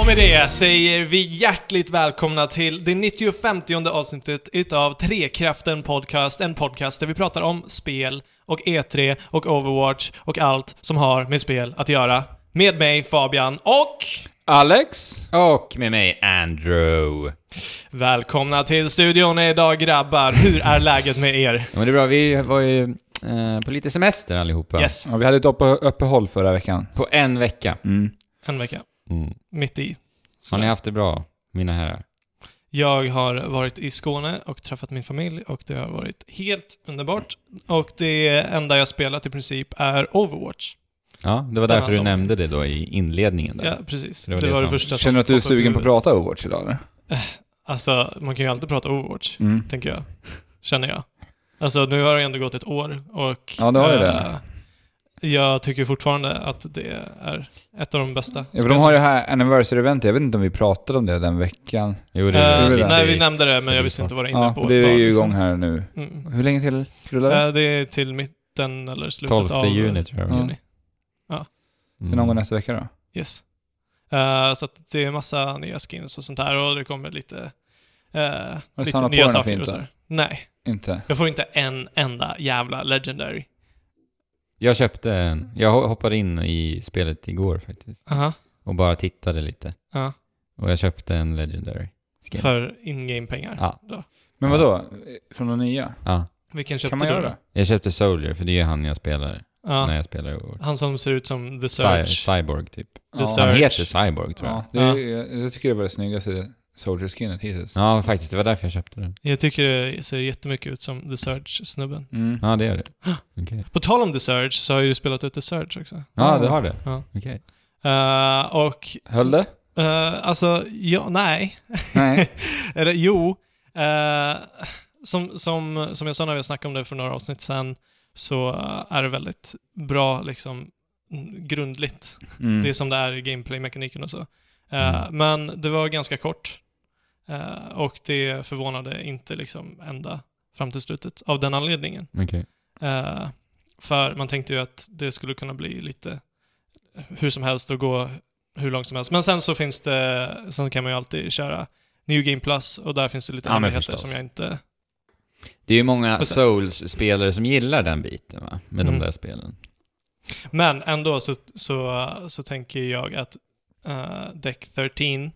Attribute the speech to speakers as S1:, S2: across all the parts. S1: Och med det säger vi hjärtligt välkomna till det 95 avsnittet utav Trekraften Podcast. En podcast där vi pratar om spel och E3 och Overwatch och allt som har med spel att göra. Med mig Fabian och
S2: Alex?
S3: Och med mig Andrew.
S1: välkomna till studion idag grabbar. Hur är läget med er?
S3: Ja, men det är bra, vi var ju eh, på lite semester allihopa.
S1: Yes,
S2: Ja, vi hade ett uppeh- uppehåll förra veckan. Mm.
S3: På en vecka.
S1: en vecka.
S3: Mm.
S1: Mitt i.
S3: Har ni haft det bra, mina herrar?
S1: Jag har varit i Skåne och träffat min familj och det har varit helt underbart. Och det enda jag spelat i princip är Overwatch.
S3: Ja, det var
S1: Den
S3: därför
S1: här
S3: du
S1: sommaren.
S3: nämnde det då i inledningen där.
S1: Ja, precis.
S3: Det
S1: Det var
S3: var
S1: det,
S3: det som-
S1: första som
S2: Känner du att du är
S1: poppade upp i
S2: sugen på att
S1: huvudet.
S2: prata Overwatch idag eller?
S1: Alltså, man kan ju alltid prata Overwatch,
S2: Mm.
S1: tänker jag. Känner jag. Alltså, nu har det ändå gått ett år och...
S2: Ja, det har ju
S1: eh,
S2: det.
S1: Jag tycker fortfarande att det är ett av de bästa
S2: Ja, för de har ju det här anniversary eventet jag vet inte om vi pratade om det den veckan.
S3: Jo, det
S1: Eh,
S3: är
S2: gjorde vi.
S1: nej, vi
S3: i-
S1: nämnde det, men jag visste inte vad det innebar.
S2: Ja, och det är ju igång här nu.
S1: Mm.
S2: Hur länge till rullar det?
S1: liksom. Eh, det är till mitten eller slutet
S3: 12
S1: av...
S3: juni tror jag. Mm.
S2: Ja.
S1: juni.
S2: Till någon gång nästa vecka då?
S1: Yes. Eh, så att det är massa nya skins och sånt där och det kommer lite... Uh,
S2: du
S1: lite
S2: samlat på
S1: nya
S2: dig något
S1: saker
S2: fint
S1: och
S2: då?
S1: sådär. Nej.
S2: Inte?
S1: Jag får inte en enda jävla legendary.
S3: Jag köpte en. Jag ho- hoppade in i spelet igår faktiskt.
S1: Aha.
S3: Och bara tittade lite.
S1: Ja.
S3: Och jag köpte en Legendary. Skin.
S1: För in-game-pengar.
S3: Ja.
S2: Men
S3: Ja.
S2: vadå? Från de nya?
S3: ja.
S1: Vilken köpte
S2: Kan man
S1: du
S2: göra
S1: då?
S2: det?
S3: Jag köpte Soldier, för det är ju han jag spelar
S1: Ja.
S3: när jag spelar i år.
S1: Han som ser ut som The
S3: Cy-
S1: Search.
S3: Cyborg typ.
S1: The
S3: Han
S1: Surge.
S3: heter Cyborg tror jag.
S2: Ja, det är, ju- jag, jag tycker det var det snyggaste Soldier-skinnet hittills.
S3: Ja, faktiskt. Det var därför jag köpte den.
S1: Jag tycker det ser jättemycket ut som The Surge-snubben.
S2: Mm.
S3: Ja, det gör det. Okej.
S1: På tal om The Surge så har jag ju spelat ut The Surge också.
S3: Ja, du har det?
S1: Ja.
S3: Okej.
S1: Eh, och,
S2: Höll det?
S1: eh, alltså, ja, nej.
S2: Nej.
S1: Eller jo. eh, som, som, som jag sa när vi snackade om det för några avsnitt sen, så eh, är det väldigt bra liksom mm, grundligt
S2: Mm.
S1: Det är som det är i gameplay-mekaniken och så. Eh,
S3: Mm.
S1: Men det var ganska kort. Eh, och det förvånade inte liksom ända fram till slutet av den anledningen.
S3: Okej.
S1: Eh, för man tänkte ju att det skulle kunna bli lite hur som helst och gå hur långt som helst. Men sen så finns det, sen kan man ju alltid köra New Game Plus och där finns det lite
S3: Ja, men
S1: hemligheter
S3: förstås.
S1: som jag inte...
S3: Det är ju många
S1: Precis.
S3: Souls-spelare som gillar den biten va? Med
S1: Mm.
S3: de där spelen.
S1: Men ändå så, så, så tänker jag att uh, Deck 13,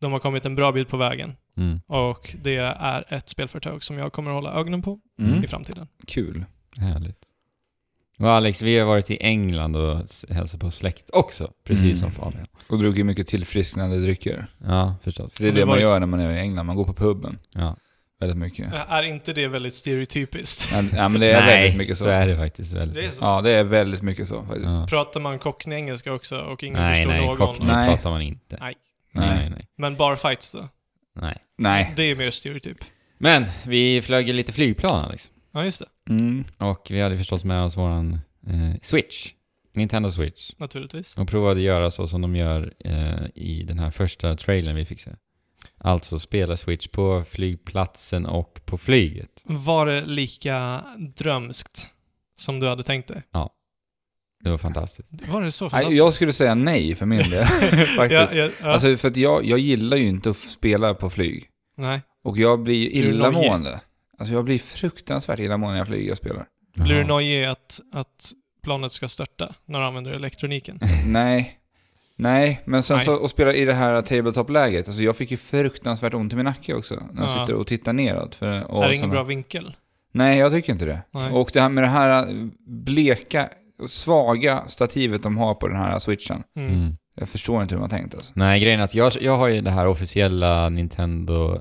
S1: de har kommit en bra bit på vägen.
S3: Mm.
S1: Och det är ett spelföretag som jag kommer att hålla ögonen på
S2: Mm.
S1: i framtiden.
S2: Kul.
S3: Härligt. Och Alex, vi har varit i England och s- hälsat på släkt också. Precis
S2: Mm.
S3: som Fabian.
S2: Och druckit mycket tillfrisknande drycker.
S3: Ja, förstås.
S2: För det är
S1: Men det
S2: det
S1: var
S2: man
S1: ju- Eh.
S2: gör när man är i England, man går på puben
S3: Ja.
S2: väldigt mycket.
S1: Är inte det väldigt stereotypiskt?
S2: Ja, ja, men det är
S3: Nej,
S2: väldigt mycket så.
S3: så är det faktiskt. Väldigt.
S1: Det är så.
S2: Ja, det är väldigt mycket så faktiskt.
S3: Ja.
S1: Pratar man cockney-engelska också och ingen
S3: Nej,
S1: förstår
S3: nej,
S1: någon?
S3: kockning
S2: Nej.
S3: pratar man inte.
S1: Nej.
S3: Nej,
S2: Nej.
S3: nej, nej.
S1: Men bara fights då?
S3: nej.
S2: Nej.
S1: Det är mer stereotyp.
S3: Men vi flög ju lite flygplan Alex.
S1: Ja, just det.
S2: Mm.
S3: Och vi hade förstås med oss våran eh, Switch. Nintendo Switch.
S1: Naturligtvis.
S3: Och provade göra så som de gör eh, i den här första trailern vi fick se. Alltså spela Switch på flygplatsen och på flyget.
S1: Var det lika drömskt som du hade tänkt dig?
S3: Det var fantastiskt.
S1: Var det så
S2: Nej,
S1: fantastiskt?
S2: jag skulle säga nej för min del. faktiskt.
S1: Ja, ja, ja.
S2: Alltså för att jag, jag gillar ju inte att f- spela på flyg.
S1: nej.
S2: Och jag blir ju
S1: Är du nojig?
S2: illamående. Alltså jag blir fruktansvärt illamående när jag flyger och spelar.
S1: Blir du
S3: Jaha.
S1: nojig att, att planet ska störta när du använder elektroniken?
S2: Nej. Nej, men sen
S1: Nej.
S2: så och spela i det här tabletop-läget. Alltså jag fick ju fruktansvärt ont i min nacke också. När jag
S1: Ja.
S2: sitter och tittar neråt. För, och
S1: är det
S2: sen-
S1: ingen bra vinkel?
S2: Nej, jag tycker inte det.
S1: Nej.
S2: Och det här med det här äh, bleka, och svaga stativet de har på den här switchen.
S1: Mm.
S3: Mm.
S2: Jag förstår inte hur de har tänkt alltså.
S3: Nej, grejen är att jag, jag har ju det här officiella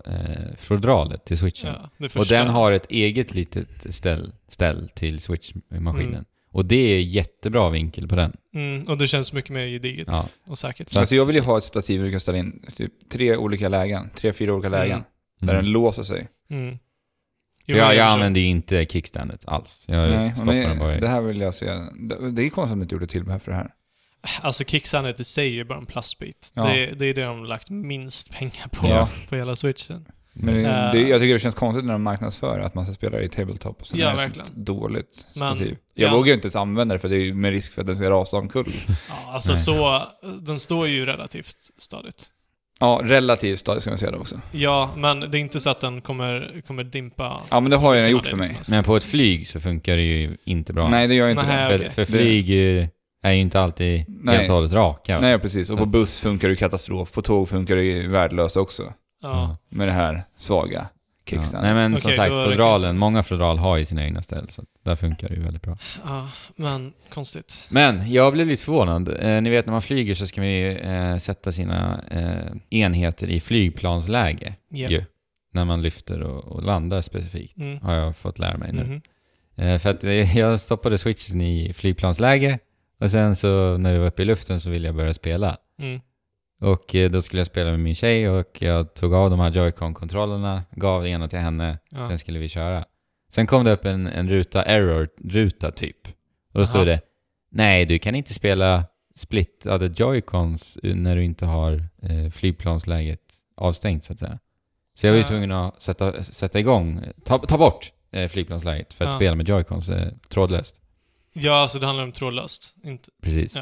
S3: Nintendo-fodralet till Switchen.
S1: Ja, det
S3: och
S1: förstår
S3: den
S1: jag.
S3: har ett eget litet ställ, ställ till Switch-maskinen.
S1: Mm.
S3: Och det är jättebra vinkel på den.
S1: Mm, och det känns mycket mer gediget
S3: Ja.
S1: och säkert.
S3: Så-
S2: alltså jag vill ju ha ett stativ där du kan ställa in typ tre olika lägen, tre, fyra olika lägen.
S1: Mm.
S2: Där den låser sig.
S1: Mm. Jo,
S3: För jag,
S1: men
S3: jag
S1: förstår.
S3: använder ju inte kickstandet alls. Jag
S2: Nej,
S3: stoppar den bara
S2: men
S3: i.
S2: det här vill jag se. Det det är konstigt att de inte gjorde till här för det här.
S1: Alltså kicksandet i sig är ju bara en plastbit.
S2: Ja.
S1: Det, det är det de lagt minst pengar på,
S2: Ja.
S1: på hela switchen.
S2: Men det,
S1: Eh.
S2: det, jag tycker det känns konstigt när de marknadsför att man ska spela i tabletop och sen
S1: Ja,
S2: är det ett
S1: verkligen.
S2: sånt dåligt
S1: Men-
S2: stativ. Jag
S1: ja.
S2: vågar ju inte ens använda det för det är ju med risk för att den ska rasa omkull.
S1: Ja, alltså
S3: Nej.
S1: så, den står ju relativt stadigt.
S2: Ja, relativt stadig ska man säga det också.
S1: Ja, men det är inte så att den kommer, kommer dimpa.
S2: Ja, men det har ju den
S1: Ja,
S2: gjort
S1: det är
S2: för
S1: liksom
S2: mig.
S1: som helst.
S3: Men på ett flyg så funkar det ju inte bra.
S2: Nej, det gör ju inte
S1: Nej,
S2: det.
S3: för,
S1: okej.
S3: för flyg eh, är ju inte alltid
S2: Nej.
S3: helt och hållet raka.
S2: Nej, precis. Och på
S3: Så att-
S2: buss funkar det ju katastrof. På tåg funkar det ju värdelöst också.
S3: Mm.
S1: Ja.
S2: Med det här svaga
S3: Ja.
S2: kickstandet.
S3: Nej men som
S1: Okej,
S3: sagt,
S1: då är det-
S3: fodralen, många fodral har ju sina egna ställ, så att där funkar det ju väldigt bra.
S1: ja, men konstigt.
S3: Men jag blev lite förvånad. Eh, ni vet när man flyger så ska man ju eh, sätta sina eh, enheter i flygplansläge.
S1: Ja.
S3: Ju, när man lyfter och, och landar specifikt.
S1: Mm.
S3: Har jag fått lära mig nu.
S1: Mhm.
S3: Eh, för att eh, jag stoppade switchen i flygplansläge och sen så när vi var uppe i luften så ville jag börja spela.
S1: Mm.
S3: Och eh, då skulle jag spela med min tjej och jag tog av de här Joy-Con-kontrollerna, gav det ena till henne,
S1: Ja.
S3: sen skulle vi köra. Sen kom det upp en, en ruta, error-ruta typ. Och då stod
S1: Aha.
S3: det, nej du kan inte spela splittade Joy-Cons när du inte har eh, flygplansläget avstängt så att säga. Så jag var ju
S1: Ah.
S3: tvungen att sätta, sätta igång, ta, ta bort eh, flygplansläget för att
S1: Ja.
S3: spela med Joy-Cons eh, trådlöst.
S1: Ja, alltså det handlar om trådlöst. Inte...
S3: Precis.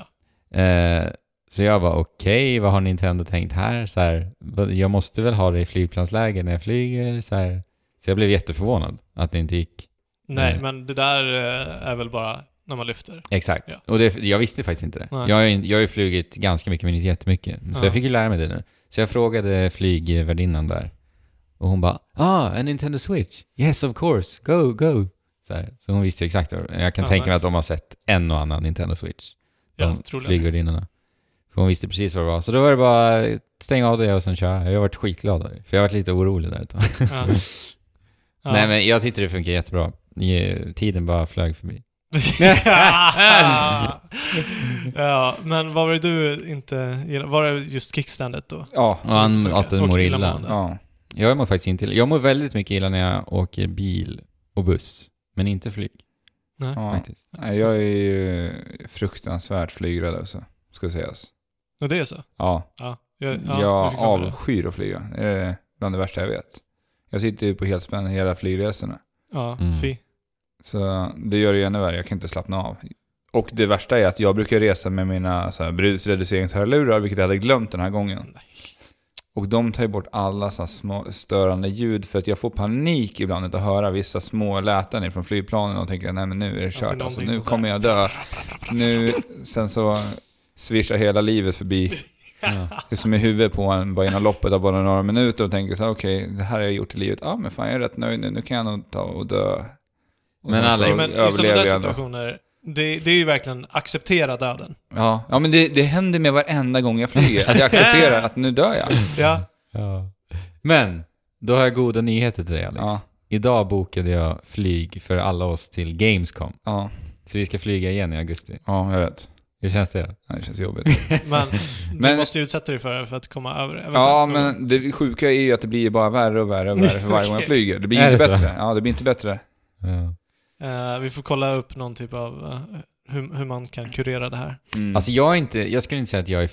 S1: Ja.
S3: Eh, så jag var okej, vad har Nintendo tänkt här? Så här? vad- Jag måste väl ha det i flygplansläge när jag flyger? Så, här. så jag blev jätteförvånad att det inte gick.
S1: Nej,
S3: Nej.
S1: men det där eh, är väl bara när man lyfter.
S3: Exakt.
S1: Ja.
S3: Och det, jag visste faktiskt inte det.
S1: Nej.
S3: Jag, har ju- jag har ju flugit ganska mycket, men inte jättemycket. Så
S1: Ja.
S3: jag fick ju lära mig det nu. Så jag frågade flygvärdinnan där. Och hon bara ah, en Nintendo Switch? Yes of course, go, go. Så, här. så hon visste ju exakt. vad- Jag kan
S1: Ja,
S3: tänka mig
S1: nice.
S3: att de har sett en och annan Nintendo Switch.
S1: Ja,
S3: de
S1: troligen.
S3: flygvärdinnorna. För hon visste precis vad det var. Så då var det bara eh, stänga av det och sen köra. Jag varit skitglad. av det, För jag varit lite orolig där ett tag.
S1: Ja. Ja.
S3: Nej men jag tyckte det funkar jättebra. Eh, Tiden bara flög förbi.
S1: ja, men vad var det du inte gillade? Var det just kickstandet då?
S2: Ja.
S3: Och han-
S1: inte funkar.
S3: att den
S1: Och
S3: mår illa.
S1: illamående.
S2: ja.
S3: Jag mår faktiskt inte illa. Jag mår väldigt mycket illa när jag åker bil och buss. Men inte flyg
S1: Nej.
S2: ja.
S3: faktiskt.
S2: Nej, Jag är ju fruktansvärt flygrädd också, ska sägas.
S1: Och det är så?
S2: Ja.
S1: Ja. jag
S2: Jag
S1: fick för mig det.
S2: avskyr att flyga. Det är bland det värsta jag vet. Jag sitter ju på helspänn hela flygresorna.
S1: Ja,
S3: Mm.
S1: fy.
S2: Så det gör det ju ännu värre. Jag kan inte slappna av. Och det värsta är att jag brukar resa med mina så här, brusreduceringshörlurar, vilket jag hade glömt den här gången.
S1: Nej.
S2: Och de tar ju bort alla så här små störande ljud för att jag får panik ibland av att höra vissa små läten från flygplanen och tänker nej men nu är det
S1: det är
S2: kört alltså,
S1: någonting
S2: nu
S1: som så
S2: kommer
S1: här-
S2: jag dö. Nu, sen så svischar hela livet förbi.
S3: Ja.
S2: Det är som i huvudet på en bara genom loppet av bara några minuter och tänker så här, okej, det här har jag gjort i livet. Ja, ah, men fan jag är rätt nöjd nu. Nu kan jag nog ta och dö. Och
S3: Men
S2: sen
S3: alla-
S2: så
S1: Men i sådana
S2: överlever
S1: där
S2: jag ändå.
S1: situationer, det, det är ju verkligen acceptera döden.
S2: Ja, ja men det, det händer med varenda gång jag flyger. Att jag accepterar att nu dör jag.
S1: Ja.
S3: Ja. Men, då har jag goda nyheter till dig Alex.
S2: Ja,
S3: Idag bokade jag flyg för alla oss till Gamescom.
S2: ja,
S3: Så vi ska flyga igen i augusti.
S2: ja jag vet.
S3: Hur känns det?
S2: Ja, Det känns jobbigt.
S1: Men du
S2: Men-
S1: måste ju utsätta dig för det för att komma över det. eventuellt.
S2: Ja, men det sjuka är ju att det blir bara värre och värre och värre för varje gång jag
S1: Okej.
S2: flyger. Det blir
S3: Är
S2: inte
S3: det så?
S2: bättre. Ja, det blir inte bättre.
S3: Ja.
S1: Eh, vi får kolla upp någon typ av eh, hur, hur man kan kurera det här.
S2: Mm.
S3: Alltså jag är inte, jag skulle inte säga att jag är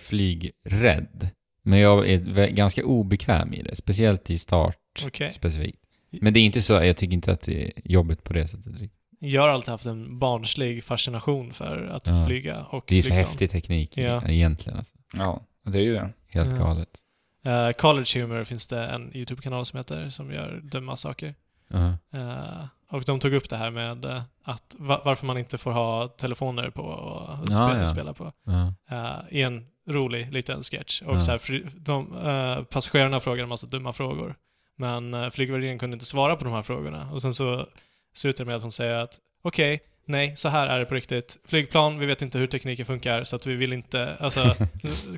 S3: flygrädd. Men jag är vä- ganska obekväm i det. Speciellt i start
S1: Okej.
S3: specifikt. Men det är inte så, jag tycker inte att det är jobbigt på det sättet. riktigt.
S1: Jag har alltid haft en barnslig fascination för att
S3: Ja.
S1: flyga och
S3: Det är ju så
S1: flygplan.
S3: häftig teknik
S1: Ja.
S3: egentligen. Alltså.
S2: ja, det är ju det.
S3: Helt
S1: Ja.
S3: galet.
S1: Eh, College Humor finns det en YouTube-kanal som heter, som gör dumma saker.
S3: Ja.
S1: Eh, och de tog upp det här med eh, att va- varför man inte får ha telefoner på och
S3: Ja,
S1: spela,
S3: ja.
S1: spela på.
S3: Ja.
S1: eh, i en rolig liten sketch. Och
S3: Ja.
S1: så här, fri- de, eh, passagerarna frågade en massa dumma frågor. Men uh, flygvärdinnan kunde inte svara på de här frågorna. Och sen så slutar det med att hon säger att okej, nej, så här är det på riktigt. Flygplan, vi vet inte hur tekniken funkar så att vi vill inte, alltså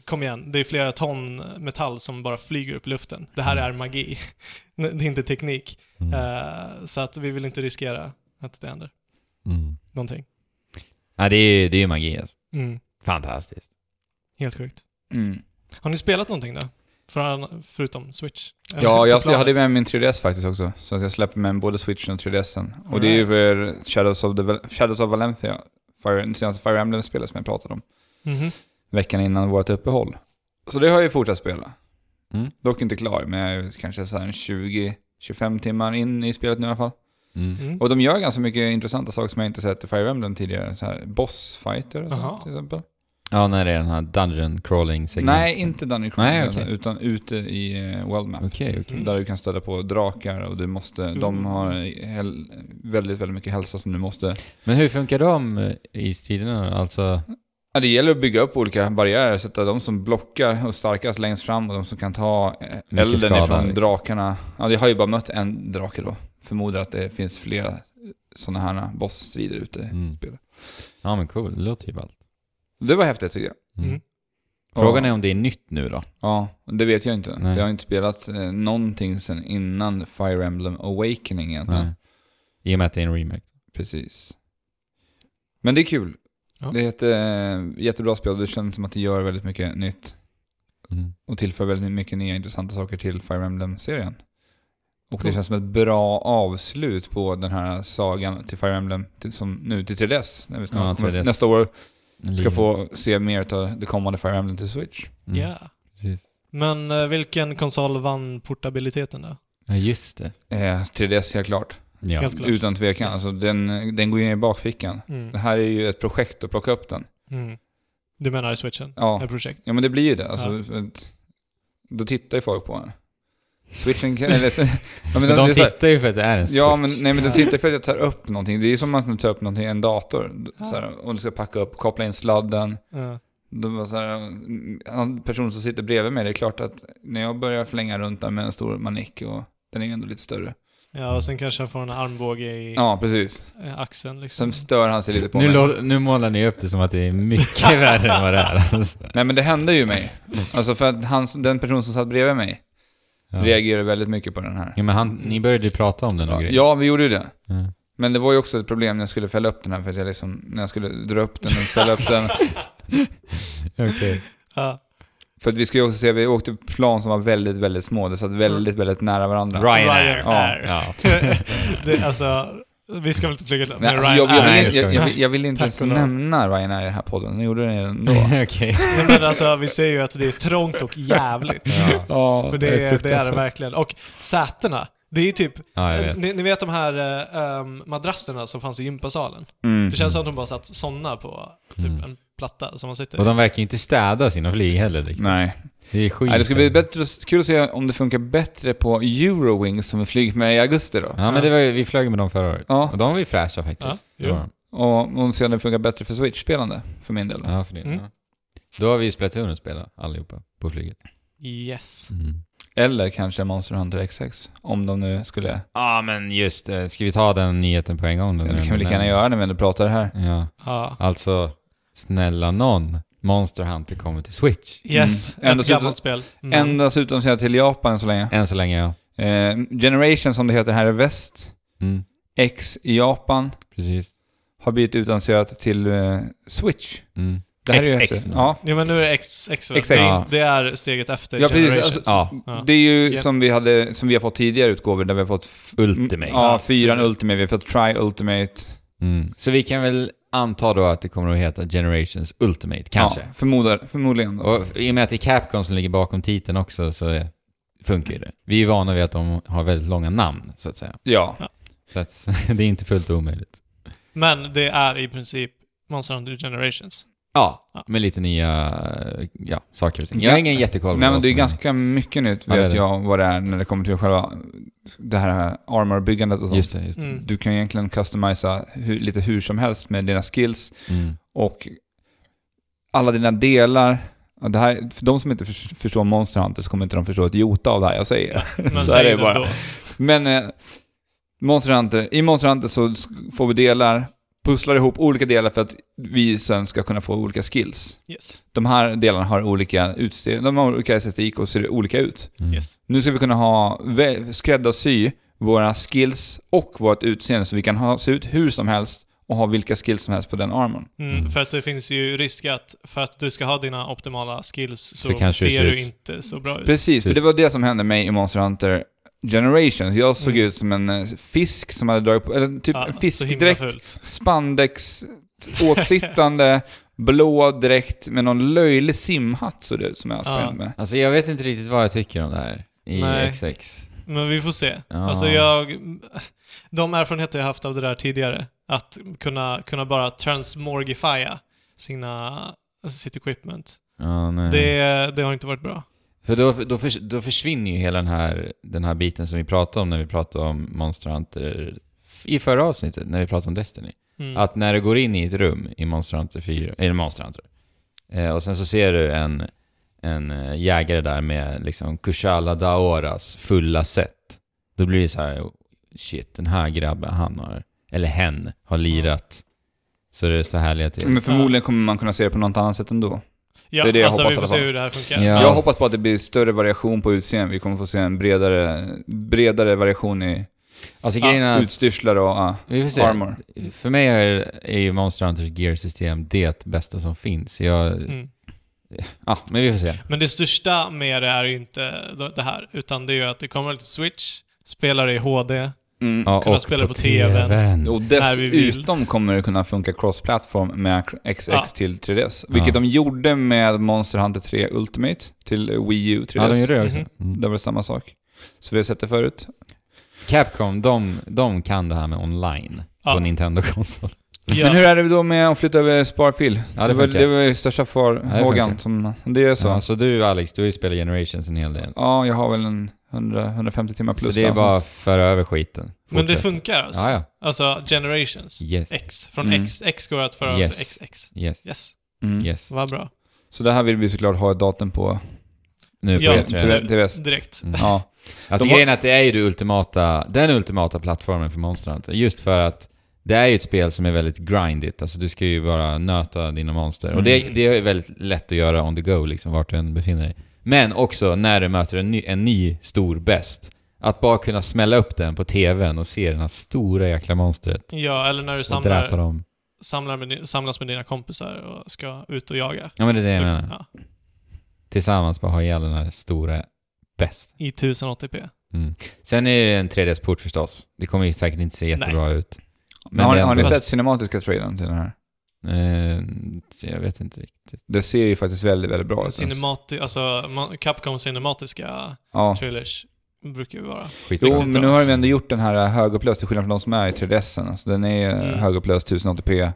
S1: kom igen, det är flera ton metall som bara flyger upp i luften. Det här är magi. det är inte teknik.
S3: Mm.
S1: Eh, så att vi vill inte riskera att det händer
S3: Mm.
S1: någonting.
S3: Ja, det är ju det är ju magi alltså.
S1: Mm.
S3: Fantastiskt.
S1: Helt sjukt.
S2: Mm.
S1: Har ni spelat någonting då? För, förutom Switch? Eller
S2: Ja,
S1: på
S2: jag, jag
S1: planet?
S2: hade med min 3DS faktiskt också. Så att jag släpper med både Switchen och 3DSen. Och det är ju för Shadows of, the, Val- Shadows of Valencia, Fire, det senaste Fire Emblem-spelet som jag pratade om.
S1: Mhm.
S2: Veckan innan vårt uppehåll. Så det har jag ju fortsatt spela.
S3: Mm.
S2: Dock inte klar, men jag är kanske så här en 20-25 timmar in i spelet nu i alla fall.
S3: Mm.
S1: Mm.
S2: Och de gör ganska mycket intressanta saker som jag inte sett i Fire Emblem tidigare. Så här bossfighter och sånt
S1: Jaha.
S2: till exempel.
S3: Ja, när det är den här dungeon crawling segmenten.
S2: Nej, inte Dungeon
S3: Nej,
S2: Crawling,
S3: okej.
S2: utan ute i eh, World Map.
S3: Okej, okej.
S1: Mm.
S2: Där du kan stöta på drakar och du måste,
S3: Mm.
S2: de har hel, väldigt, väldigt mycket hälsa som du måste...
S3: Men hur funkar de eh, i striderna då? Alltså,
S2: Ja, det gäller att bygga upp olika barriärer, så att de som blockar och starkast längst fram och de som kan ta eh,
S3: Mycket
S2: elden
S3: skada,
S2: ifrån
S3: liksom.
S2: drakarna. Ja, jag har ju bara mött en drake då. Förmodar att det finns flera sådana här bossstrider ute.
S3: mm.
S2: spela.
S3: Ja, men cool. Det låter ju ballt.
S2: Det var häftigt tycker jag.
S3: Mm.
S1: Mm.
S3: Frågan
S2: Ja.
S3: är om det är nytt nu då?
S2: Ja, det vet jag inte.
S3: Nej.
S2: För jag har inte spelat eh, någonting sen innan Fire Emblem Awakening
S3: Nej.
S2: egentligen.
S3: Mm. I och med att det är en remake.
S2: Precis. Men det är kul.
S1: Ja.
S2: Det är ett eh, jättebra spel och det känns som att det gör väldigt mycket nytt
S3: Mm.
S2: och tillför väldigt mycket nya intressanta saker till Fire Emblem-serien. Och
S1: Cool.
S2: det känns som ett bra avslut på den här sagan till Fire Emblem till, som nu till 3DS. När vi snart
S3: Ja,
S2: kommer,
S3: 3DS.
S2: Nästa år ska
S3: Liv.
S2: få se mer av det kommande Fire Emblem till Switch.
S3: Mm.
S1: Ja.
S3: Precis.
S1: Men eh, vilken konsol vann portabiliteten då?
S3: Ja, just det.
S2: Eh, 3DS helt klart.
S3: Ja.
S1: Helt klart.
S2: Utan tvekan.
S1: Yes.
S2: Alltså, den, den går ju ner i bakfickan. Det
S1: Mm.
S2: här är ju ett projekt att plocka upp den.
S1: Mm. Du menar switchen?
S2: Ja.
S1: Ett projekt?
S2: Ja men det blir ju det. Alltså, för att- Då tittar ju folk på en. Switchen kan... Eller, så- ja, men
S3: Men
S2: det är
S3: de
S2: så här-
S3: tittar ju för att det är en
S2: Ja,
S3: switch.
S2: men, nej, men de
S1: Ja.
S2: tittar för att jag tar upp någonting. Det är som att man tar upp någonting i en dator.
S1: Ja.
S2: Så här, och du ska packa upp, koppla in sladden.
S1: Ja.
S2: Då var så här, mm, han- personen som sitter bredvid mig, det är klart att när jag börjar flänga runt där med en stor manick och den är ju ändå lite större.
S1: ja, och sen kanske han får en armbåge i
S2: Ja, precis.
S1: eh, axeln liksom.
S2: Sen stör han sig lite på
S3: Nu,
S2: mig.
S3: lå- nu målar ni upp det som att det är mycket värre än vad det är. Alltså.
S2: Nej, men det hände ju mig. Alltså för att han, den person som satt bredvid mig
S3: Ja.
S2: reagerade väldigt mycket på den här.
S3: Ja, men han, ni började ju prata om den och grejer.
S2: Ja, vi gjorde ju det.
S3: Ja.
S2: Men det var ju också ett problem när jag skulle fälla upp den här, för att jag liksom, när jag skulle dra upp den och fälla upp den.
S3: Okej.
S1: Ja.
S2: För att vi ska ju också se, vi åkte plan som var väldigt, väldigt små, det satt väldigt, väldigt nära varandra.
S3: Ryanair.
S1: Ryanair.
S3: Ja.
S1: det, alltså, vi ska väl inte flyga till-
S2: Nej,
S1: med
S2: alltså, jag,
S3: Nej,
S2: jag, vill,
S3: det
S1: Ryanair.
S2: inte-
S3: ska
S2: jag,
S3: vi
S2: jag,
S1: inte.
S2: vill, jag vill inte
S1: Tack
S2: ens
S1: och lov.
S2: nämna Ryanair i den här podden, jag gjorde det ändå.
S3: Mm. Okej.
S1: Nej, Men alltså, vi ser ju att det är trångt och jävligt.
S3: Ja.
S2: Ja,
S1: För det, är- det är det verkligen. Och sätena. Det är ju typ,
S3: ja, jag vet.
S1: ni, ni vet de här eh, ehm, madrasserna som fanns i gympasalen?
S2: Mm.
S1: Det känns som att de bara satt sådana på typ
S3: Mm.
S1: en platta som man sitter i.
S3: Och de verkar ju inte städa sina flyg heller riktigt.
S2: Nej.
S3: Det är skit.
S2: Nej, det ska bli bättre, kul att se om det funkar bättre på Eurowings som vi flyger med i augusti då.
S3: Ja, men det var ju, vi flög med dem förra året.
S2: Ja.
S3: Och de var ju fräscha
S1: Ja,
S3: faktiskt.
S1: jo.
S3: ja.
S2: Och om se om det funkar bättre för Switch-spelande, för min del.
S3: ja för det.
S1: Mm.
S3: Ja. Då har vi ju Splatoon att spela allihopa på flyget.
S1: Yes.
S2: Eller kanske Monster Hunter XX, om de nu skulle...
S3: Ja, men just det. Ska vi ta den nyheten på en gång då?
S2: Det
S3: nu?
S2: kan vi lika gärna göra när vi ändå pratar här.
S3: Ja,
S1: Ja.
S3: alltså snälla någon. Monster Hunter kommer till Switch.
S1: Yes,
S2: Mm. Ändå
S1: ett
S2: så-
S1: gammalt spel. Mm.
S2: Endast utom sig till Japan än så länge.
S3: Än så länge ja.
S2: Eh, Generation som det heter här i väst,
S3: Mm,
S2: X i Japan,
S3: precis.
S2: har blivit utannonserat till eh, Switch.
S3: Mm.
S2: Det här är ju
S3: XX
S2: häftigt.
S3: nu.
S2: Ja,
S1: Jo men nu är det X, X, väl?
S2: XX.
S1: Det, är,
S3: Ja.
S1: det är steget efter
S2: Ja, precis.
S1: Generations.
S2: Alltså,
S3: Ja,
S1: Ja.
S2: det är ju
S1: Ja.
S2: som, vi hade, som vi har fått tidigare utgåvor där vi har fått... f-
S3: Ultimate.
S2: Ja, fyran
S1: Precis.
S2: Ultimate, vi har fått Try Ultimate.
S3: Mm. Så vi kan väl anta då att det kommer att heta Generations Ultimate, kanske.
S2: Ja, förmodar, förmodligen. Då.
S3: Och i och med att det är Capcom som ligger bakom titeln också så eh, funkar ju det. Vi är vana vid att de har väldigt långa namn, så att säga.
S2: Ja,
S3: Så att, det är inte fullt omöjligt.
S1: Men det är i princip Monster Hunter Generations.
S3: Ja,
S1: Ja.
S3: med lite nya eh, ja, saker och ting. Jag har ingen jättekoll på
S2: Nej, men
S3: vad
S2: det är
S3: som
S2: ganska mycket nytt,
S3: Ja, det är
S2: vet
S3: det.
S2: jag, vad det är när det kommer till själva det här armorbyggandet och sånt.
S3: Just det, just det.
S1: Mm.
S2: Du kan egentligen customisa hur, lite hur som helst med dina skills.
S3: Mm.
S2: Och alla dina delar, ja, det här, för de som inte förs- förstår Monster Hunter så kommer inte de förstå ett jota av det här jag säger.
S1: Men
S2: Så
S1: så är
S2: är
S1: det
S2: det bara.
S1: Då.
S2: Men eh, Monster Hunter, i Monster Hunter så sk- får vi delar, pusslar ihop olika delar för att vi sen ska kunna få olika skills.
S1: Yes.
S2: De här delarna har olika utseende, de har olika estetik och ser olika ut.
S3: Mm.
S1: Yes.
S2: Nu ska vi kunna ha vä- skräddarsy våra skills och vårt utseende så vi kan ha, se ut hur som helst och ha vilka skills som helst på den armorn.
S1: Mm,
S3: Mm.
S1: För att det finns ju risk att för att du ska ha dina optimala skills så,
S3: Så kanske det
S1: ser
S3: ser
S1: du
S3: ut-
S1: inte så bra ut.
S2: Precis, för
S3: Precis.
S2: det var det som hände mig i Monster Hunter Generations. Jag såg
S1: Mm.
S2: ut som en eh, fisk som hade dragit på, eller typ
S1: Ja,
S2: en
S1: så himla
S2: fiskdräkt,
S1: fult.
S2: spandex, åtsittande, blå dräkt med någon löjlig simhatt såg det ut som jag sprang
S1: Ja.
S2: med.
S3: Alltså jag vet inte riktigt vad jag tycker om det här i
S1: Nej.
S3: XX.
S1: Men vi får se.
S3: Ja.
S1: Alltså jag... De erfarenheter jag haft av det där tidigare, att kunna, kunna bara transmorgifya sina alltså sitt equipment.
S3: Ja, nej.
S1: Det, det har inte varit bra.
S3: För då, då, förs- då försvinner ju hela den här, den här biten som vi pratade om när vi pratade om Monster Hunter f- i förra avsnittet, när vi pratade om Destiny.
S1: Mm.
S3: Att när du går in i ett rum i Monster Hunter 4, eller Monster Hunter, eh, och sen så ser du en, en eh, jägare där med liksom Kushala Daoras fulla set. Då blir det så här, shit, den här grabben, han har, eller hen, har lirat. Så det är så härliga till.
S2: Men förmodligen kommer man kunna se det på något annat sätt ändå.
S1: ja,
S2: det är det jag
S1: alltså,
S2: hoppas
S1: vi får
S2: i alla
S1: se
S2: fall.
S1: hur det här funkar.
S3: Ja.
S2: Jag hoppas på att det blir större variation på utseende. Vi kommer få se en bredare, bredare variation i
S3: Alltså grejen är att,
S2: utstyrslar och ah,
S3: vi får se.
S2: armor.
S3: För mig är, är ju Monster Hunters Gear-system det bästa som finns. Jag,
S1: Mm.
S3: ah, men vi får se.
S1: Men det största med det är ju inte det här, utan det är ju att det kommer till Switch, spelar i HD.
S2: Mm.
S3: Ja,
S1: Kunna spela på TV:n.
S3: TV:n.
S2: Och
S1: När vi vill.
S2: dessutom kommer det kunna funka cross-platform med XX
S1: Ja.
S2: till 3DS. Vilket
S3: Ja.
S2: de gjorde med Monster Hunter 3 Ultimate till Wii U 3DS.
S3: Ja, de gör det också.
S1: Mhm.
S3: Mm.
S2: Det var samma sak. Så vi har sett det förut.
S3: Capcom, de, de kan det här med online
S1: Ja.
S3: på Nintendo-konsol.
S1: Ja.
S2: Men hur är det då med att flytta över Sparfil?
S3: Ja, det
S2: det, var,
S3: funkar.
S2: det var ju största farhågan.
S3: funkar.
S2: som, det är så.
S3: Så.
S2: Ja,
S3: så du Alex, du har ju spelat Generations en hel del.
S2: jag har väl en 100, 150 timmar plus.
S3: så det är
S2: någonstans.
S3: bara att föra över skiten.
S1: Men det
S3: Fortsätt.
S1: funkar alltså?
S3: Ja, ja.
S1: Alltså, generations.
S3: Yes.
S1: X. Från
S2: Mm.
S1: X. X går att föra
S3: Yes.
S1: till XX.
S3: Yes.
S1: Yes.
S2: Mm.
S3: Yes.
S1: Vad bra.
S2: Så det här vill vi såklart ha ett datum på.
S3: Nu på E
S1: Ja,
S3: ja,
S2: till- till väst.
S1: Direkt.
S3: Mm.
S2: Ja.
S3: Alltså
S2: De har-
S3: grejen är att det är ju det ultimata, den ultimata plattformen för Monster Hunter. Just för att det är ju ett spel som är väldigt grindigt. Alltså du ska ju bara nöta dina monster. Och det,
S1: Mm.
S3: det är väldigt lätt att göra on the go, liksom vart du än befinner dig. Men också när du möter en ny, en ny stor best. Att bara kunna smälla upp den på TVn och se den här stora jäkla monstret.
S1: Ja, eller när du
S3: Och dräpa
S1: samlar,
S3: dem.
S1: samlar med, di- samlas med dina kompisar och ska ut och jaga.
S3: Ja men det är det jag menar.
S1: Ja,
S3: Tillsammans bara ha ihjäl den här stora best.
S1: I 1080p.
S3: Sen är det en 3D-port förstås. Det kommer ju säkert inte se jättebra ut.
S2: Men har,
S3: det är
S2: har ni
S3: ändå-
S2: sett cinematiska trailern till den här?
S3: Eh, så jag vet inte riktigt.
S2: Det ser ju faktiskt väldigt, väldigt bra ut.
S1: Cinemati- alltså, ma- Capcom cinematiska
S2: ja.
S1: trailers brukar ju vara.
S3: Skit
S2: Jo,
S1: Riktigt
S2: men nu
S1: bra.
S2: har vi ändå gjort den här eh, högupplöst till skillnad från de som är i 3DSen. Alltså, den är
S1: Mm.
S2: mm. högupplöst 1080p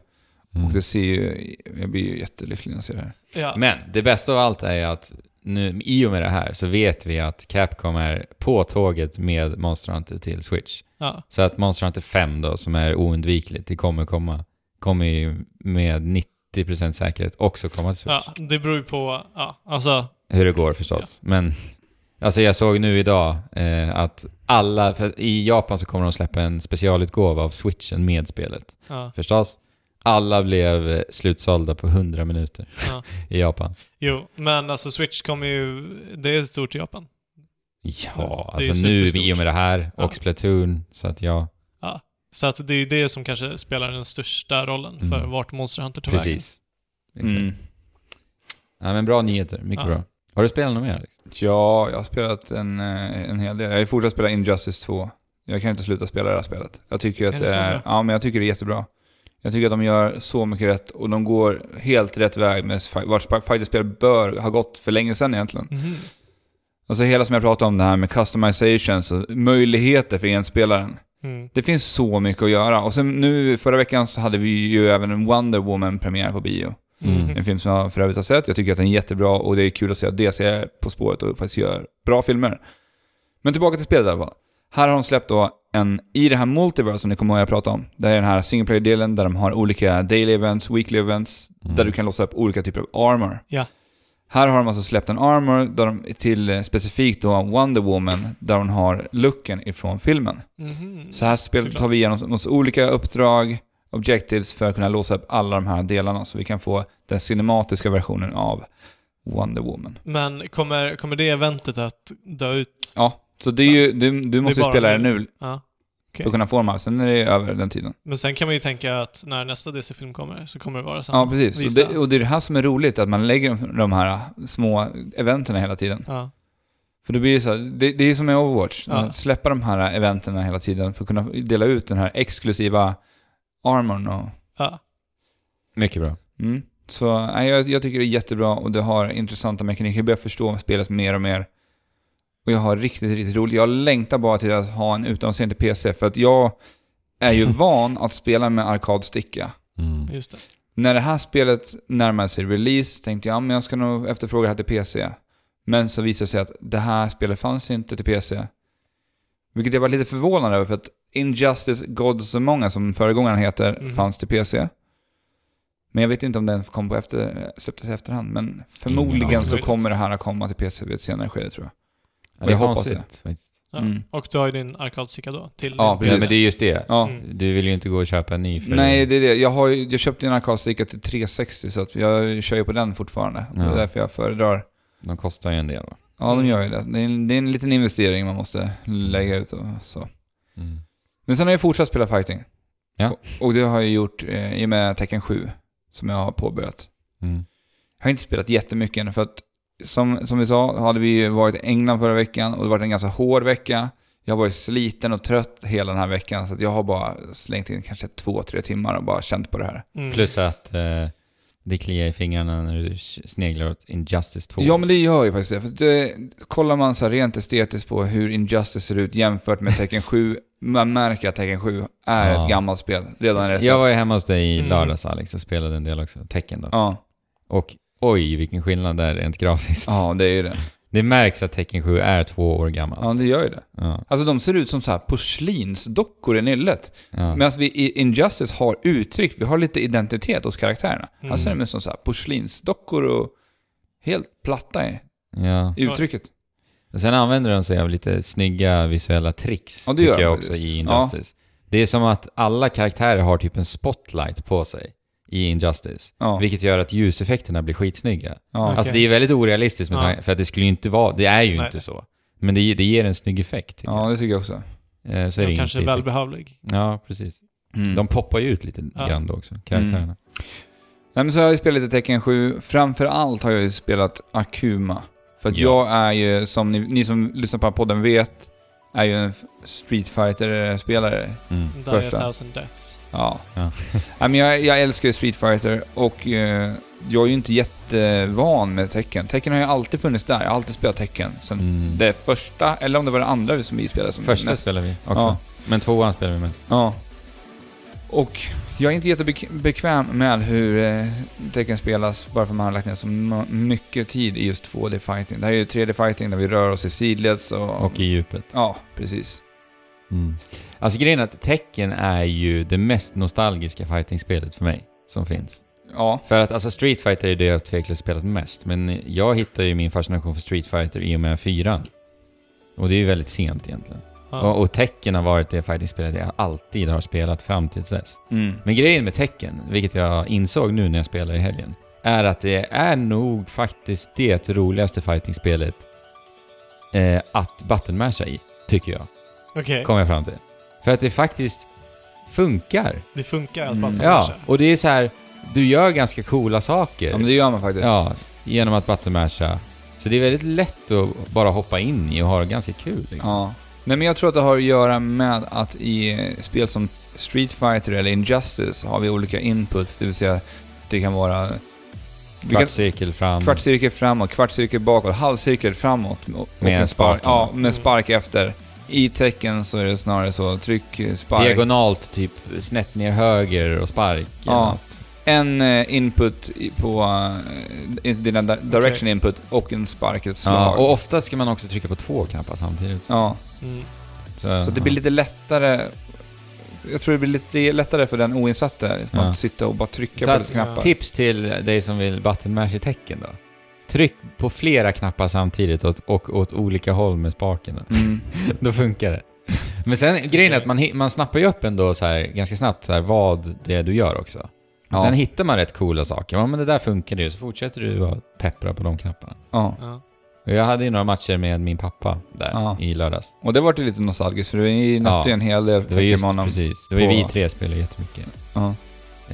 S2: och
S3: Mm.
S2: det ser ju... Jag blir ju jättelycklig när jag ser det här.
S1: Ja.
S3: Men det bästa av allt är ju att nu, i och med det här så vet vi att Capcom är på tåget med Monster Hunter till Switch.
S1: ja.
S3: Så att Monster Hunter 5 då, som är oundvikligt, det kommer komma, kommer ju med 90% säkerhet också komma till Switch.
S1: ja. Det beror ju på, ja, alltså,
S3: Hur det går förstås. Men alltså jag såg nu idag eh, att alla, för i Japan så kommer de släppa en specialutgåva av Switchen med spelet.
S1: ja,
S3: Förstås. Alla blev eh, slutsålda på 100 minuter
S1: Ja.
S3: i Japan.
S1: jo. Men alltså Switch kommer ju, det är stort i Japan.
S3: Ja,
S1: Det är
S3: alltså nu
S1: superstort.
S3: i och med det här och
S1: Ja.
S3: Splatoon, så att ja,
S1: Så att det är ju det som kanske spelar den största rollen för
S3: Mm.
S1: vart Monster Hunter tar vägen.
S3: precis.
S2: liksom.
S3: Exakt.
S2: Mm.
S1: Mm.
S3: Ja, men bra nyheter, mycket
S1: Ja.
S3: bra. Har du spelat något mer? Alex?
S2: Ja, jag har spelat en, eh, en hel del. Jag har fortsatt spela Injustice 2. Jag kan inte sluta spela det här spelet. Jag tycker att
S1: Är
S2: är
S1: det
S2: det
S1: så
S2: är,
S1: bra?
S2: ja, men jag tycker det är jättebra. Jag tycker att de gör så mycket rätt och de går helt rätt väg med fi- vart sp- fighterspel bör ha gått för länge sedan egentligen.
S1: Mhm.
S2: Alltså hela som jag pratade om det här med customizations och möjligheter för enspelaren.
S1: Mm.
S2: Det finns så mycket att göra. Och sen nu förra veckan så hade vi ju även en Wonder Woman-premiär på bio.
S1: Mhm.
S3: Mm.
S2: En film som jag för övrigt har sett. Jag tycker att den är jättebra och det är kul att se att DC är på spåret och faktiskt gör bra filmer. Men tillbaka till spelet i alla fall. Här har de släppt då en, i det här multiverse som ni kommer ihåg jag pratade om. Det här är den här single player-delen där de har olika daily events, weekly events,
S3: Mm.
S2: där du kan låsa upp olika typer av armor.
S1: Ja.
S2: Här har de alltså släppt en armor där de, till eh, specifikt då Wonder Woman, där hon har looken ifrån filmen.
S1: Mhm.
S2: Så här spel
S1: Såklart.
S2: tar vi igenom oss olika uppdrag, objectives för att kunna låsa upp alla de här delarna så vi kan få den cinematiska versionen av Wonder Woman.
S1: Men kommer, kommer det eventet att dö ut?
S2: Ja, så det är ju, du, du måste
S1: Det är
S2: ju
S1: bara
S2: spela det
S1: nu.
S2: nu
S1: Ja.
S2: för att kunna få de här, sen är det över den tiden.
S1: Men sen kan man ju tänka att när nästa DC-film kommer så kommer det vara samma.
S2: Ja, precis.
S1: Vissa.
S2: Och det, och det är det här som är roligt, att man lägger de- de här äh, små eventerna hela tiden.
S1: Ja.
S2: För det blir ju så här, det, det är som med Overwatch,
S1: Ja.
S2: att släppa de här äh, eventerna hela tiden för att kunna dela ut den här exklusiva armorn och
S1: Ja.
S3: Mycket bra.
S2: Mm. Så nej, jag, jag tycker det är jättebra och det har intressanta mekaniker. Jag börjar förstå spelet mer och mer. Och jag har riktigt, riktigt roligt. Jag längtar bara till att ha en utomstående PC för att jag är ju van att spela med arkadsticka.
S3: Mm.
S1: just det.
S2: När det här spelet närmade sig release tänkte jag, ja, men jag ska nog efterfråga det här till PC. Men så visade det sig att det här spelet fanns inte till PC. Vilket jag var lite förvånad över för att Injustice Gods Among Us, som föregångaren heter,
S1: Mhm.
S2: fanns till PC. Men jag vet inte om den kom på efter, släpptes i efterhand, men förmodligen
S3: aning.
S2: så kommer det här att komma till PC vid ett senare skede tror jag.
S3: Ja, det är
S2: Jag hoppas
S3: konstigt.
S1: Ja.
S2: Mm.
S1: Och du har ju din arkadcykel då, till
S2: Ja,
S3: Ja,
S2: precis.
S3: men det är just det.
S2: Ja.
S1: Mm.
S3: Du vill ju inte gå och köpa en ny för
S2: Nej, det är det. Jag, har, ju- jag köpte ju en arkadstickare till 360 så att jag kör ju på den fortfarande. Det
S3: Ja.
S2: är därför jag föredrar.
S3: de kostar ju en del va?
S2: Ja, de
S1: Mm.
S2: gör ju det. Det är, en, det är en liten investering man måste lägga ut och så.
S3: Mm.
S2: Men sen har jag fortsatt spela fighting.
S3: Ja.
S2: Och, och det har jag gjort eh, i och med Tekken 7 som jag har påbörjat.
S3: Mm.
S2: Jag har inte spelat jättemycket än för att som, som vi sa hade vi ju varit i England förra veckan och det var en ganska hård vecka. Jag har varit sliten och trött hela den här veckan så att jag har bara slängt in kanske två, tre timmar och bara känt på det här.
S1: Mm.
S3: Plus att eh, det kliar i fingrarna när du sneglar åt Injustice 2.
S2: Ja men det gör ju faktiskt det. För det kollar man så här rent estetiskt på hur Injustice ser ut jämfört med Tekken 7, man märker att Tekken 7 är
S3: Ja.
S2: ett gammalt spel. Redan är det
S3: Jag var ju
S2: släpps.
S3: hemma hos dig i
S1: Mm.
S3: lördags Alex och spelade en del också, tecken då.
S2: Ja,
S3: Och oj vilken skillnad det är rent grafiskt.
S2: ja det är ju det.
S3: Det märks att tecken 7 är två år gammalt.
S2: Ja det gör ju det.
S3: Ja.
S2: Alltså de ser ut som så här porslinsdockor i nyllet.
S3: Ja.
S2: Medan vi i Injustice har uttryck, vi har lite identitet hos karaktärerna.
S1: Mm.
S2: Han ser ut som så här porslinsdockor och helt platta i
S3: ja.
S2: i uttrycket.
S3: Och sen använder de sig av lite snygga visuella tricks,
S2: Ja, det gör
S3: tycker
S2: de
S3: jag
S2: faktiskt.
S3: också, i
S2: Ja.
S3: Injustice. Det är som att alla karaktärer har typ en spotlight på sig i Injustice.
S2: Ja.
S3: Vilket gör att ljuseffekterna blir skitsnygga.
S2: Ja.
S3: Alltså det är väldigt orealistiskt med
S1: Ja.
S3: tanke, för att det skulle ju inte vara, det är ju
S1: Nej.
S3: inte så. Men det, det ger en snygg effekt tycker
S2: ja, det tycker jag också.
S3: jag. Eh, Så är det
S1: Den kanske är
S3: inte i-
S1: välbehövlig.
S3: Ja, precis.
S2: Mm.
S3: De poppar ju ut lite
S1: Ja.
S3: grann då också, karaktärerna.
S2: Nej, men så har jag ju spelat lite Tekken 7. Framförallt har jag ju spelat Akuma. För att
S3: Ja.
S2: jag är ju, som ni, ni som lyssnar på den här podden vet, är ju en f- Street Fighter-spelare.
S3: Mm.
S1: Die a
S2: Första.
S1: thousand deaths.
S2: Ja.
S3: Ja.
S2: Nej, men jag, jag älskar ju Street Fighter och eh, jag är ju inte jättevan med Tekken. Tekken har ju alltid funnits där. Jag har alltid spelat Tekken. Sen
S3: Mm.
S2: det första, eller om det var det andra som vi spelade som
S3: Första
S2: mest.
S3: spelar vi också.
S2: Ja.
S3: Men tvåan spelar vi mest.
S2: Ja. Och jag är inte jättebekväm med hur eh, tecken spelas, bara för man har lagt ner så m- mycket tid i just 2D-fighting. Det här är ju 3D-fighting där vi rör oss i sidleds och...
S3: Och i djupet.
S2: Ja, precis.
S3: Mm. Alltså grejen är att Tekken är ju det mest nostalgiska fighting-spelet för mig som finns.
S2: Ja.
S3: För att alltså Street Fighter är det jag tveklöst spelat mest, men jag hittar ju min fascination för Street Fighter i och med fyran. Och det är ju väldigt sent egentligen.
S1: Ja.
S3: Och, och Tekken har varit det fighting-spelet jag alltid har spelat fram till dess.
S2: Mm.
S3: Men grejen med Tekken, vilket jag insåg nu när jag spelade i helgen, är att det är nog faktiskt det roligaste fighting-spelet eh, att buttonmasha i, tycker jag.
S1: Okej,
S3: Kom jag fram till. För att det faktiskt funkar.
S1: det funkar att
S2: Mm.
S1: bara ta med
S3: Ja,
S1: sig.
S3: och det är så här, du gör ganska coola saker.
S2: ja, men det gör man faktiskt.
S3: Ja, genom att buttonmasha. Så det är väldigt lätt att bara hoppa in i och ha ganska kul. Liksom.
S2: Ja. Nej, men jag tror att det har att göra med att i eh, spel som Street Fighter eller Injustice har vi olika inputs, det vill säga det kan vara... vi kan-
S3: Kvartscirkel fram.
S2: Kvartscirkel framåt, kvartscirkel bakåt, halvcirkel framåt. och- Och
S3: Med en spark.
S2: Ja, med spark efter. I tecken så är det snarare så, tryck, eh, spark.
S3: Diagonalt, typ snett ner höger och spark. eller
S2: Ja.
S3: något.
S2: En eh, input i- på eh, dina di- direction
S1: Okej.
S2: input och en spark, ett slag.
S3: ja. Och ofta ska man också trycka på två knappar samtidigt.
S2: Ja,
S1: Mm.
S3: Så,
S2: så det blir lite lättare. Jag tror det blir lite lättare för den oinsatte
S3: Ja.
S2: att sitta och bara trycka
S3: Så
S2: på
S3: att-
S2: lite knappar.
S3: Tips till dig som vill buttonmash i tecken då. Tryck på flera knappar samtidigt och, och åt olika håll med spaken. Då.
S2: Mm.
S3: Då funkar det. Men sen grejen är att man, hi- man snappar ju upp ändå så här, ganska snabbt så här, vad det är du gör också. Och
S2: Ja.
S3: Sen hittar man rätt coola saker. Ja, men det där funkar ju. Så fortsätter du att peppra på de knapparna.
S2: Ja.
S1: Ja.
S3: Och jag hade ju några matcher med min pappa där
S2: Ja.
S3: i lördags.
S2: Och det vart ju lite nostalgiskt för vi nötte ju
S3: Ja.
S2: en hel del
S3: Det var just
S2: Pokémon. om-
S3: precis. Det var ju
S2: på-
S3: vi tre spelade jättemycket.
S2: Ja.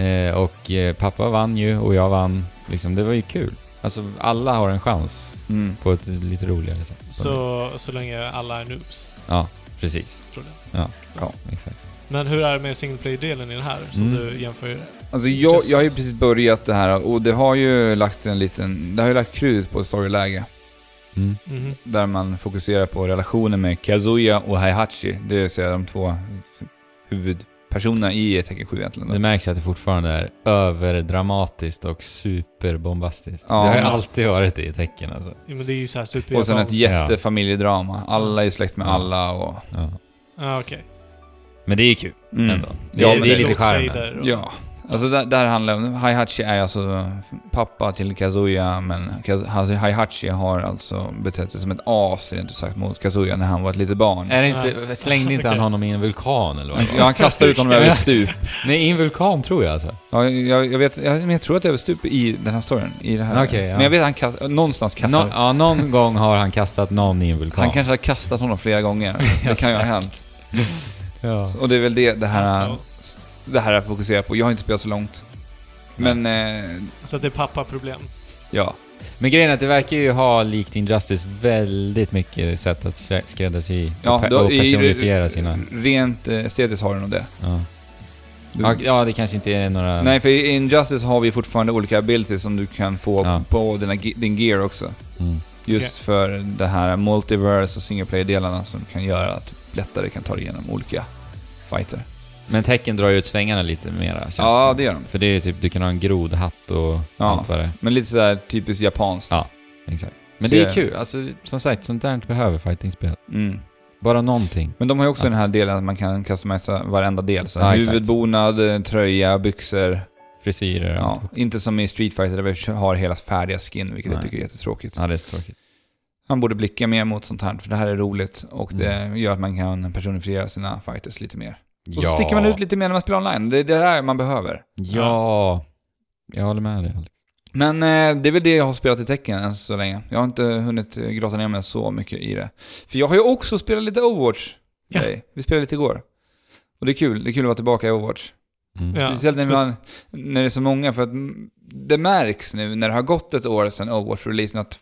S3: Eh, och eh, pappa vann ju och jag vann. Liksom, det var ju kul. Alltså alla har en chans
S2: Mm.
S3: på ett lite roligare sätt.
S1: Så, så länge alla är noobs,
S3: Ja, precis.
S1: tror jag.
S3: Exakt.
S1: Men hur är det med single player-delen i det här, som
S3: Mm.
S1: du jämför?
S2: Alltså jag, jag har ju
S1: Justice.
S2: precis börjat det här och det har ju lagt en liten, det har ju lagt krut på ett storyläge.
S3: Mm.
S1: Mhm.
S2: Där man fokuserar på relationen med Kazuya och Heihachi, det vill säga de två personerna i Tekken 7 egentligen.
S3: Det märks att det fortfarande är överdramatiskt och superbombastiskt.
S2: Ja.
S3: det har ju alltid varit det i tecken alltså.
S1: Ja, men det är ju såhär super...
S2: Och sen ett
S1: japanskt.
S2: jättefamiljedrama. Alla är släkt med
S3: Ja.
S2: alla och...
S3: Ja.
S1: Ja, okej.
S3: Men det är ju kul
S2: Mm.
S3: ändå. Det,
S2: Ja,
S3: är-
S2: men
S3: det är
S2: det-
S3: lite charmen.
S1: Lotsfader och-
S2: Ja. Alltså där, där handlar det om... Heihachi är alltså pappa till Kazuya, men Kaz- alltså, Heihachi har alltså betett sig som ett as rent ut sagt mot Kazuya när han var ett litet barn.
S3: Är det
S2: Mm.
S3: inte, slängde inte han
S1: Okej.
S3: honom i en vulkan eller vad det var?
S2: Ja, han kastade ut honom över ett stup.
S3: Nej, i en vulkan tror jag alltså.
S2: Ja, jag, jag vet... Jag, men jag tror att det är över stup i den här storyn. I det här.
S3: Okej, ja.
S2: Men jag vet att han kastade... Någonstans kastade...
S3: Nå, ja, någon gång har han kastat någon i en vulkan.
S2: Han kanske har kastat honom flera gånger. Det kan ju ha hänt.
S3: ja.
S2: Och det är väl det det här,
S1: Alltså.
S2: det här jag fokuserar på. Jag har inte spelat så långt. Men, eh,
S1: Så att det är pappa-problem.
S2: ja.
S3: Men grejen är att det verkar ju ha, likt Injustice, väldigt mycket sätt att skrä- skräddarsy
S2: ja
S3: och, pe- och
S2: i-
S3: personifiera sina...
S2: Rent eh, estetiskt har du nog det.
S3: Ja.
S2: Du,
S3: Ja, ja, det kanske inte är några...
S2: Nej, för i Injustice har vi fortfarande olika abilities som du kan få
S3: Ja.
S2: på dina, ge- din gear också.
S3: Mm.
S2: Just
S1: Okej.
S2: för det här multiverse och singleplayer-delarna som kan göra att du lättare kan ta dig igenom olika fighter.
S3: Men tecken drar ju ut svängarna lite mera, känns
S2: Ja,
S3: det
S2: det gör de.
S3: som. För det är ju typ, du kan ha en grodhatt och
S2: Ja.
S3: allt vad det är.
S2: Men lite sådär typiskt japanskt.
S3: Ja. Exakt. Men
S2: Så
S3: det är
S2: jag-
S3: kul, alltså som sagt, sånt där inte behöver fightingspel.
S2: Mm.
S3: Bara någonting.
S2: Men de har ju också
S3: Ja.
S2: den här delen att man kan customisa varenda del. Så
S3: Ja, exakt.
S2: huvudbonad, eh, tröja, byxor.
S3: Frisyrer och
S2: Ja,
S3: allt.
S2: inte som i Street Fighter där vi har hela färdiga skin, vilket jag
S3: Nej.
S2: tycker är jättetråkigt.
S3: Ja, det är så tråkigt.
S2: Man borde blicka mer mot sånt här, för det här är roligt och
S3: Mm.
S2: det gör att man kan personifiera sina fighters lite mer. Och så sticker man ut lite mer när man spelar online. Det är det här man behöver.
S3: Ja. Jag håller med dig Alex.
S2: Men eh, det är väl det jag har spelat i tecken än så länge. Jag har inte hunnit eh, grotta ner mig så mycket i det. För jag har ju också spelat lite Overwatch.
S1: Ja.
S2: Hey, Vi spelade lite igår. Och det är kul. Det är kul att vara tillbaka i Overwatch.
S3: Mm.
S1: Ja.
S2: Speciellt när,
S1: spec-
S2: man, när det är så många, för att mm, det märks nu när det har gått ett år sedan Overwatch-releasen att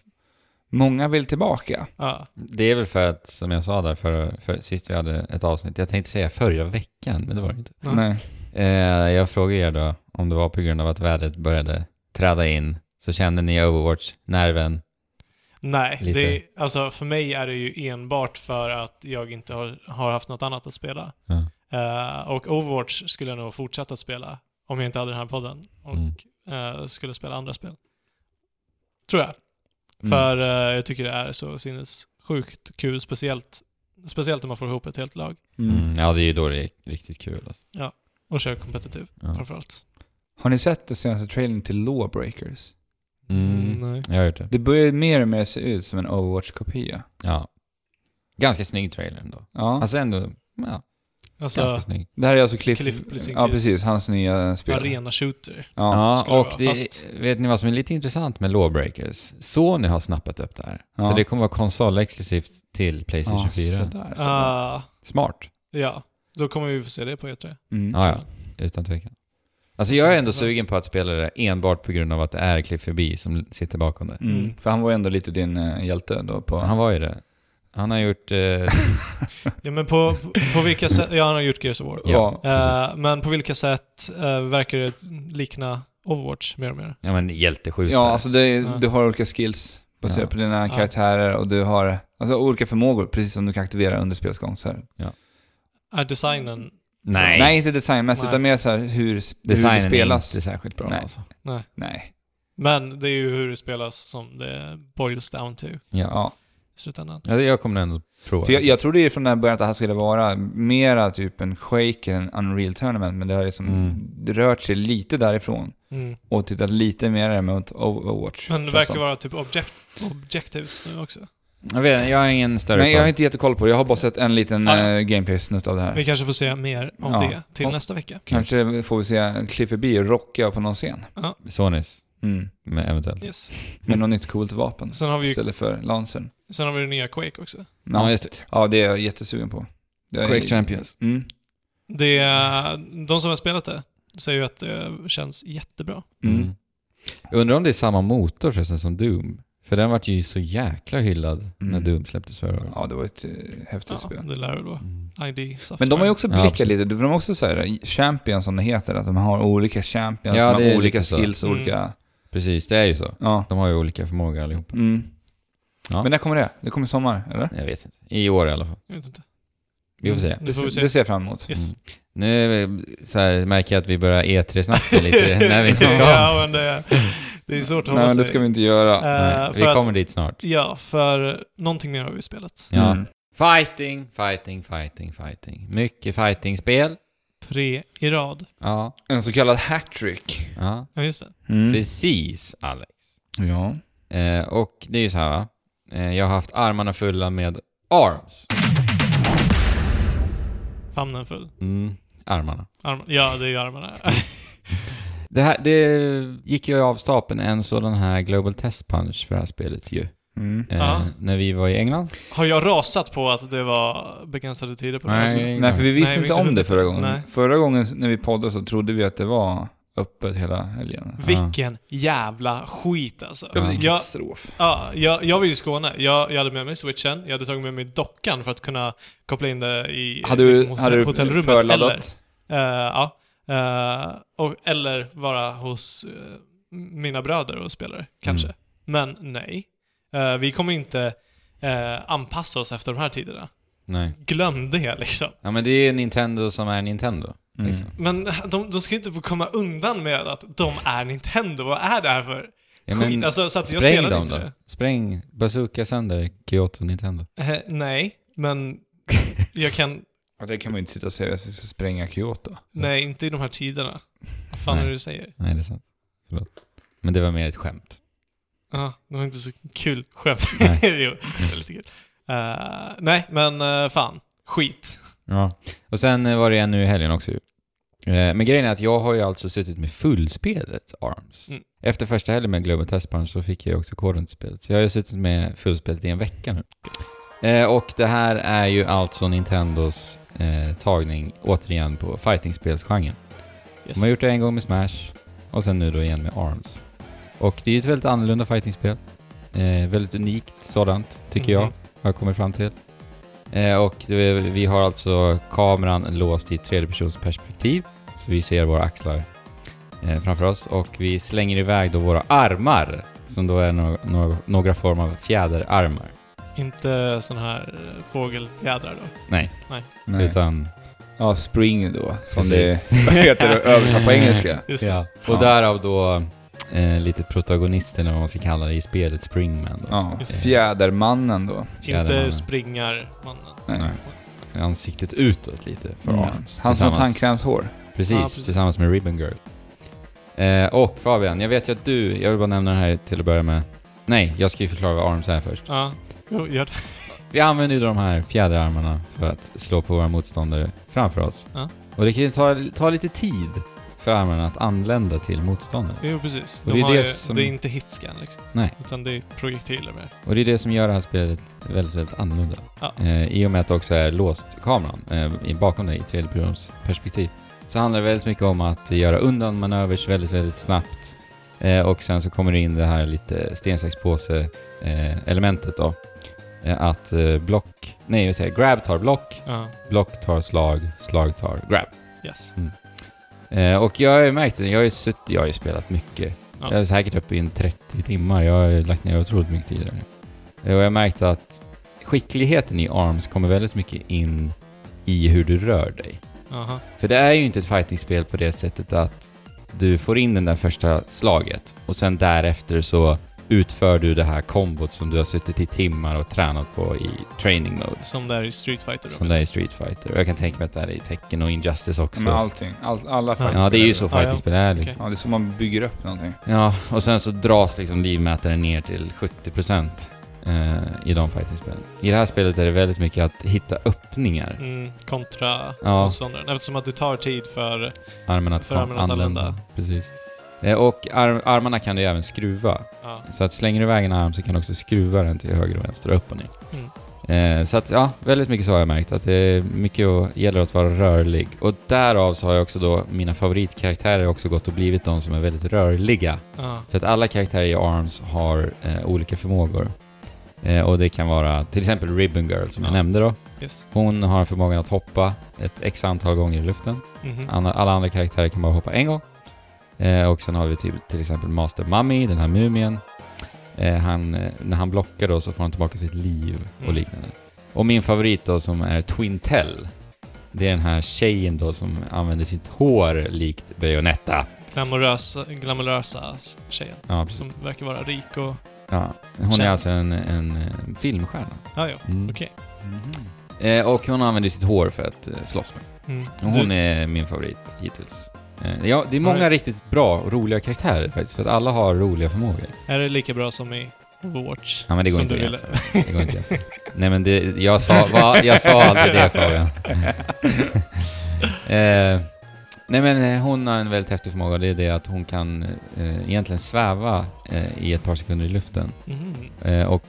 S2: många vill tillbaka.
S1: Ja.
S3: Det är väl för att, som jag sa där för, för sist vi hade ett avsnitt, jag tänkte säga förra veckan, men det var det inte.
S1: Ja.
S2: Nej.
S3: Eh, jag frågade er då om det var på grund av att vädret började träda in, så kände ni Overwatch-nerven?
S1: Nej,
S3: Lite.
S1: det är, alltså för mig är det ju enbart för att jag inte har, har haft något annat att spela.
S3: Ja.
S1: Eh, och Overwatch skulle jag nog fortsätta spela om jag inte hade den här podden och
S3: Mm.
S1: eh, skulle spela andra spel. Tror jag.
S2: Mm.
S1: För eh, jag tycker det är så sinnessjukt kul, speciellt, speciellt när man får ihop ett helt lag
S2: Mm.
S3: Mm. Ja, det är ju då det är riktigt kul alltså.
S1: och kör kompetitiv
S3: ja.
S1: framförallt.
S2: Har ni sett den senaste trailern till Lawbreakers?
S3: mm.
S1: Nej.
S3: Jag har gjort det.
S2: Det börjar mer och mer se ut som en Overwatch-kopia.
S3: Ja. Ganska snygg trailer ändå.
S2: Ja.
S3: Alltså ändå, ja, ganska
S1: Alltså,
S3: snygg.
S2: det här är alltså Cliff...
S1: Cliff Bleszinskis
S2: ja, precis. Hans nya spel.
S1: arena shooter.
S2: Ja.
S3: Ja,
S1: skulle det
S3: och
S1: vara,
S3: det,
S1: fast-
S3: vet ni vad som är lite intressant med Lawbreakers? Sony har snappat upp det här.
S2: Ja.
S3: Så det kommer vara konsolexklusivt till Playstation 4.
S2: sådär, sådär.
S1: Ah,
S3: Smart.
S1: ja, då kommer vi få se det på E E3.
S2: Mm.
S3: Ja, ja. Utan tvekan. Alltså jag är ändå sugen på att spela det enbart på grund av att det är Cliffy B som sitter bakom det.
S2: Mm. För han var ju ändå lite din eh, hjälte då på...
S3: Han var ju det. Han har gjort... Eh,
S1: Ja, men på, på vilka sätt... Ja, han har gjort Gears of War.
S2: Ja,
S1: Eh, men på vilka sätt eh, verkar det likna Overwatch mer och mer?
S3: ja men hjälteskjutare.
S2: Ja, alltså det,
S1: Ja.
S2: du har olika skills baserat
S3: Ja.
S2: på dina
S1: Ja.
S2: karaktärer och du har alltså, olika förmågor, precis som du kan aktivera under spelets gång. Så här.
S1: Är designen...
S3: Nej.
S2: Nej, inte designmässigt,
S1: Nej.
S2: utan mer så här hur, s- hur
S3: Designen
S2: det spelas.
S3: är inte särskilt bra
S2: Nej.
S3: alltså.
S2: Nej.
S1: Men det är ju hur det spelas som det boils down to i
S3: Ja.
S2: Ja.
S1: slutändan.
S3: ja. Jag kommer ändå prova.
S2: För jag, jag trodde ju från den här början att det här skulle vara mera typ en Quake än en Unreal Tournament, men det har liksom
S3: Mm.
S2: rört sig lite därifrån
S1: Mm.
S2: och tittat lite mer mot Overwatch.
S1: Men det
S2: känns
S1: verkar
S2: som.
S1: vara typ object, objectives nu också.
S3: Jag vet inte, jag har ingen större
S2: Nej, jag har
S3: koll.
S2: inte jättekoll på det. Jag har bara sett en liten
S1: Ah, Ja.
S2: eh, gameplay-snutt av det här.
S1: Vi kanske får se mer om
S2: Ja.
S1: det till
S2: Och-
S1: nästa vecka.
S2: Kanske får vi se Cliffy B rocka på någon scen.
S3: Sonys,
S2: Mm.
S3: med eventuellt.
S1: Yes.
S2: Med något nytt coolt vapen.
S1: Sen har vi ju
S2: istället för lansern.
S1: sen har vi det nya Quake också.
S3: Ja,
S2: Ja,
S3: just det.
S2: ja, det är jag jättesugen på. Det är-
S3: Quake Champions.
S2: Mm.
S1: Det, de som har spelat det säger ju att det känns jättebra.
S2: Mm.
S3: Mm. Jag undrar om det är samma motor förresten som Doom. För den vart ju så jäkla hyllad när
S2: Mm.
S3: Doom släpptes förra året.
S2: Ja, det var ett eh, häftigt
S1: Ja,
S2: spel.
S1: det lär väl vara.
S3: Mm.
S1: ID Software.
S2: Men de har ju också
S3: Ja,
S2: blickat
S3: absolut.
S2: lite, de har också så här, champions som det heter, att de har olika champions
S3: Ja,
S2: som
S3: det är
S2: har olika
S3: lite så.
S2: skills och
S1: Mm.
S2: olika...
S3: Precis, det är ju så.
S2: Ja.
S3: De har ju olika förmågor allihopa.
S2: Mm.
S3: Ja.
S2: Men när kommer det? Det kommer i sommar, eller?
S3: Jag vet inte. I år i alla fall.
S1: Jag vet inte. Mm,
S3: Vi får se.
S1: Det får vi se.
S2: Det ser jag fram emot.
S1: Yes.
S3: Mm. Nu är vi- så här, märker jag att vi börjar E3-snacka lite när vi inte ska.
S1: ja, men det, det är svårt att
S2: Nej,
S1: hålla
S2: men
S1: sig.
S2: det ska vi inte göra.
S1: Eh,
S3: Nej, vi
S1: för att-
S3: kommer dit snart.
S1: Ja, för någonting mer har vi spelat.
S3: Ja.
S2: Mm.
S3: Fighting, fighting, fighting, fighting. Mycket fighting-spel.
S1: Tre i rad.
S3: Ja,
S2: En så kallad hattrick.
S3: ja.
S1: Ja, just det.
S2: Mm.
S3: precis Alex.
S2: Ja.
S3: Eh, och det är ju så här va? Eh, jag har haft armarna fulla med arms.
S1: Famnen full.
S3: Mm, armarna.
S1: Arm- ja, det är ju armarna.
S3: Det, här, det gick ju av stapeln en sådan här Global Test Punch för det här spelet ju.
S2: Mm.
S3: Eh,
S1: Ja.
S3: När vi var i England.
S1: har jag rasat på att det var begränsade tider på det också?
S2: Nej, för vi visste
S1: vi
S2: inte
S1: inte
S2: om det förra gången.
S1: Nej.
S2: Förra gången när vi poddade så trodde vi att det var öppet hela helgen.
S1: Vilken jävla skit alltså.
S3: Ja, men det är
S1: Jag,
S2: katastrof.
S1: ja, jag, jag var ju i Skåne. Jag, jag hade med mig switchen, jag hade tagit med mig dockan för att kunna koppla in det i
S2: Hade du,
S1: liksom, hos-
S2: hade du
S1: hotellrummet. Eller,
S2: förladdat?
S1: Eh, ja. Eh, och, eller vara hos eh, mina bröder och spelare, kanske.
S3: Mm.
S1: Men nej. Eh, vi kommer inte eh, anpassa oss efter de här tiderna.
S3: Nej.
S1: Glöm det liksom.
S3: Ja men det är Nintendo som är Nintendo.
S2: Mm.
S3: Liksom.
S1: Men de, de ska inte få komma undan med att de är Nintendo. Vad är det här för
S3: Ja,
S1: skit?
S3: men,
S1: Alltså, så att jag
S3: spräng
S1: spelar
S3: dem
S1: inte
S3: då.
S1: det.
S3: Spräng Bazooka sönder Kyoto Nintendo.
S1: Eh, nej, men jag kan...
S2: Ja, det kan man ju inte sitta och säga att vi ska spränga Kyoto.
S1: Nej, inte i de här tiderna. Vad fan
S3: Nej.
S1: är det du säger?
S3: Nej det är sant. Förlåt. Men det var mer ett skämt.
S1: Ja, det var inte så kul skämt.
S3: Nej.
S1: jo, det var lite kul. Eh, nej, men eh, fan. Skit.
S3: Ja. Och sen eh, var det en nu i helgen också ju. Eh, Men grejen är att jag har ju alltså suttit med fullspelet ARMS.
S1: Mm.
S3: Efter första helgen med Global Test Punch så fick jag också koden till spelet. Så jag har ju suttit med fullspelet i en vecka nu. Eh, Och det här är ju alltså Nintendos eh, tagning återigen på fighting-spelsgenren.
S1: Yes.
S3: De har gjort det en gång med Smash och sen nu då igen med ARMS. Och det är ju ett väldigt annorlunda fightingspel. Eh, väldigt unikt sådant, tycker jag,
S1: Mhm.
S3: har jag kommit fram till. Eh, och det, vi har alltså kameran låst i tredjepersonsperspektiv, så vi ser våra axlar eh, framför oss. Och vi slänger iväg då våra armar, som då är no- no- några form av fjäderarmar.
S1: Inte sån här eh, fågelfjädrar då.
S3: Nej,
S2: Nej.
S3: utan...
S2: Ja, spring då, som
S3: Precis.
S2: det heter och översatt på engelska.
S1: Just det.
S3: Ja. Och
S2: Ja.
S3: därav då eh, lite protagonisterna, vad man ska kalla det, i spelet Springman. Då.
S2: Ja,
S1: Just det.
S2: fjädermannen då.
S1: Inte
S3: Fjädermannen.
S1: springar mannen.
S2: Nej.
S3: Nej. ansiktet utåt lite för
S2: Mm.
S3: Arms.
S2: Han som har
S3: Tillsammans-
S2: tandkrämshår.
S3: Precis,
S1: Ja, precis.
S3: tillsammans med Ribbon Girl. Eh, och Fabian, jag vet ju att du, jag vill bara nämna det här till att börja med. Nej, jag ska ju förklara vad Arms är först.
S1: Ja, jo, gör det.
S3: Vi använder ju de här fjäderarmarna för att slå på våra motståndare framför oss.
S1: Ja.
S3: Och det kan ju ta, ta lite tid för armarna att anlända till motståndaren.
S1: Jo, precis.
S3: Och
S1: De
S3: det är
S1: har
S3: det
S1: ju,
S3: som-
S1: det är inte hitscan liksom.
S3: Nej.
S1: Utan det är projektiler med.
S3: Och det är det som gör det här spelet väldigt, väldigt annorlunda.
S1: Ja.
S3: Eh, I och med att det också är låst kameran eh, i- bakom dig i tredjepersonsperspektiv så handlar det väldigt mycket om att göra undan manövers väldigt, väldigt snabbt. Eh, och sen så kommer det in det här lite sten, sax, påse eh, elementet då. Eh, att eh, block, nej jag säger grab tar block,
S1: Ja,
S3: block tar slag, slag tar grab.
S1: yes.
S3: Eh, och jag har ju märkt det, jag har ju, sutt, jag har ju spelat mycket.
S1: Ja.
S3: Jag är säkert uppe i en 30 timmar, jag har ju lagt ner otroligt mycket tid där. Eh, Och jag har märkt att skickligheten i ARMS kommer väldigt mycket in i hur du rör dig.
S1: Aha.
S3: För det är ju inte ett fightingspel på det sättet att du får in den där första slaget och sen därefter så utför du det här kombot som du har suttit i timmar och tränat på i training mode.
S1: Som där i Street Fighter då.
S3: Som det är i Street Fighter. Och jag kan tänka mig att det här är i Tekken och Injustice också.
S2: Med allting. All, alla
S1: Ja.
S3: ja, det är ju så
S1: Ja, ja.
S3: fightingspel är liksom.
S1: Okej.
S2: Ja, det är så man bygger upp någonting.
S3: Ja, och sen så dras liksom livmätaren ner till 70% eh, i de fightingspelen. I det här spelet är det väldigt mycket att hitta öppningar.
S1: Mm, kontra
S3: Ja.
S1: motståndaren. Eftersom att det tar tid för...
S3: Armen att
S1: För
S3: kom-
S1: armen att använda.
S3: Precis. Eh, och ar- armarna kan du ju även skruva.
S1: Ja.
S3: Så att slänger du iväg en arm så kan du också skruva den till höger och vänster och upp och ner.
S1: Mm.
S3: Eh, så att ja, väldigt mycket så har jag märkt. Att det är mycket att, gäller att vara rörlig. Och därav så har jag också då, mina favoritkaraktärer också gått och blivit de som är väldigt rörliga.
S1: Ja.
S3: För att alla karaktärer i ARMS har eh, olika förmågor. Eh, och det kan vara till exempel Ribbon Girl som jag
S1: Ja.
S3: nämnde då.
S1: Yes.
S3: Hon har förmågan att hoppa ett x antal gånger i luften.
S1: Mhm.
S3: Anna, alla andra karaktärer kan bara hoppa en gång. Eh, och sen har vi till, till exempel Master Mummy, den här mumien. Eh, han, eh, när han blockar då så får han tillbaka sitt liv och
S1: Mm.
S3: liknande. Och min favorit då som är Twintel. Det är den här tjejen då som använder sitt hår likt Bayonetta.
S1: Glamorösa, glamorösa s- tjejen
S3: Ja, precis.
S1: som verkar vara rik och...
S3: Ja. Hon är
S1: Känd.
S3: alltså en, en eh, filmstjärna.
S1: Ja, ja.
S3: Mm.
S1: Okej.
S3: Eh, och hon använder sitt hår för att eh, slåss med. Och
S1: Mm.
S3: Hon
S1: Du,
S3: är min favorit hittills. Eh, ja, det är många
S1: Alright.
S3: riktigt bra och roliga karaktärer faktiskt, för att alla har roliga förmågor.
S1: är det lika bra som i Overwatch?
S3: Ja, men det går
S1: som
S3: inte
S1: du
S3: att
S1: ville.
S3: Det går inte. Nej men det, jag sa, va, jag sa aldrig det Fabian. eh, nej men eh, hon har en väldigt häftig förmåga och det är det att hon kan eh, egentligen sväva eh, i ett par sekunder i luften.
S1: Mhm.
S3: Eh, och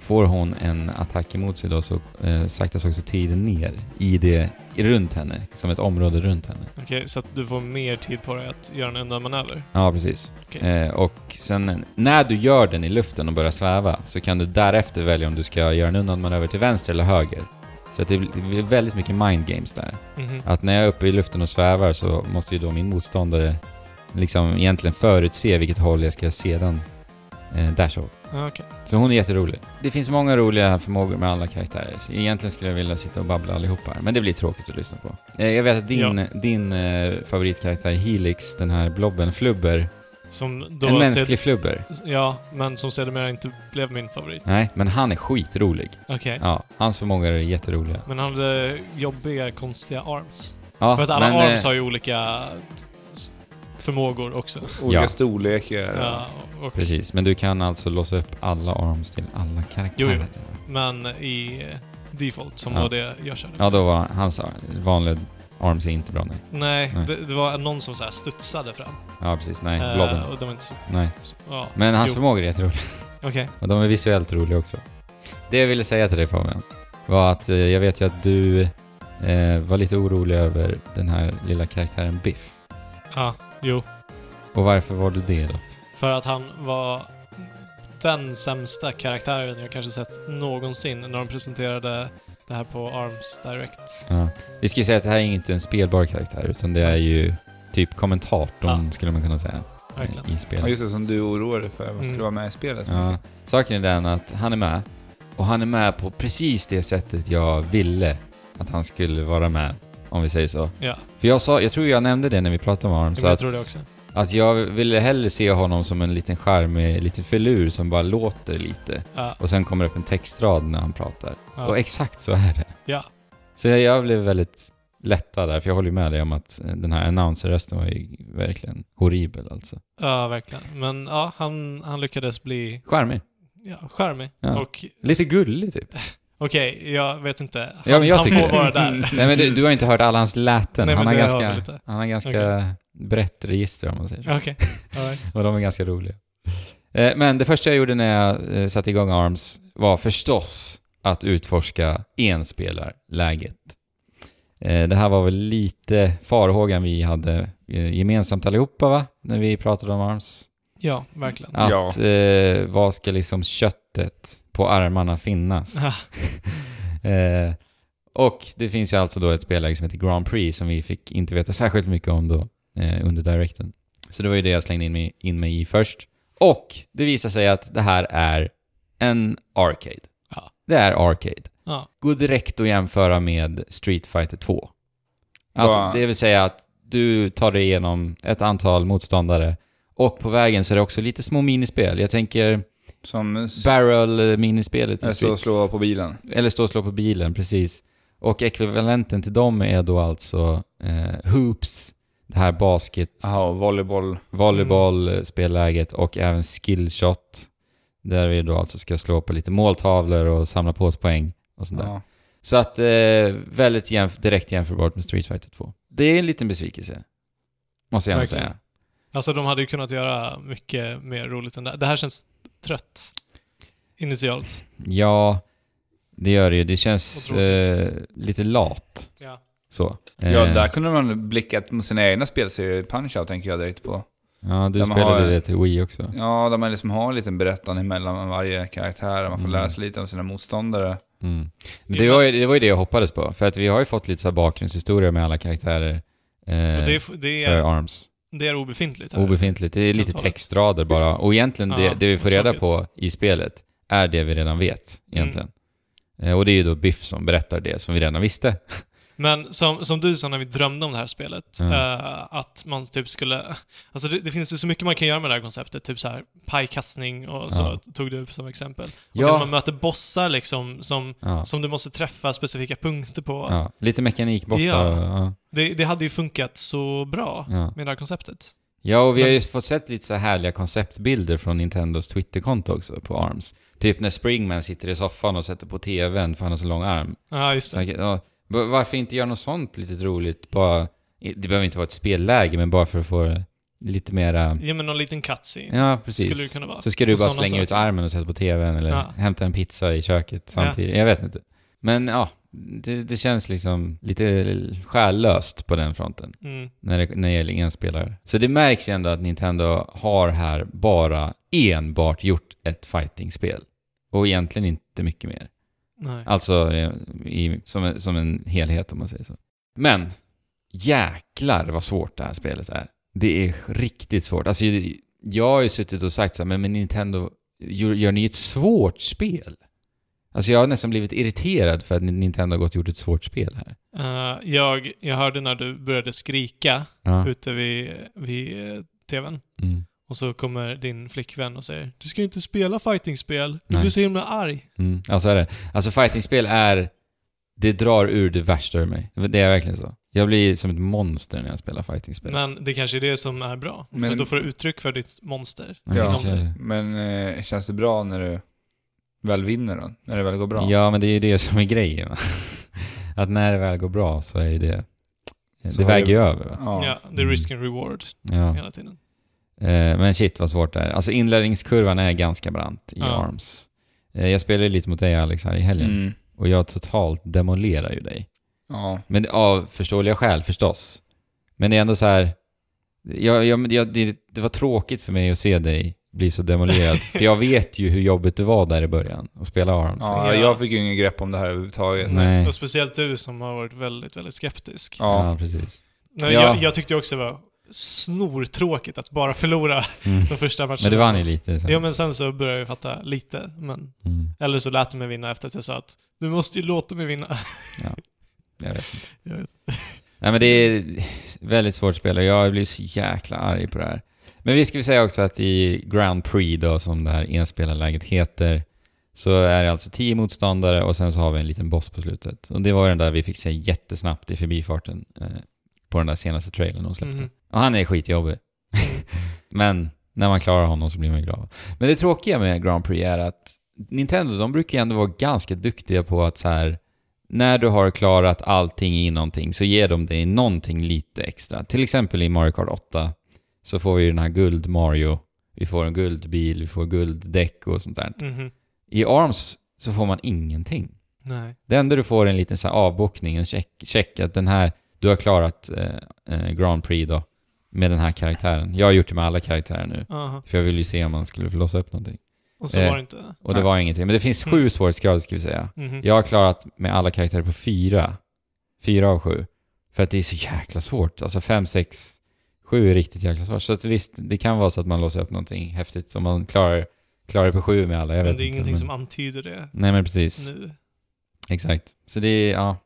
S3: får hon en attack emot sig då så eh, saktas också tiden ner i det, i- runt henne, som ett område runt henne.
S1: Okej, så att du får mer tid på dig att göra en undanmanöver.
S3: Ja, precis.
S1: Okej.
S3: Eh, och sen när du gör den i luften och börjar sväva så kan du därefter välja om du ska göra en undanmanöver till vänster eller höger. Så att det blir väldigt mycket mind games där.
S1: Mhm.
S3: Att när jag är uppe i luften och svävar så måste ju då min motståndare liksom egentligen förutse vilket håll jag ska sedan eh, dasha åt.
S1: Ja, Okej.
S3: Så hon är jätterolig. Det finns många roliga förmågor med alla karaktärer. Så egentligen skulle jag vilja sitta och babbla allihopa här, men det blir tråkigt att lyssna på. Eh, jag vet att din, din eh, favoritkaraktär Helix, den här blobben, flubber,
S1: Som då...
S3: en
S1: sed-
S3: mänsklig flubber.
S1: Ja, men som sedermera inte blev min favorit.
S3: Nej, men han är skitrolig.
S1: Okej.
S3: Ja, hans förmågor är jätteroliga.
S1: Men han hade jobbiga, konstiga arms.
S3: Ja,
S1: För att alla
S3: men,
S1: arms
S3: eh,
S1: har ju olika s- förmågor också.
S2: Olika
S3: Ja.
S2: storlekar.
S1: Ja, och,
S3: Precis, men du kan alltså låsa upp alla arms till alla karaktärer.
S1: Jo, men i eh, default, som
S3: Ja.
S1: var det jag körde.
S3: Ja, då var hans vanliga arms är inte bra, nej.
S1: Nej,
S3: Nej.
S1: Det, det var någon som så här studsade fram.
S3: Ja, precis, nej,
S1: Eh,
S3: blobben.
S1: och det var inte så...
S3: Nej.
S1: så ja,
S3: Men hans
S1: jo.
S3: förmågor är jätteroliga.
S1: okej.
S3: Och de är visuellt roliga också. Det jag ville säga till dig Fabian var att eh, jag vet ju att du eh, var lite orolig över den här lilla karaktären Biff.
S1: Ja, jo.
S3: Och varför var du det då?
S1: För att han var den sämsta karaktären jag kanske sett någonsin när de presenterade det här på Arms Direct.
S3: Ja. Vi ska ju säga att det här är inte en spelbar karaktär utan det är ju typ kommentatorn skulle man kunna säga
S1: Verkligen.
S3: i
S2: Ja,
S3: spelet.
S2: just det, som du oroar dig för. Vad skulle
S1: Mm.
S2: vara med i spelet?
S3: Ja. Saken är den att han är med och han är med på precis det sättet jag ville att han skulle vara med om vi säger så.
S1: Ja,
S3: För jag sa, jag tror jag nämnde det när vi pratade om Arm,
S1: men
S3: så
S1: jag
S3: att
S1: tror det också.
S3: Att jag ville hellre se honom som en liten charmig liten filur som bara låter lite.
S1: Ja,
S3: Och sen kommer det upp en textrad när han pratar. Och
S1: ja.
S3: exakt så är det.
S1: ja.
S3: Så jag, jag blev väldigt lättad där, för jag håller ju med dig om att eh, den här announcer-rösten var ju verkligen horribel alltså.
S1: Ja, verkligen. Men ja, han, han lyckades bli
S3: Charmig.
S1: ja, charmig.
S3: Ja.
S1: Och
S3: Lite gullig typ.
S1: okej, jag vet inte. Han,
S3: Ja, men jag
S1: han
S3: tycker
S1: får
S3: det.
S1: vara där.
S3: Nej men du, du har inte hört alla hans läten.
S1: Nej, men
S3: han, har
S1: det har vi
S3: ganska,
S1: lite.
S3: han har ganska
S1: Okej.
S3: brett register om man säger så.
S1: Okej, alright.
S3: Och de är ganska roliga. Eh, Men det första jag gjorde när jag eh, satte igång ARMS var förstås att utforska enspelarläget. Eh, Det här var väl lite farhågan vi hade eh, gemensamt allihopa va? När vi pratade om ARMS.
S1: Ja, verkligen.
S3: Att eh, vad ska liksom köttet på armarna finnas?
S1: Ah,
S3: Eh, och det finns ju alltså då ett spelläge som heter Grand Prix som vi fick inte veta särskilt mycket om då eh, under directen. Så det var ju det jag slängde in mig, in mig i först. Och det visar sig att det här är en arcade.
S1: Ja.
S3: Det är arcade.
S1: Ja.
S3: Går direkt att jämföra med Street Fighter 2. Alltså,
S2: Bara-
S3: det vill säga att du tar dig igenom ett antal motståndare och på vägen så är det också lite små minispel. Jag tänker
S2: Som s-
S3: barrel-minispelet i
S2: jag står
S3: Street
S2: och slår på bilen.
S3: eller stå och slå på bilen, precis. Och ekvivalenten till dem är då alltså eh, hoops, det här basket,
S2: Jaha, volleyboll.
S3: volleybollspelläget och även skillshot. Där vi då alltså ska slå på lite måltavlor och samla på oss poäng och sånt där.
S2: Ja.
S3: Så att eh, väldigt jämf- direkt jämförbart med Street Fighter 2. Det är en liten besvikelse. Måste jag ändå
S1: Verkligen.
S3: säga.
S1: Alltså de hade ju kunnat göra mycket mer roligt än det här. Det här känns trött. Initialt.
S3: Ja, det gör det ju. Det
S1: Och
S3: känns
S1: tråkigt.
S3: eh, lite lat.
S1: Ja.
S3: Så.
S2: ja,
S3: Eh,
S2: där kunde man blickat mot sina egna spelserier. Punch-Out tänker jag direkt på.
S3: ja du
S2: där man har-
S3: spelade det till Wii också.
S2: Ja, där man liksom har en liten berättan emellan varje karaktär. Man får
S3: Mm.
S2: lära sig lite om sina motståndare.
S3: Mm. Men
S1: Jo,
S3: det,
S1: men-
S3: var ju, det var ju det jag hoppades på, för att vi har ju fått lite så här bakgrundshistoria med alla karaktärer eh,
S1: Och det, är- det,
S3: för
S1: är,
S3: ARMS.
S1: det är obefintligt här.
S3: Obefintligt. Det är lite
S1: Antalet.
S3: textrader bara. Och egentligen
S1: Ja,
S3: det, det vi får
S1: vad
S3: reda
S1: tråkigt. Mm.
S3: på i spelet är det vi redan vet egentligen. Eh, Och det är ju då Biff som berättar det som vi redan visste.
S1: Men som, som du sa när vi drömde om det här spelet,
S3: Mm.
S1: eh, att man typ skulle... Alltså det, det finns ju så mycket man kan göra med det här konceptet, typ så här pajkastning och så tog du upp som exempel. Och
S3: Ja.
S1: att man möter bossar liksom som,
S3: Ja.
S1: som du måste träffa specifika punkter på.
S3: Ja. Lite mekanikbossar.
S1: Ja.
S3: Ja.
S1: Det, det hade ju funkat så bra
S3: Ja.
S1: med det här konceptet.
S3: ja, och vi har ju fått sett lite så här härliga konceptbilder från Nintendos Twitterkonto också på ARMS. Typ när Springman sitter i soffan och sätter på TVn för han har så lång arm.
S1: Ja, just
S3: Så,
S1: det.
S3: okej, ja, b- varför inte göra något sånt litet roligt? Bara, det behöver inte vara ett spelläge, men bara för att få lite mera...
S1: Ge mig någon liten cutscene. Skulle
S3: Ja,
S1: det
S3: precis.
S1: kunna vara.
S3: Så ska du
S1: Och
S3: bara
S1: sådana
S3: slänga ut
S1: saker.
S3: armen och sätta på tvn eller
S1: Ja.
S3: hämta en pizza i köket samtidigt. Jag vet inte. Men ja, det, det känns liksom lite själlöst på den fronten
S1: Mm.
S3: när det, när det gäller enspelare. Så det märks ju ändå att Nintendo har här bara enbart gjort ett fightingspel. Och egentligen inte mycket mer.
S1: Nej.
S3: Alltså eh, i, som, en- som en helhet om man säger så. Men jäklar vad svårt det här spelet är. Det är riktigt svårt. Alltså jag har ju suttit och sagt så här, men, men Nintendo, gör, gör ni ett svårt spel? Alltså jag har nästan blivit irriterad för att Nintendo har gått och gjort ett svårt spel här.
S1: Eh, jag, jag hörde när du började skrika
S3: Ja.
S1: ute vid, vid eh, TVn.
S3: Mm.
S1: Och så kommer din flickvän och säger Du ska inte spela fightingspel. Du
S3: Nej.
S1: blir så himla arg.
S3: Mm. Ja, så är det. Alltså fightingspel är... Det drar ur det värsta ur mig. Det är verkligen så. Jag blir som ett monster när jag spelar fightingspel.
S1: Men det kanske är det som är bra.
S2: Men-
S1: För då får du uttryck för ditt monster.
S2: Ja.
S1: inom dig.
S2: Men eh, känns det bra när du väl vinner då? När det väl går bra?
S3: Ja, men det är ju det som är grejen. va? Att när det väl går bra så är ju det...
S2: Så
S3: det
S2: har
S3: väger
S2: det-
S3: ju över. Va?
S2: Ja.
S1: Ja, det är risk and reward
S3: Mm. Ja.
S1: hela tiden.
S3: Eh, Men shit vad svårt det är. Alltså inlärningskurvan är ganska brant i
S1: Ja.
S3: ARMS. Eh, Jag spelade ju lite mot dig Alex här i helgen
S2: Mm.
S3: och jag totalt demolerar ju dig.
S2: ja.
S3: Men av förståeliga skäl förstås. Men det är ändå så här... Jag, jag, jag, det, det var tråkigt för mig att se dig bli så demolerad. för jag vet ju hur jobbigt det var där i början att spela ARMS.
S2: ja, jag fick ju ingen grepp om det här överhuvudtaget.
S3: Nej.
S1: Och speciellt du som har varit väldigt, väldigt skeptisk.
S2: Ja.
S3: ja precis.
S1: Nej,
S2: Ja.
S1: jag, jag tyckte också det var snortråkigt att bara förlora
S3: Mm.
S1: de första matcherna.
S3: Men det vann ju lite sen.
S1: Ja, men sen så började jag fatta lite. Men,
S3: Mm.
S1: eller så lät du mig vinna efter att jag sa att du måste ju låta mig vinna.
S3: Jag vet.
S1: Jag vet.
S3: Nej men det är väldigt svårt spel och jag blir så jäkla arg på det här. Men vi ska väl säga också att i Grand Prix då, som det här enspelarläget heter, så är det alltså tio motståndare och sen så har vi en liten boss på slutet. Och det var ju den där vi fick se jättesnabbt i förbifarten eh, på den där senaste trailern de släppte.
S1: Mhm.
S3: Och han är skitjobbig. Men när man klarar honom så blir man ju glad. Men det tråkiga med Grand Prix är att Nintendo, de brukar ju ändå vara ganska duktiga på att så här när du har klarat allting i någonting så ger de dig någonting lite extra. Till exempel i Mario Kart 8 så får vi ju den här guld Mario, vi får en guldbil, vi får gulddäck och sånt där.
S1: Mhm.
S3: I ARMS så får man ingenting.
S1: Nej.
S3: Det enda du får är en liten så här avbockning, en check, check att den här, du har klarat eh, eh, Grand Prix då, med den här karaktären. Jag har gjort det med alla karaktärer nu,
S1: Aha.
S3: för jag ville ju se om man skulle få låsa upp någonting.
S1: Och så
S3: Eh.
S1: var det inte.
S3: Och det
S2: Nej.
S3: var ingenting. Men det finns sju
S1: Mm.
S3: svårighetsgrader ska vi säga.
S1: Mhm.
S3: Jag har klarat med alla karaktärer på fyra. Fyra av sju. För att det är så jäkla svårt. Alltså fem, sex, sju är riktigt jäkla svårt. Så att visst, det kan vara så att man låser upp någonting häftigt som man klarar, klarar det på sju med alla. Jag
S1: men
S3: vet
S1: det är
S3: inte,
S1: ingenting
S3: men...
S1: som antyder det
S3: Nej men precis.
S1: nu.
S3: Exakt. Så det är, ja.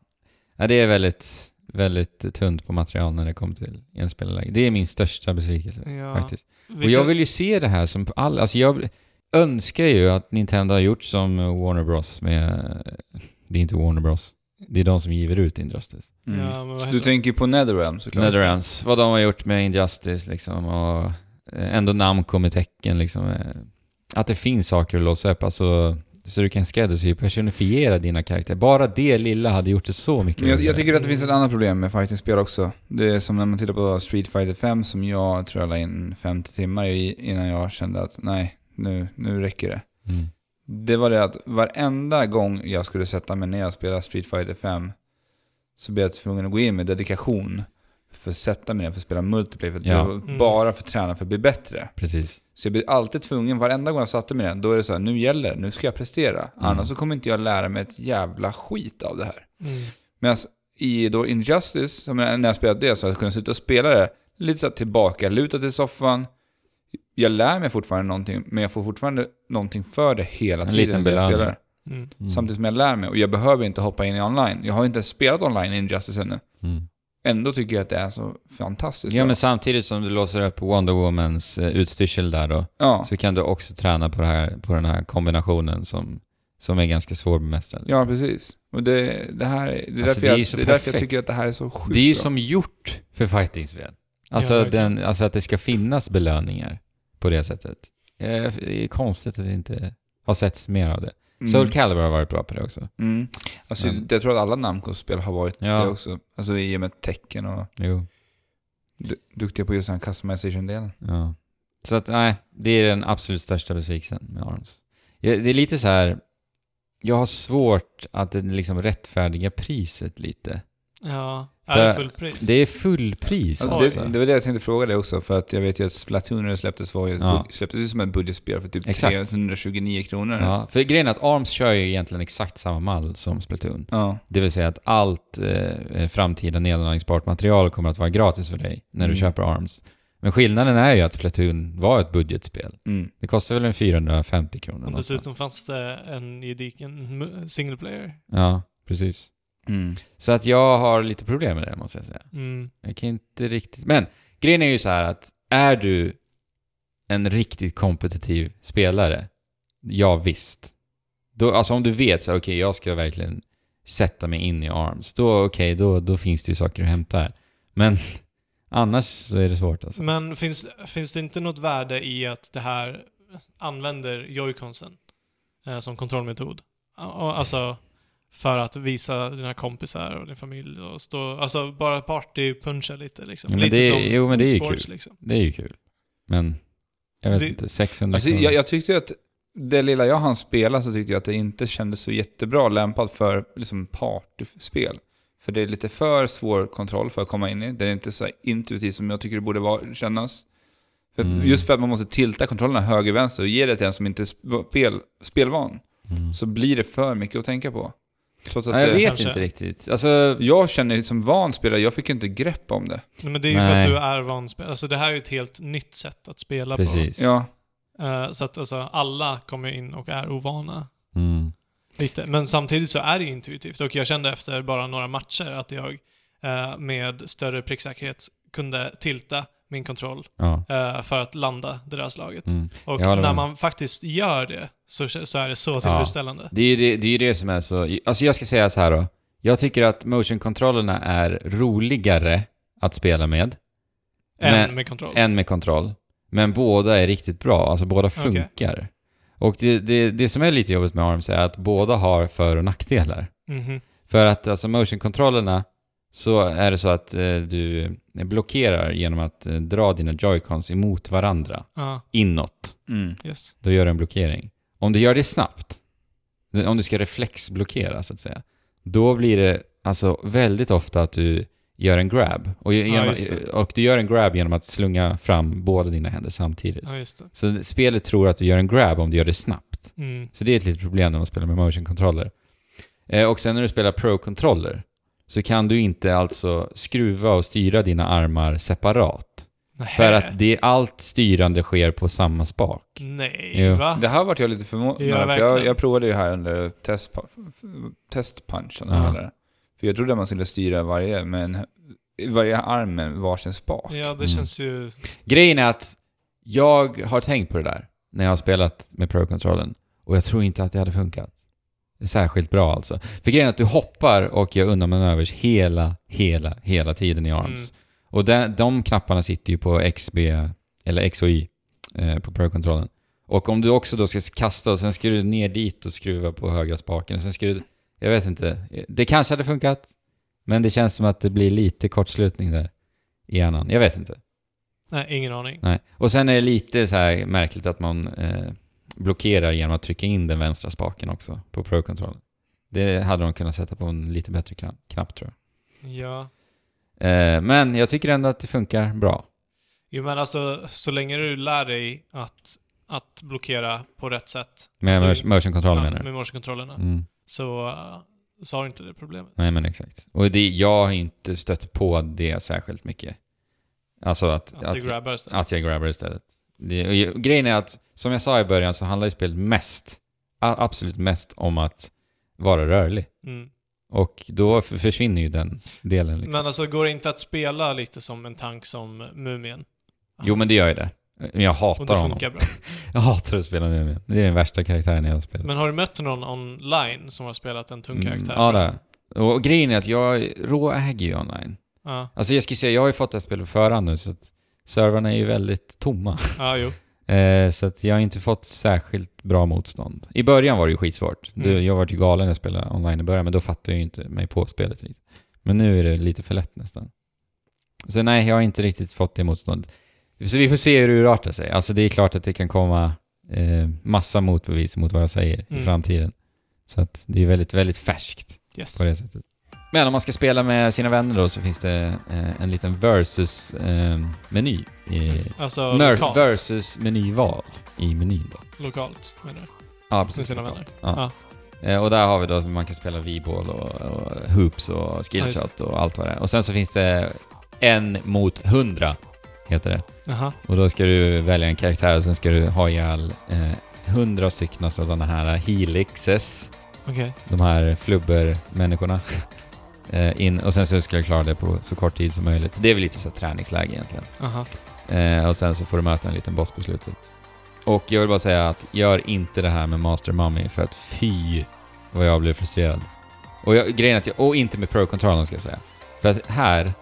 S3: ja det är väldigt, väldigt tunt på material när det kommer till enspelarläge. Det är min största besvikelse
S1: Ja.
S3: faktiskt.
S1: Vet
S3: Och jag
S1: du-
S3: vill ju se det här som på alla, alltså jag önskar ju att Nintendo har gjort som Warner Bros med, det är inte Warner Bros, det är de som giver ut Injustice.
S2: Mm.
S1: Ja, men vad
S2: Så
S1: heter
S2: du
S1: det?
S2: tänker ju på Netherrealm såklart.
S3: Netherrealms, vad de har gjort med Injustice liksom och eh, ändå Namco med tecken liksom. eh, Att det finns saker att låsa upp, alltså så du kan skräddarsy, personifiera dina karaktärer. Bara det lilla hade gjort det så mycket
S2: Men jag, jag
S3: roligare.
S2: tycker att det finns ett annat problem med fightingspel också. Det är som när man tittar på Street Fighter 5 som jag tror jag la in 50 timmar i innan jag kände att nej, nu, nu räcker det.
S3: Mm.
S2: Det var det att varenda gång jag skulle sätta mig ner och spela Street Fighter 5 så blev jag tvungen att gå in med dedikation för att sätta mig ner för att spela multiplayer. För att
S3: Ja.
S2: det var
S1: Mm.
S2: Bara för att träna för att bli bättre.
S3: Precis.
S2: Så jag blir alltid tvungen, varenda gång jag satte mig ner, då är det så här, nu gäller det, nu ska jag prestera. Annars så kommer inte jag lära mig ett jävla skit av det här.
S1: Mm.
S2: Medan i då Injustice, som jag- när jag spelat det, så har jag kunnat sitta och spela det lite så här tillbaka, lutat i soffan. Jag lär mig fortfarande någonting, men jag får fortfarande någonting för det hela
S3: En
S2: tiden.
S3: liten
S2: när jag
S3: belöning.
S2: spelar.
S1: Mm.
S3: Mm.
S2: Samtidigt som jag lär mig och jag behöver inte hoppa in i online. Jag har inte ens spelat online i Injustice ännu.
S3: Mm.
S2: Ändå tycker jag att det är så fantastiskt
S3: Ja,
S2: bra.
S3: men samtidigt som du låser upp Wonder Womans eh, utstyrsel där då,
S2: ja.
S3: så kan du också träna på, det här, på den här kombinationen som, som är ganska svårbemästrad.
S2: ja, precis. Och det, det här är, det
S3: Alltså,
S2: är, därför,
S3: det är
S2: jag,
S3: ju så
S2: det är därför jag
S3: perfekt.
S2: tycker att det här är så sjukt
S3: Det är ju
S2: bra.
S3: som gjort för fightingspel. Alltså,
S1: Ja, verkligen.
S3: den, alltså att det ska finnas belöningar på det sättet. Eh, Det är konstigt att det inte har setts mer av det.
S2: Mm.
S3: Soul Calibur har varit bra på det också.
S2: Mm. Alltså,
S3: Men-
S2: Jag tror att alla Namco-spel har varit
S3: Ja.
S2: det också. Alltså i och med tecken och
S3: Jo.
S2: du, duktiga på just den här customization-delen.
S3: Ja. Så att nej, det är den absolut största besvikelsen med ARMS. Jag, det är lite så här, jag har svårt att det liksom rättfärdiga priset lite.
S1: Ja,
S3: För-
S1: är det fullpris?
S3: Det är fullpris
S2: Alltså,
S3: alltså.
S2: det, det var det jag tänkte fråga dig också, för att jag vet ju att Splatoon när det släpptes var ju ett
S3: Ja.
S2: bud- släpptes ju som ett budgetspel för typ
S3: Exakt.
S2: 329 kronor.
S3: Ja, för grejen är att ARMS kör ju egentligen exakt samma mall som Splatoon.
S2: Ja.
S3: Det vill säga att allt eh, framtida nedladdningsbart material kommer att vara gratis för dig när
S2: Mm.
S3: du köper ARMS. Men skillnaden är ju att Splatoon var ett budgetspel.
S2: Mm.
S3: Det kostar väl en 450 kronor.
S1: Och
S3: någonstans.
S1: dessutom fanns det en gediken mu- single player.
S3: Ja, precis.
S2: Mm.
S3: Så att jag har lite problem med det måste jag säga.
S1: Mm.
S3: Jag kan inte riktigt... Men grejen är ju så här att är du en riktigt kompetitiv spelare, ja visst. Då, alltså om du vet så här, okej jag ska verkligen sätta mig in i ARMS, då okej, då, då finns det ju saker att hämta här. Men annars så är det svårt alltså.
S1: Men finns, finns det inte något värde i att det här använder joyconsen eh, som kontrollmetod? Ja, och Alltså för att visa dina kompisar och din familj och stå, alltså bara partypuncha lite liksom.
S3: Ja, men
S1: lite
S3: det är- jo, men det är ju
S1: sports, liksom.
S3: Det är ju kul. Men jag vet
S1: Det-
S3: inte, 600
S2: Alltså,
S3: kronor.
S2: jag, jag tyckte ju att det lilla jag hann spela så tyckte jag att det inte kändes så jättebra lämpat för liksom partyspel. För det är lite för svår kontroll för att komma in i. Det är inte så här intuitivt som jag tycker det borde vara, kännas. För,
S3: Mm.
S2: Just för att man måste tilta kontrollerna höger-vänster och ge det till en som inte är spel, spelvan.
S3: Mm.
S2: Så blir det för mycket att tänka på. Trots att eh,
S3: ja, jag
S2: det,
S3: vet
S1: Kanske.
S3: inte riktigt. Alltså,
S2: jag känner ju som van spelare, jag fick ju inte grepp om det.
S1: Nej, men det är ju för att
S3: Nej.
S1: du är vanspelare. Alltså det här är ju ett helt nytt sätt att spela på.
S3: precis.
S2: Ja,
S1: Eh, så att alltså alla kommer in och är ovana.
S3: Mm.
S1: Lite. Men samtidigt så är det ju intuitivt och jag kände efter bara några matcher att jag eh, med större pricksäkerhet kunde tilta min kontroll
S3: Ja.
S1: eh, för att landa det där slaget.
S3: Mm.
S1: Och
S3: Jag håller
S1: när
S3: med.
S1: man faktiskt gör det så, så är det så tillfredsställande.
S3: Det är ju det, det, är ju det som är så... Alltså jag ska säga så här då. Jag tycker att motion-kontrollerna är roligare att spela med
S1: Än
S3: Men-
S1: med kontroll.
S3: än med kontroll. Men båda är riktigt bra, alltså båda
S1: Okej.
S3: funkar. Och det, det, det som är lite jobbigt med ARMS är att båda har för och nackdelar.
S1: Mhm.
S3: För att alltså motion-kontrollerna så är det så att eh, du blockerar genom att eh, dra dina joycons emot varandra
S1: Ja,
S3: inåt.
S2: mm.
S1: yes.
S3: då gör du en blockering. Om du gör det snabbt, om du ska reflexblockera så att säga, då blir det alltså väldigt ofta att du gör en grab. Och, genom,
S1: just det.
S3: och du gör en grab genom att slunga fram båda dina händer samtidigt.
S1: Ja, just det.
S3: Så spelet tror att du gör en grab om du gör det snabbt.
S1: Mm.
S3: Så det är ett litet problem när man spelar med motion-controller. Eh, och sen när du spelar pro-controller så kan du inte alltså skruva och styra dina armar separat. För att det, allt styrande sker på samma spak.
S1: Nej,
S3: Jo.
S1: va?
S2: Ah. Det här vart jag lite förvånad
S1: Ja,
S2: för jag,
S1: verkligen.
S2: jag provade ju här under testpa- f- testpunchen.
S3: Ja.
S2: eller? För jag trodde att man skulle styra varje, men varje arm med varsin spak.
S1: Ja, det
S3: Mm.
S1: känns ju...
S3: Grejen är att jag har tänkt på det där när jag har spelat med Pro-kontrollen och jag tror inte att det hade funkat. Särskilt bra alltså. För grejen är att du hoppar och gör undanmanövers hela, hela, hela tiden i
S1: mm.
S3: ARMS. Och de, de knapparna sitter ju på XB, eller X och Y, eh, på Pro-kontrollen. Och om du också då ska kasta och sen ska du ner dit och skruva på högra spaken och sen ska du... Jag vet inte. Det kanske hade funkat, men det känns som att det blir lite kortslutning där i hjärnan. Jag vet inte.
S1: Nej, ingen aning.
S3: Nej. Och sen är det lite så här märkligt att man eh, blockerar genom att trycka in den vänstra spaken också på Pro-kontrollen. Det hade de kunnat sätta på en lite bättre kna- knapp tror jag.
S1: Ja.
S3: Eh, men jag tycker ändå att det funkar bra.
S1: Jo, men alltså så länge du lär dig att, att blockera på rätt sätt
S3: Med
S1: Det-
S3: mers- motion-kontroll
S1: ja,
S3: menar du?
S1: med morsekontrollerna
S3: Mm.
S1: så, eh, så har du inte det problemet.
S3: Nej men exakt. Och det, jag har inte stött på det särskilt mycket. Alltså att,
S1: Att, det grabbar istället.
S3: att jag grabbar istället. Det, och ju- grejen är att, som jag sa i början, så handlar ju spelet mest a- absolut mest om att vara rörlig.
S1: Mm.
S3: Och då f- försvinner ju den delen. Liksom.
S1: Men alltså, går det inte att spela lite som en tank som Mumien?
S3: Jo, men det gör ju det. Men jag
S1: Och
S3: hatar
S1: det
S3: honom.
S1: funkar bra.
S3: Jag hatar att spela Mumien. Det är den värsta karaktären i hela spelet.
S1: Men har du mött någon online som har spelat en tung karaktär?
S3: Mm, ja, det har jag. Och grejen är att jag råäger ju online.
S1: Ja,
S3: Alltså jag skulle säga, jag har ju fått det här spelet på förhand nu, så att servrarna är ju väldigt tomma.
S1: ja jo.
S3: Eh, så att jag har inte fått särskilt bra motstånd. I början var det ju skitsvårt. Du,
S1: Mm.
S3: jag var ju galen när jag spelade online i början, men då fattade jag ju inte mig på spelet riktigt. Men nu är det lite för lätt nästan. Så nej, jag har inte riktigt fått det motståndet. Så vi får se hur det urartar sig. Alltså det är klart att det kan komma eh, massa motbevis mot vad jag säger i
S1: Mm.
S3: framtiden. Så att det är väldigt, väldigt färskt
S1: Yes.
S3: på det sättet. Men om man ska spela med sina vänner då så finns det eh, en liten eh, versus-meny.
S1: Alltså
S3: Mer-
S1: lokalt.
S3: versus-menyval i menyn då.
S1: Lokalt, menar du?
S3: Ja,
S1: Med sina vänner?
S3: Ja. Eh, och där har vi då att man kan spela V-ball och, och hoops och
S1: Ja, just
S3: skillshot och allt vad det är. Och sen så finns det en mot hundra, heter det.
S1: Jaha.
S3: Och då ska du välja en karaktär och sen ska du ha ihjäl eh, hundra stycken sådana här helixes.
S1: Okej.
S3: de här flubber-människorna eh, in och sen så ska jag klara det på så kort tid som möjligt. Det är väl lite så här träningsläge egentligen.
S1: Aha.
S3: Eh, och sen så får du möta en liten boss på slutet. Och jag vill bara säga att gör inte det här med Master Mummy för att fy vad jag blev frustrerad. Och jag, grejen är att jag, och inte med Pro-controllern ska jag säga. För att här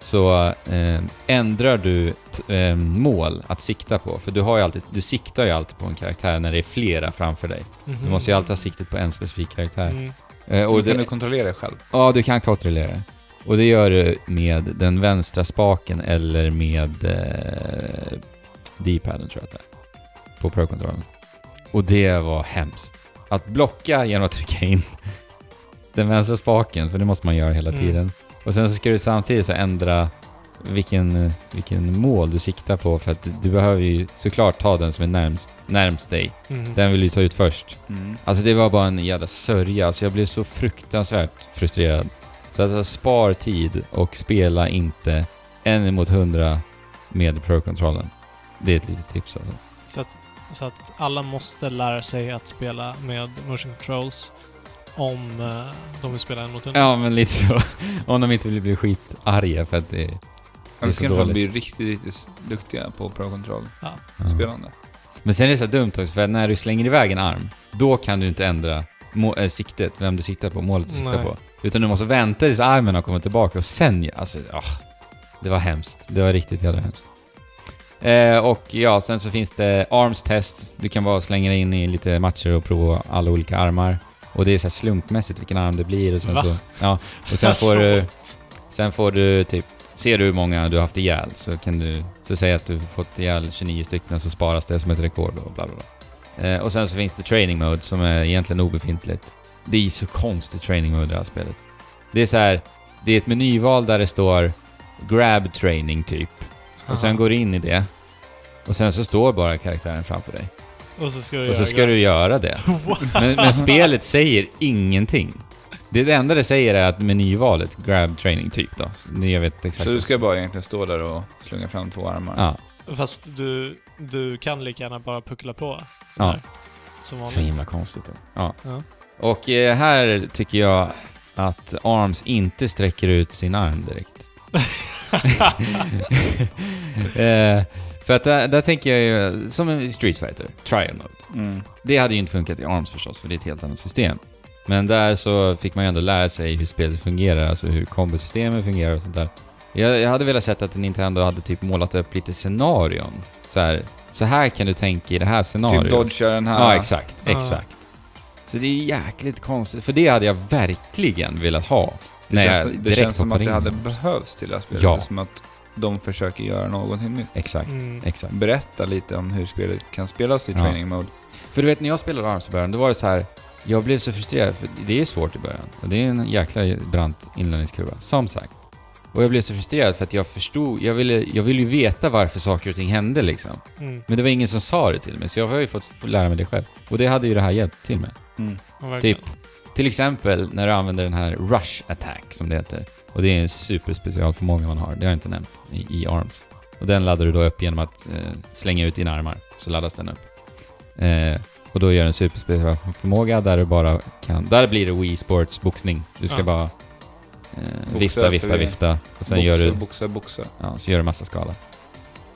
S3: så eh, ändrar du t- eh, mål att sikta på. För du, har ju alltid, du siktar ju alltid på en karaktär när det är flera framför dig. Du måste ju alltid ha siktet på en specifik karaktär.
S1: Mhm. Mm.
S3: Eh,
S2: Och
S3: och
S2: det...
S3: det, Mm.
S2: kan du kontrollera dig själv.
S3: Ja, du kan kontrollera det. Och det gör du med den vänstra spaken eller med eh, D-paden tror jag att det är. På Pro-kontrollen. Och det var hemskt. Att blocka genom att trycka in den vänstra spaken, för det måste man göra hela
S1: Mm.
S3: tiden. Och sen så ska du samtidigt så ändra vilken, vilken mål du siktar på för att du behöver ju såklart ta den som är närmst, närmst dig.
S1: Mm.
S3: Den vill du ta ut först.
S2: Mm.
S3: Alltså det var bara en jävla sörja, alltså jag blev så fruktansvärt frustrerad. Så alltså spar tid och spela inte en mot hundra med Pro-kontrollen. Det är ett litet tips alltså.
S1: Så, att, så att alla måste lära sig att spela med motion controls om eh, de vill spela en mot en.
S3: Ja men lite så. Om de inte vill bli skitarga för att det är...
S2: Ja, vi
S3: så
S2: ska nog
S3: dåligt.
S2: bli riktigt, riktigt duktiga på pro-kontroll.
S3: Ja.
S2: Spelande.
S3: Men sen är det så här dumt också, för att när du slänger iväg en arm, då kan du inte ändra må- äh, siktet, vem du siktar på, målet du siktar
S1: Nej.
S3: på. Utan du måste vänta tills armen har kommit tillbaka och sen, alltså, ah, Det var hemskt. Det var riktigt jävla hemskt. Eh, och ja, sen så finns det arms test. Du kan bara slänga dig in i lite matcher och prova alla olika armar. Och det är så här slumpmässigt vilken arm det blir och sen
S1: Va?
S3: så... Ja, och sen får du... Sen får du typ... Ser du hur många du har haft ihjäl så kan du... Så säg att du fått ihjäl 29 stycken så sparas det som ett rekord och bla bla bla. Eh, och sen så finns det training mode som är egentligen obefintligt. Det är så konstigt training mode i det här spelet. Det är så här... Det är ett menyval där det står grab training typ. Och sen går du in i det. Och sen så står bara karaktären framför dig.
S1: Och så ska du
S3: Och så
S1: göra
S3: ska du
S1: gratis.
S3: göra det. Men, men spelet säger ingenting. Det det enda det säger är att menyvalet, grab training typ då. Så nu, Jag vet exakt.
S2: Så du ska bara egentligen stå där och slunga fram två armar.
S3: Ja.
S1: Fast du, du kan lika gärna bara puckla på.
S3: Ja.
S1: där. Som vanligt.
S3: Så himla konstigt. Då. Ja.
S1: Ja.
S3: Och eh, här tycker jag att Arms inte sträcker ut sin arm direkt. eh, för att där, där tänker jag ju, som en Street Fighter, trial mode.
S2: Mm.
S3: Det hade ju inte funkat i ARMS förstås, för det är ett helt annat system. Men där så fick man ju ändå lära sig hur spelet fungerar, alltså hur kombosystemen fungerar och sånt där. Jag, jag hade velat sett att Nintendo hade typ målat upp lite scenarion. Så här, så här kan du tänka i det här scenariot.
S2: Typ dodga den här.
S3: Ja, exakt.
S1: Ja.
S3: Exakt. Så det är jäkligt konstigt, för det hade jag verkligen velat ha.
S2: Det
S3: när jag
S2: känns, det
S3: direkt
S2: känns som
S3: hoppar
S2: att det
S3: in.
S2: hade behövts till det här spelet.
S3: Ja.
S2: Det är Som att de försöker göra någonting nytt.
S3: Exakt,
S1: Mm.
S3: exakt.
S2: Berätta lite om hur spelet kan spelas i
S3: Ja.
S2: training mode.
S3: För du vet, när jag spelade Arms i början, då var det så här... Jag blev så frustrerad, för det är svårt i början. Och det är en jäkla brant inlärningskurva, som sagt. Och jag blev så frustrerad för att jag förstod... Jag ville, jag ville ju veta varför saker och ting hände liksom.
S1: Mm,
S3: Men det var ingen som sa det till mig, så jag har ju fått lära mig det själv. Och det hade ju det här hjälpt till med.
S1: ja, verkligen.
S3: Typ. Till exempel när du använder den här Rush Attack, som det heter. Och det är en superspecialförmåga man har, det har jag inte nämnt, i, i ARMS. Och den laddar du då upp genom att eh, slänga ut dina armar, så laddas den upp. Eh, Och då gör en superspelförmåga där du bara kan... Där blir det Wii Sports boxning. Du ska
S1: Ja.
S3: bara eh, vifta, vifta,
S2: förvirring.
S3: vifta. Och sen
S2: boxa,
S3: gör du,
S2: boxa, boxa.
S3: ja, så gör du massa skala.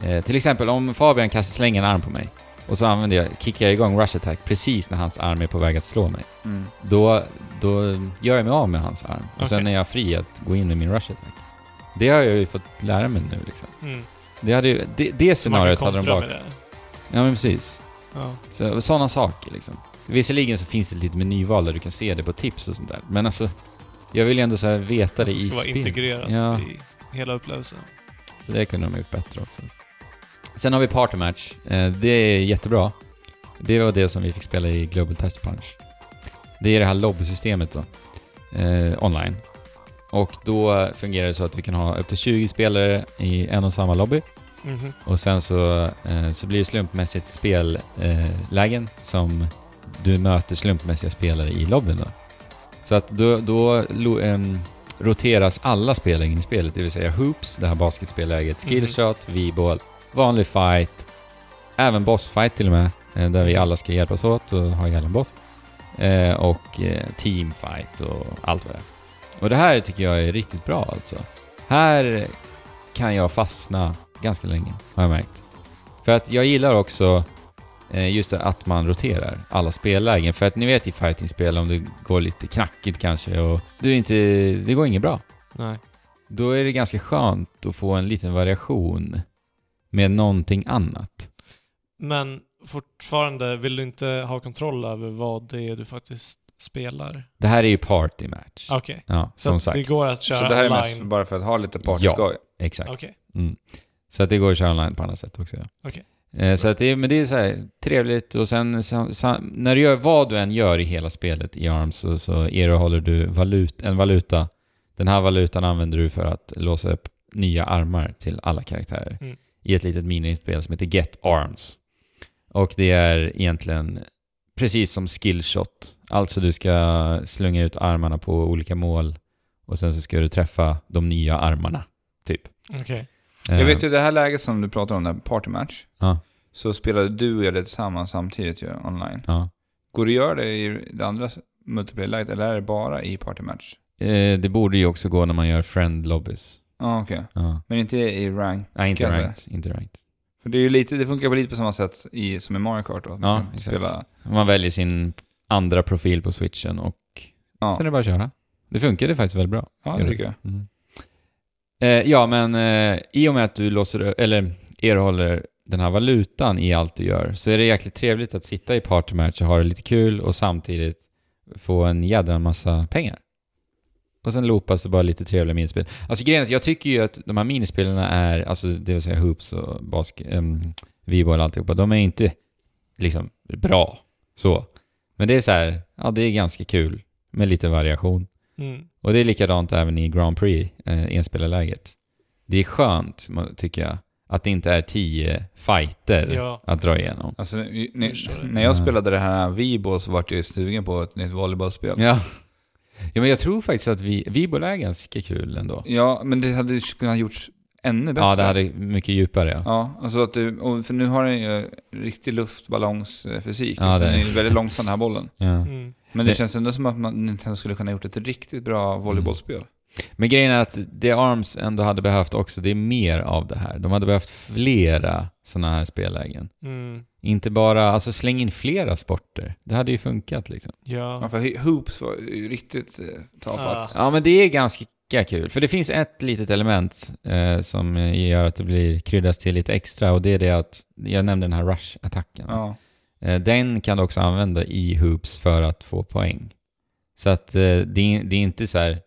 S3: Eh, till exempel om Fabian kastar slänger en arm på mig och så använder jag, kickar jag igång Rush Attack precis när hans arm är på väg att slå mig.
S2: Mm.
S3: Då, då gör jag mig av med hans arm. Och sen
S1: Okej.
S3: är jag fri att gå in med min Rush Attack. Det har jag ju fått lära mig nu liksom.
S1: Mm.
S3: Det, hade ju, det, det
S1: Så man kan
S3: scenariot hade de
S1: kontra
S3: bak.
S1: med det.
S3: Ja men precis.
S1: Ja.
S3: Så, sådana saker liksom. Visserligen så finns det lite menyval där du kan se det på tips och sånt där. Men alltså, jag vill ju ändå så här veta
S1: Att
S3: det
S1: det
S3: i
S1: ska vara
S3: spel.
S1: integrerat
S3: Ja.
S1: i hela upplevelsen.
S3: Så det kunde de ha gjort bättre också. Sen har vi Party Match. Eh, det är jättebra. Det var det som vi fick spela i Global Test Punch. Det är det här lobbysystemet då. Eh, online. Och då fungerar det så att vi kan ha upp till 20 spelare i en och samma lobby.
S1: Mhm.
S3: Och sen så, eh, så blir det slumpmässigt spellägen eh, lägen som du möter slumpmässiga spelare i lobbyn då. Så att då, då lo, ehm, roteras alla spellägen i spelet, det vill säga hoops, det här basketspelläget, skillshot, v-ball, vanlig fight, även bossfight till och med, eh, där vi alla ska hjälpas åt och ha ihjäl en boss. Eh, och eh, teamfight och allt vad det är. Och det här tycker jag är riktigt bra alltså. Här kan jag fastna ganska länge, har jag märkt. För att jag gillar också eh, just det att man roterar alla spellägen. För att ni vet i fightingspel om det går lite knackigt kanske och du är inte, det går inget bra.
S1: Nej.
S3: Då är det ganska skönt att få en liten variation med någonting annat.
S1: Men fortfarande vill du inte ha kontroll över vad det är du faktiskt spelar?
S3: Det här är ju party match.
S1: Okej.
S3: Ja,
S1: Så
S3: som
S1: att
S3: sagt.
S1: det går att köra
S2: Så det här är mest
S1: online?
S2: bara för att ha lite partyskoj?
S3: Exakt.
S1: Okej.
S3: Mm. Så att det går att köra online på annat sätt också. Ja.
S1: Okej.
S3: Eh, Så att det, men det är så här trevligt och sen sam, sam, när du gör vad du än gör i hela spelet i ARMS så, så erhåller du valut, en valuta. Den här valutan använder du för att låsa upp nya armar till alla karaktärer
S1: Mm.
S3: i ett litet minispel som heter Get Arms. Och det är egentligen precis som skillshot. Alltså du ska slunga ut armarna på olika mål och sen så ska du träffa de nya armarna, typ.
S1: Okej.
S2: Jag
S3: Eh,
S2: vet ju det här läget som du pratar om, där party match.
S3: Ja.
S2: Så spelade du och jag det tillsammans samtidigt ju, online.
S3: Ja.
S2: Går det att göra det i det andra multiplayer-läget eller är det bara i party match?
S3: Eh, det borde ju också gå när man gör friend lobbies.
S2: Ja, okej.
S3: Ja.
S2: Men inte i rank.
S3: Nej, inte
S2: Kanske.
S3: ranked. Inte ranked.
S2: För det, är ju lite, det funkar på lite på samma sätt i, som i Mario Kart då. Man kan
S3: exakt.
S2: Spela,
S3: Man väljer sin andra profil på switchen och
S2: Ja.
S3: sen är det bara att köra. Det funkade faktiskt väldigt bra.
S2: ja,
S3: Gör
S2: det
S3: det.
S2: tycker jag.
S3: Mm. Eh, ja, men eh, i och med att du låser, ö- eller erhåller den här valutan i allt du gör så är det jäkligt trevligt att sitta i partymatch och ha det lite kul och samtidigt få en jädra massa pengar. Och sen loopas det bara lite trevliga minispel. Alltså grejen är att jag tycker ju att de här minispelarna är, alltså det vill säga hoops och basket, um, v-ball och alltihopa, de är inte liksom bra så. Men det är så här, ja det är ganska kul med lite variation.
S1: Mm.
S3: Och det är likadant även i Grand Prix, eh, enspelarläget. Det är skönt, man- tycker jag, att det inte är tio fighter
S1: Ja.
S3: att dra igenom.
S2: Alltså, när,
S1: förstår det.
S2: när jag
S3: Ja.
S2: spelade det här Vibo så vart jag ju sugen på ett nytt volleybollspel.
S3: Ja. ja, men jag tror faktiskt att vi, Vibola är ganska kul ändå.
S2: Ja, men det hade ju kunnat gjorts ännu bättre.
S3: Ja, det hade mycket djupare. Ja.
S2: Ja, alltså att du, och för nu har den ju riktig luftballongsfysik.
S3: Ja,
S2: Ja,
S3: det
S2: den är
S3: är-
S2: ju väldigt långsam den här bollen.
S3: Ja.
S1: Mm.
S2: Men det,
S3: Det- Mm.
S2: känns ändå som att man Nintendo skulle kunna gjort ett riktigt bra volleybollspel.
S3: Men grejen är att det Arms ändå hade behövt också, det är mer av det här. De hade behövt flera sådana här spellägen.
S1: Mm.
S3: Inte bara, alltså släng in flera sporter. Det hade ju funkat liksom.
S1: Ja.
S2: Ja, för Ho- Hoops var ju riktigt eh, tafatt.
S3: Ja, men det är ganska kul. För det finns ett litet element eh, som gör att det blir kryddas till lite extra och det är det att, jag nämnde den här rush-attacken.
S2: Ja.
S3: Eh, den kan du också använda i hoops för att få poäng. Så att eh, det, är, det är inte så här,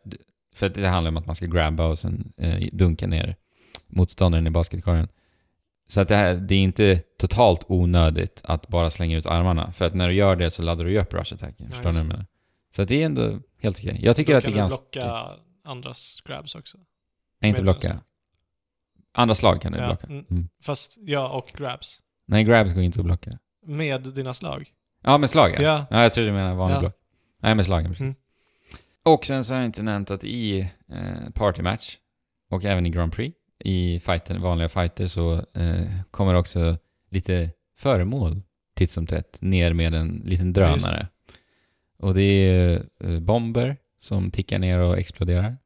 S3: för att det handlar om att man ska grabba och sen eh, dunka ner motståndaren i basketkorgen. Så att det, här, det är inte totalt onödigt att bara slänga ut armarna. För att när du gör det så laddar du ju upp rush-attacken.
S1: Ja,
S3: Förstår du vad
S1: just
S3: jag menar? Så att det är ändå helt okej. Jag tycker
S1: Då
S3: att det
S1: kan
S3: är
S1: du
S3: ganska...
S1: blocka andras grabs också.
S3: Nej, inte
S1: Med
S3: blocka. Andra slag kan du
S1: Ja,
S3: blocka.
S1: mm.
S3: Mm.
S1: Fast, ja, och grabs.
S3: Nej, grabs går inte att blocka.
S1: Med dina slag.
S3: Ja, med slag ja.
S1: Ja.
S3: Ja, jag tror du menar vanlig
S1: Ja.
S3: block. Nej, med slagen precis.
S1: Mm.
S3: Och sen så har jag inte nämnt att i eh, partymatch och även i Grand Prix, i fighten, vanliga fighter så eh, kommer också lite föremål titt som tätt ner med en liten
S1: Ja, just
S3: drönare. och det är eh, bomber som tickar ner och exploderar,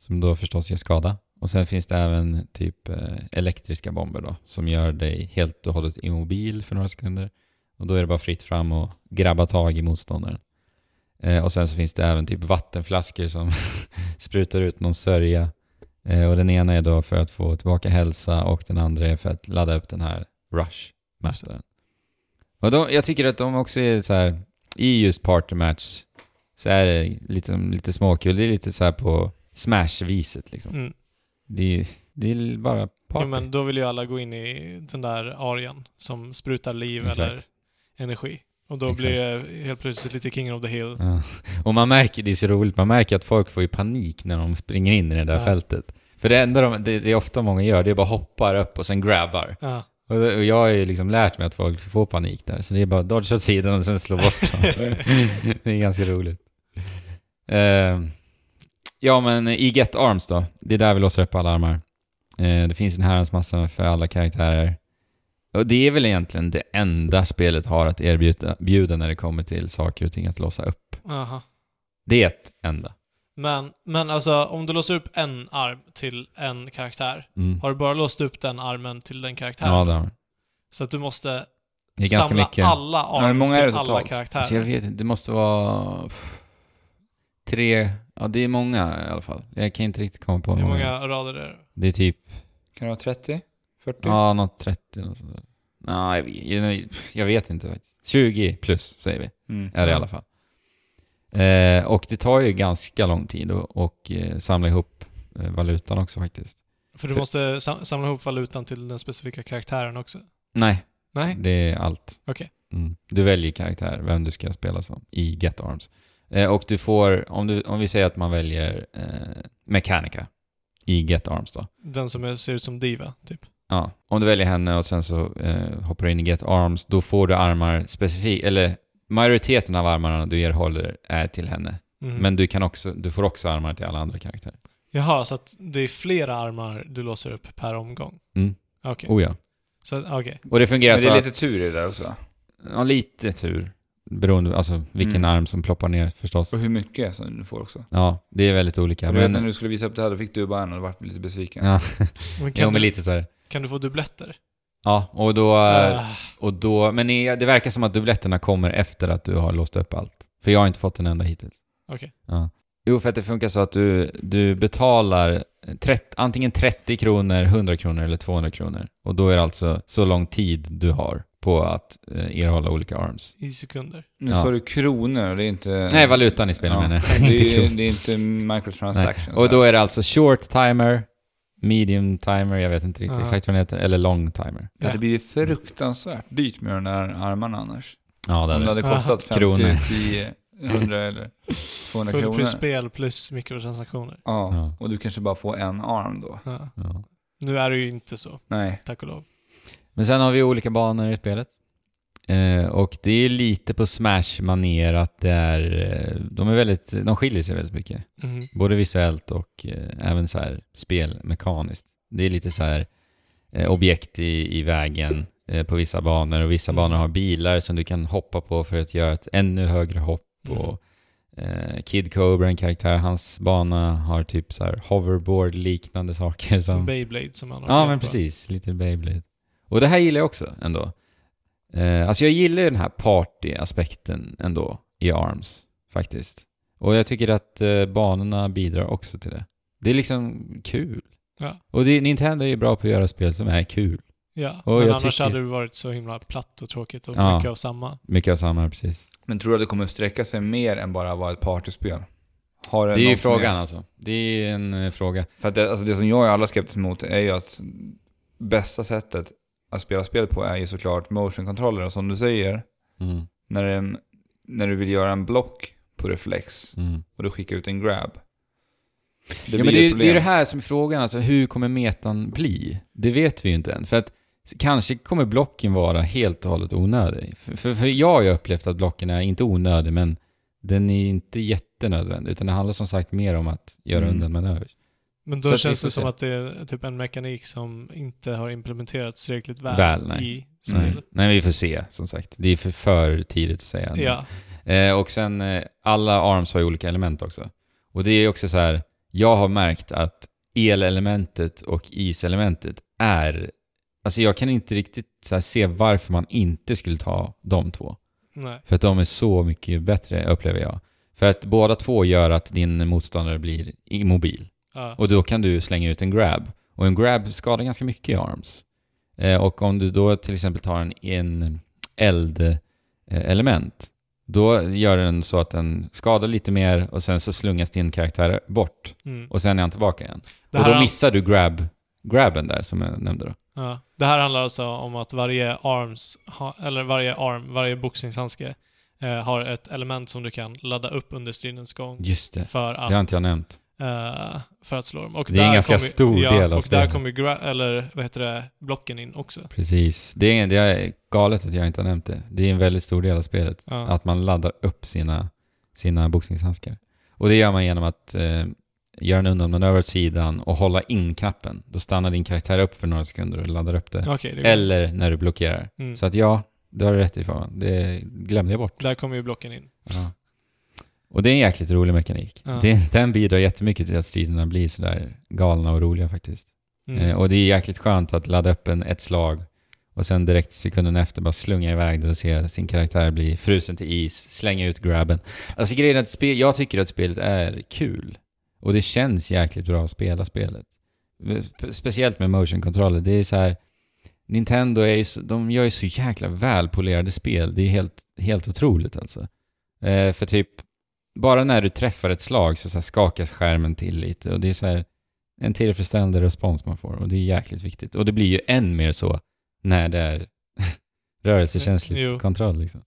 S3: som då förstås gör skada. Och sen finns det även typ eh, elektriska bomber då, som gör dig helt och hållet immobil för några sekunder. Och då är det bara fritt fram och grabba tag i motståndaren. Eh, och sen så finns det även typ vattenflaskor som sprutar ut någon sörja. Eh, och den ena är då för att få tillbaka hälsa och den andra är för att ladda upp den här Rush-mästaren. Och de, jag tycker att de också är så här, i just Party Match så är det liksom lite småkul. Det är lite så här på Smash-viset liksom.
S1: Mm.
S3: Det är, det är bara party.
S1: Jo, men då vill ju alla gå in i den där arian som sprutar liv eller
S3: Exakt.
S1: energi. Och då
S3: Exakt.
S1: blir det helt plötsligt lite King of the Hill.
S3: Ja. Och man märker, det är så roligt, man märker att folk får ju panik när de springer in i det där
S1: Ja.
S3: fältet. För det enda de, det, det är ofta många gör, det är bara hoppar upp och sen grabbar.
S1: Ja.
S3: Och, det, och jag har ju liksom lärt mig att folk får panik där, så det är bara dodge åt sidan och sen slå bort dem. det är ganska roligt. Eh, ja, men i Get Arms då, det är där vi låser upp alla armar. Eh, det finns en herrans massa för alla karaktärer. Och det är väl egentligen det enda spelet har att erbjuda bjuda när det kommer till saker och ting att låsa upp.
S1: Aha.
S3: Det enda.
S1: Men, men alltså, om du låser upp en arm till en karaktär,
S3: Mm.
S1: har du bara låst upp den armen till den karaktären?
S3: Ja, det har man.
S1: Så att du måste
S3: Det är ganska
S1: samla
S3: mycket.
S1: alla
S2: Ja, hur
S1: arms
S2: många är det
S1: till alla
S2: totalt?
S1: karaktärer.
S3: Alltså jag vet inte, det måste vara pff, tre, ja det är många i alla fall. Jag kan inte riktigt komma på
S1: Hur många rader är det?
S3: Det är typ,
S2: Kan det vara 30? 40?
S3: ja något 30 något sånt där. Nej, jag vet- jag, jag vet inte faktiskt. 20 plus säger vi,
S2: Mm.
S3: är det i
S1: Ja.
S3: alla fall. Eh, och det tar ju ganska lång tid att och, eh, samla ihop eh, valutan också faktiskt.
S1: För du
S3: För-
S1: måste sam- samla ihop valutan till den specifika karaktären också.
S3: Nej,
S1: Nej?
S3: det är allt.
S1: Okej.
S3: Mm. Du väljer karaktär, vem du ska spela som i Get Arms. Eh, och du får, om, du, om vi säger att man väljer eh, Mechanica i Get Arms då.
S1: Den som är, ser ut som Diva, typ.
S3: Ja, om du väljer henne och sen så eh, hoppar du in i Get Arms, då får du armar specifikt, eller majoriteten av armarna du erhåller är till henne.
S1: Mhm.
S3: Men du, kan också, du får också armar till alla andra karaktärer.
S1: Jaha, så att det är flera armar du låser upp per omgång?
S3: Mm.
S1: Okej.
S3: Oh ja.
S1: Så, okej.
S3: Och det fungerar
S2: Men det
S3: så
S2: är
S3: att-
S2: lite tur i det där också.
S3: Ja, lite tur. Beroende, alltså vilken
S2: Mm.
S3: arm som ploppar ner förstås.
S1: Mm.
S2: Och hur mycket som du får också.
S3: Ja, det är väldigt olika.
S2: För du vet
S3: Men,
S2: när du skulle visa upp det här, då fick du bara en och varit lite besviken.
S3: ja,
S1: Men
S3: jo,
S1: kan,
S3: men
S1: du,
S3: lite så är det.
S1: kan du få dubbletter?
S3: Ja, och då...
S1: Ah,
S3: Och då, men i- det verkar som att dubbletterna kommer efter att du har låst upp allt. För jag har inte fått en enda hittills.
S1: Okej.
S3: Ja. Jo, för att det funkar så att du, du betalar 30, antingen 30 kronor, 100 kronor eller 200 kronor. Och då är det alltså så lång tid du har på att eh, erhålla olika arms.
S1: I sekunder.
S2: Nu
S3: Ja.
S2: sa du kronor och det är inte...
S3: Nej, valutan i spelet
S2: Ja.
S3: menar jag. Inte
S2: Det är,
S3: kronor.
S2: det är inte microtransactions.
S3: Och då är det alltså short timer, medium timer, jag vet inte riktigt
S1: Ja.
S3: exakt vad den heter, eller long timer.
S2: det hade blivit fruktansvärt dyrt med de där armarna annars.
S3: Ja, det
S2: Om det
S3: är det.
S2: hade kostat 50,
S3: Kronor.
S2: 10, 100 eller 200
S1: Full
S2: kronor.
S1: plus spel plus mikrotransaktioner.
S2: Ja,
S3: Ja.
S2: och du kanske bara får en arm då.
S1: Ja.
S3: Ja.
S1: Nu är det ju inte så,
S2: Nej.
S1: tack och lov.
S3: Men sen har vi olika banor i spelet. Eh, och det är lite på Smash-manér att det är, eh, de, är väldigt, de skiljer sig väldigt mycket.
S1: Mhm.
S3: Både visuellt och eh, även så här spelmekaniskt. Det är lite så här eh, objekt i, i vägen eh, på vissa banor och vissa
S1: Mm.
S3: banor har bilar som du kan hoppa på för att göra ett ännu högre hopp.
S1: Mhm.
S3: Och, eh, Kid Cobra, en karaktär, hans bana har typ så här hoverboard-liknande saker som...
S1: Beyblade som man har
S3: Ja,
S1: koll
S3: men
S1: på.
S3: precis. Little Beyblade. Och det här gillar jag också ändå. Eh, alltså jag gillar ju den här party-aspekten ändå i ARMS faktiskt. Och jag tycker att eh, banorna bidrar också till det. Det är liksom kul.
S1: Ja.
S3: Och det, Nintendo är ju bra på att göra spel som är kul.
S1: Ja,
S3: Och
S1: men
S3: jag
S1: annars
S3: tycker-
S1: hade det varit så himla platt och tråkigt och
S3: Ja.
S1: mycket av samma.
S3: Mycket av samma, precis.
S2: Men tror du att det kommer sträcka sig mer än bara vara ett partyspel? Har
S3: Det är ju
S2: något mer?
S3: frågan alltså. Det är en eh, fråga.
S2: För att det, alltså det som jag är allra skeptisk mot är ju att bästa sättet att spela spel på är ju såklart motion-controller. Och som du säger,
S3: Mm.
S2: när, en, när du vill göra en block på reflex
S3: Mm.
S2: och du skickar ut en grab. Det
S3: ja,
S2: blir
S3: men
S2: ju
S3: det, är- det är
S2: ett problem.
S3: det här som är frågan, alltså hur kommer metan bli? Det vet vi ju inte än. För att s- kanske kommer blocken vara helt och hållet onödig. För, för, för jag har ju upplevt att blocken är inte onödig, men den är ju inte jättenödvändig. Utan det handlar som sagt mer om att göra
S2: Mm.
S3: undan manövers.
S1: Men då
S3: Så att vi
S1: känns
S3: får
S1: det som
S3: se.
S1: att det är typ en mekanik som inte har implementerats tillräckligt väl,
S3: Väl, nej.
S1: i
S3: Nej.
S1: spelet.
S3: Nej, vi får se som sagt. Det är för, för tidigt att säga.
S1: Ja,
S3: Eh, och sen, eh, alla ARMS har ju olika element också. Och det är också så här, jag har märkt att elelementet och iselementet är... Alltså jag kan inte riktigt så här se varför man inte skulle ta de två.
S1: nej.
S3: För att de är så mycket bättre, upplever jag. För att båda två gör att din motståndare blir immobil.
S1: Ja.
S3: Och då kan du slänga ut en grab. Och en grab skadar ganska mycket i arms. Eh, och om du då till exempel tar en, en eldelement, då gör den så att den skadar lite mer och sen så slungas din karaktär bort.
S1: Mm.
S3: Och sen är han tillbaka igen.
S1: Det
S3: och
S1: här
S3: då
S1: har-
S3: missar du grab, grabben där som jag nämnde då.
S1: Ja. Det här handlar alltså om att varje arms, ha, eller varje arm, varje boxningshandske eh, har ett element som du kan ladda upp under stridens gång
S3: Just det.
S1: för att,
S3: Det har inte jag nämnt.
S1: eh, för att slå dem. Och
S3: Det är en
S1: där
S3: ganska
S1: kommer-
S3: stor
S1: ja,
S3: del av
S1: Och där
S3: spelet.
S1: kommer gra- eller vad heter det, blocken in också.
S3: Precis. Det är, det är galet att jag inte har nämnt det. Det är en väldigt stor del av spelet.
S1: Ja.
S3: Att man laddar upp sina, sina boxningshandskar. Och det gör man genom att eh, göra en undanmanöver åt sidan och hålla in knappen. Då stannar din karaktär upp för några sekunder och laddar upp det.
S1: Okej, det är-
S3: Eller när du blockerar.
S1: mm.
S3: Så att ja, du har rätt i fan. Det glömde jag bort.
S1: Där kommer ju blocken in.
S3: Ja. Och det är en jäkligt rolig mekanik.
S1: Ja.
S3: Det, den bidrar jättemycket till att striderna blir sådär galna och roliga faktiskt.
S1: Mm.
S3: Eh, och det är jäkligt skönt att ladda upp en, ett slag och sen direkt sekunden efter bara slunga iväg det och se sin karaktär bli frusen till is, slänga ut grabben. Alltså grejen är att spel, jag tycker att spelet är kul. Och det känns jäkligt bra att spela spelet. Spe- Speciellt med motion controller. Det är så här... Nintendo är ju, så- de gör ju så jäkla välpolerade spel. Det är helt, helt otroligt alltså. Eh, för typ, bara när du träffar ett slag så, så här skakas skärmen till lite och det är så här en tillfredsställande respons man får och det är jäkligt viktigt. Och det blir ju än mer så när det är rörelsekänslig
S1: Jo.
S3: kontroll liksom.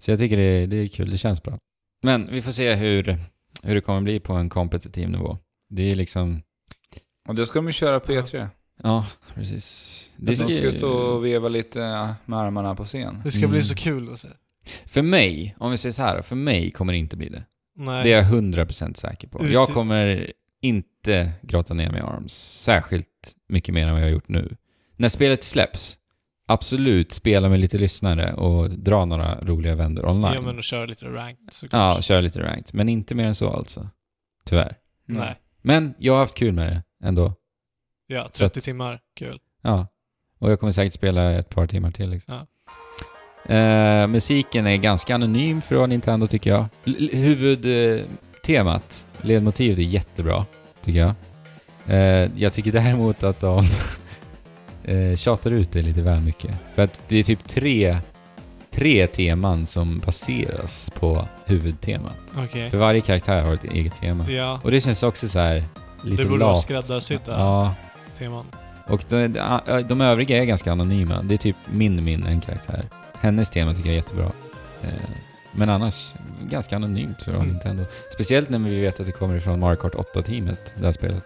S3: Så jag tycker det är, det är kul, det känns bra. Men vi får se hur, hur det kommer bli på en kompetitiv nivå. Det är liksom,
S2: Och det ska de ju köra på E3.
S3: ja precis. Det
S2: Det ska... De
S3: ska-
S2: ska stå och veva lite eh, med armarna på scen.
S1: Det ska bli
S3: Mm.
S1: så kul att se.
S3: För mig, om vi säger så här, för mig kommer det inte bli det.
S1: Nej.
S3: Det är jag 100% säker på.
S1: Ut-
S3: Jag kommer inte grotta ner mig i ARMS särskilt mycket mer än vad jag har gjort nu. När spelet släpps, absolut spela med lite lyssnare och dra några roliga vändor online.
S1: Ja, men och köra lite ranked såklart.
S3: Ja, köra lite ranked. Men inte mer än så alltså. Tyvärr.
S1: Nej.
S3: Men jag har haft kul med det ändå.
S1: Ja,
S3: Så att-
S1: 30 timmar. Kul.
S3: Ja. Och jag kommer säkert spela ett par timmar till. Liksom.
S1: Ja.
S3: Eh, musiken är ganska anonym för att vara Nintendo tycker jag. L- huvudtemat, ledmotivet är jättebra tycker jag. Eh, jag tycker däremot att de eh, tjatar ut det lite väl mycket. För att det är typ tre, tre teman som baseras på huvudtemat.
S1: Okej.
S3: För varje karaktär har ett eget tema.
S1: Ja.
S3: Och det känns också så här lite
S1: Det borde vara
S3: lat.
S1: skräddarsydda
S3: Ja,
S1: teman.
S3: och de, de- de övriga är ganska anonyma. Det är typ min min en karaktär. Hennes tema tycker jag är jättebra. Eh, Men annars, ganska anonymt för
S1: Mm.
S3: Nintendo. Speciellt när vi vet att det kommer ifrån Mario Kart 8-teamet, det här spelet.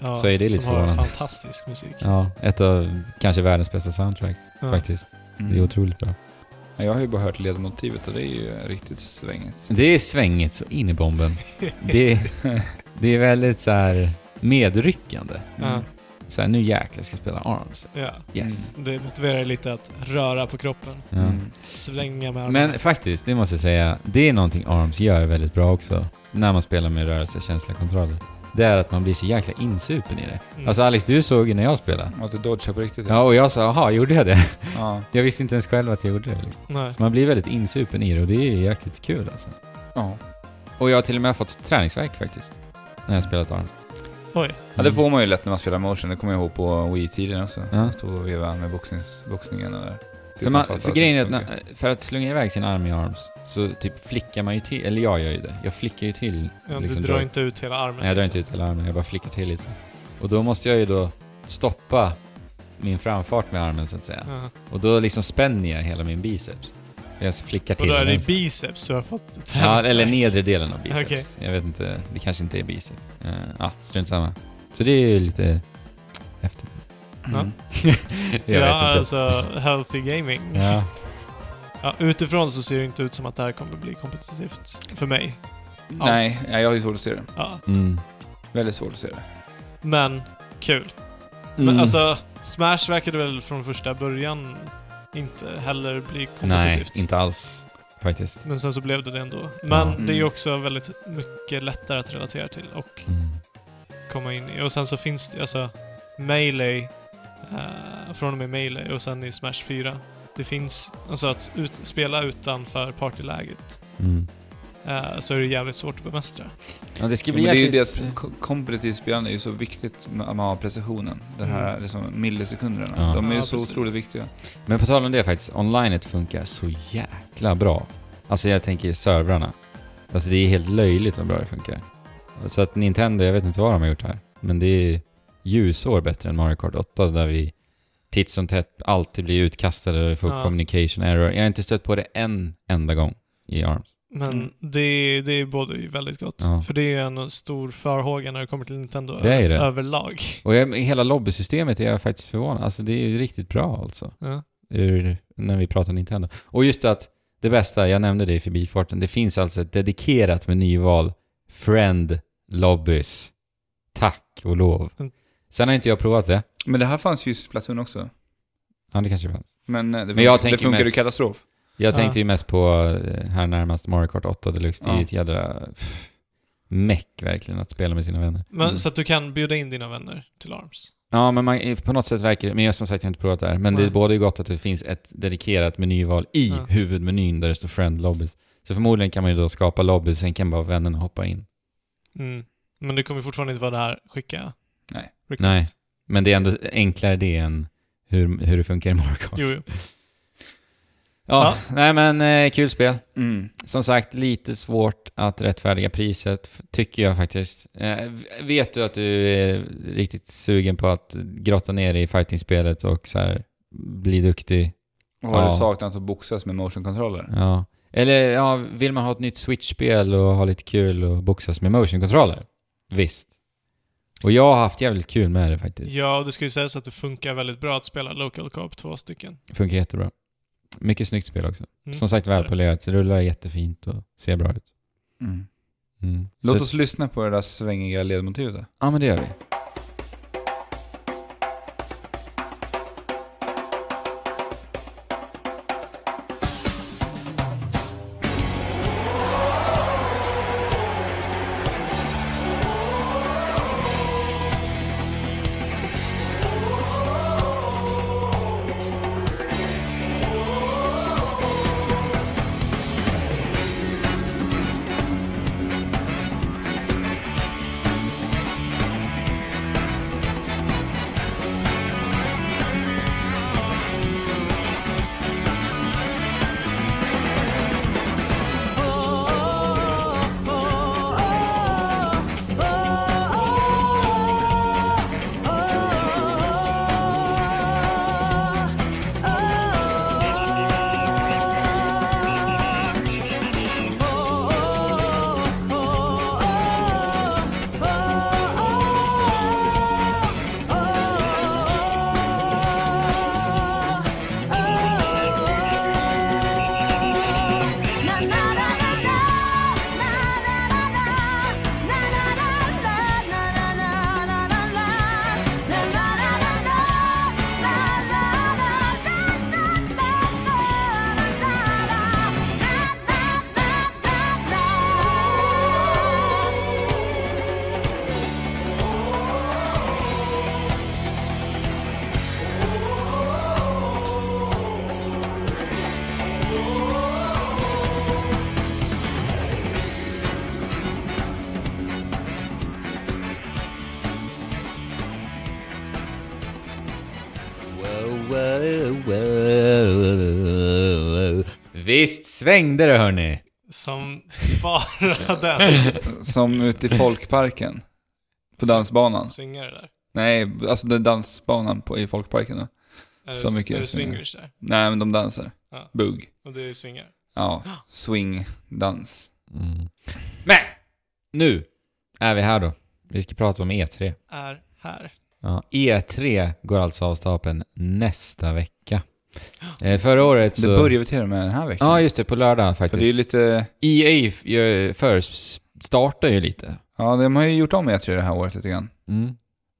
S1: Ja,
S3: Så är det lite
S1: som har
S3: förvånande.
S1: fantastisk musik.
S3: Ja, ett av kanske världens bästa soundtracks
S1: Ja.
S3: faktiskt.
S2: Mm.
S3: Det är otroligt bra.
S2: Ja, Jag har ju bara hört ledmotivet och det är ju riktigt svängigt.
S3: Det är svängigt så in i bomben. Det, det är väldigt så här medryckande.
S1: Ja.
S3: Så här, nu jäklar ska jag spela ARMS.
S1: Ja.
S3: Yes.
S1: Det motiverar lite att röra på kroppen.
S3: Ja.
S2: Mm.
S1: Svänga med armarna.
S3: Men faktiskt, det måste jag säga, det är någonting ARMS gör väldigt bra också. När man spelar med rörelsekänsliga kontroller. Det är att man blir så jäkla insupen i det.
S1: Mm.
S3: Alltså Alex, du såg ju när jag spelade.
S2: Och att du dodgar på riktigt.
S3: Ja, och jag sa jaha, gjorde jag det?
S2: Ja.
S3: Jag visste inte ens själv att jag gjorde det. liksom.
S1: Nej.
S3: Så man blir väldigt insupen i det och det är jäkligt kul alltså.
S2: Ja.
S3: Och jag har till och med fått träningsvärk faktiskt. När jag spelat ARMS.
S1: Oj.
S2: ja, det får man ju lätt när man spelar motion. Det kommer jag ihåg på Wii-tiden också.
S3: Ja.
S2: Stå och veva med boxnings, boxningen och där.
S3: För, man,
S2: Typ
S3: för grejen är att när, för att slunga iväg sin arm i ARMS så typ flickar man ju till, eller jag gör ju det. Jag flickar ju till
S1: Ja,
S3: liksom
S1: du drar
S3: dra-
S1: inte ut hela armen.
S3: Nej, jag drar
S1: liksom.
S3: inte ut hela armen, jag bara flickar till lite. Och då måste jag ju då stoppa min framfart med armen så att säga.
S1: Ja.
S3: Och då liksom spänner jag hela min biceps. Jag flickar
S1: Och
S3: till
S1: då är
S3: den
S1: det
S3: vänster.
S1: biceps du har fått
S3: Ja,
S1: träningsvärk.
S3: eller nedre delen av biceps.
S1: Okej.
S3: Jag vet inte, det kanske inte är biceps. Eh, Ja, strunt samma. Så det är ju lite häftigt.
S1: Ja.
S3: Jag
S1: ja,
S3: vet inte.
S1: alltså healthy gaming.
S3: Ja.
S1: Ja, utifrån så ser det inte ut som att det här kommer bli kompetitivt för mig.
S2: Nej, ja, jag har ju svårt att se det.
S1: Ja.
S3: Mm.
S2: Väldigt svårt att se det.
S1: Men kul.
S3: Mm.
S1: Men alltså, Smash verkade väl från första början inte heller bli
S3: Nej,
S1: kompetitivt.
S3: inte alls faktiskt.
S1: Men sen så blev det det ändå. Men
S3: Ja.
S1: det är ju
S2: Mm.
S1: också väldigt mycket lättare att relatera till och
S3: Mm.
S1: komma in i. Och sen så finns det alltså Melee, eh, från och med Melee och sen i Smash 4. Det finns, alltså att ut, spela utanför partyläget
S3: Mm.
S1: eh, så är det jävligt svårt att bemästra.
S3: Ja, det ska
S2: Ja,
S3: bli
S2: men det är ju det
S3: jäkligt-
S2: att kom- kompetitivt spelande är ju så viktigt med att man har precisionen. Den här
S1: Mm.
S2: liksom millisekunderna.
S3: Ja.
S2: De är ju
S1: Ja,
S2: så
S1: precis.
S2: otroligt viktiga.
S3: Men på tal om det faktiskt, onlinet funkar så jäkla bra. Alltså jag tänker servrarna. Alltså det är helt löjligt vad bra det funkar. Så att Nintendo, jag vet inte vad de har gjort här. Men det är ljusår bättre än Mario Kart 8 där vi titt som tätt alltid blir utkastade och får
S1: Ja.
S3: communication error. Jag har inte stött på det en enda gång i ARMS.
S1: Men
S2: Mm.
S1: det, det både ju väldigt gott.
S3: Ja.
S1: För det är ju en stor förhåga när det kommer till Nintendo
S3: Det är det.
S1: överlag.
S3: Och jag, hela lobbysystemet är jag faktiskt förvånad. Alltså det är ju riktigt bra alltså.
S1: Ja.
S3: ur, när vi pratar Nintendo. Och just att det bästa, jag nämnde det i förbifarten, det finns alltså ett dedikerat menyval Friend Lobbies. Tack och lov.
S1: Mm.
S3: Sen har inte jag provat det.
S2: Men det här fanns ju i Splatoon också.
S3: Ja, det kanske fanns.
S2: Men eh, det,
S3: Men jag
S2: funkar- det
S3: tänker
S2: funkar ju
S3: mest-
S2: katastrof.
S3: Jag
S1: Ja.
S3: tänkte ju mest på eh, här närmast Mario Kart 8 Deluxe. Det är ju
S2: Ja.
S3: ett jädra pff, meck verkligen att spela med sina vänner.
S1: Men,
S2: Mm.
S1: Så att du kan bjuda in dina vänner till ARMS.
S3: Ja, men man, på något sätt verkar det... Men jag som sagt, jag har inte provat det här. Men det är
S1: Nej.
S3: både gott att det finns ett dedikerat menyval i
S1: Ja.
S3: huvudmenyn där det står Friend Lobbies. Så förmodligen kan man ju då skapa lobbies, sen kan bara vännerna hoppa in.
S1: Mm. Men det kommer fortfarande inte vara det här skicka
S2: Nej.
S1: request.
S3: Men det är ändå enklare det än hur, hur det funkar i Mario Kart.
S1: Jo, jo.
S3: Ja, nej men eh, kul spel.
S2: Mm.
S3: Som sagt, lite svårt att rättfärdiga priset, f- tycker jag faktiskt. Eh, v- vet du att du är riktigt sugen på att grotta ner dig i fightingspelet och så här bli duktig?
S2: Och har
S3: Ja.
S2: du saknat att boxas med motion controller?
S3: Ja. Eller ja, vill man ha ett nytt Switch-spel och ha lite kul och boxas med motion-kontroller? Visst. Och jag har haft jävligt kul med det faktiskt.
S1: Ja, och det ska ju sägas att det funkar väldigt bra att spela Local Co-op två stycken.
S3: Funkar jättebra. Mycket snyggt spel också.
S1: Mm.
S3: Som sagt välpolerat, rullar jättefint och ser bra ut.
S2: Mm.
S3: Mm.
S2: Låt
S3: Så-
S2: oss lyssna på det där svängiga ledmotivet då.
S3: Ja men det gör vi. Visst svängde det hörni!
S1: Som bara den
S2: Som ute i folkparken. På dansbanan.
S1: swingar det där.
S2: Nej, alltså den dansbanan på, i folkparken då.
S1: Är
S2: Så
S1: det,
S2: mycket
S1: är det
S2: swingar.
S1: swingers där?
S2: Nej, men de dansar.
S1: Ja.
S2: Bugg.
S1: Och det är swingar.
S2: Ja, swing, dans.
S3: Mm. Men! Nu är vi här då. Vi ska prata om E E3.
S1: Är här.
S3: Ja, E3 E går alltså av stapeln nästa vecka. Eh, förra året så...
S2: Det börjar vi till och med den här veckan.
S3: Ja, just det. På lördag
S2: För det är ju
S3: faktiskt.
S2: lite...
S3: EA f- gör- förstartar ju lite.
S2: E Ja, de har ju gjort om E3 det här året lite grann.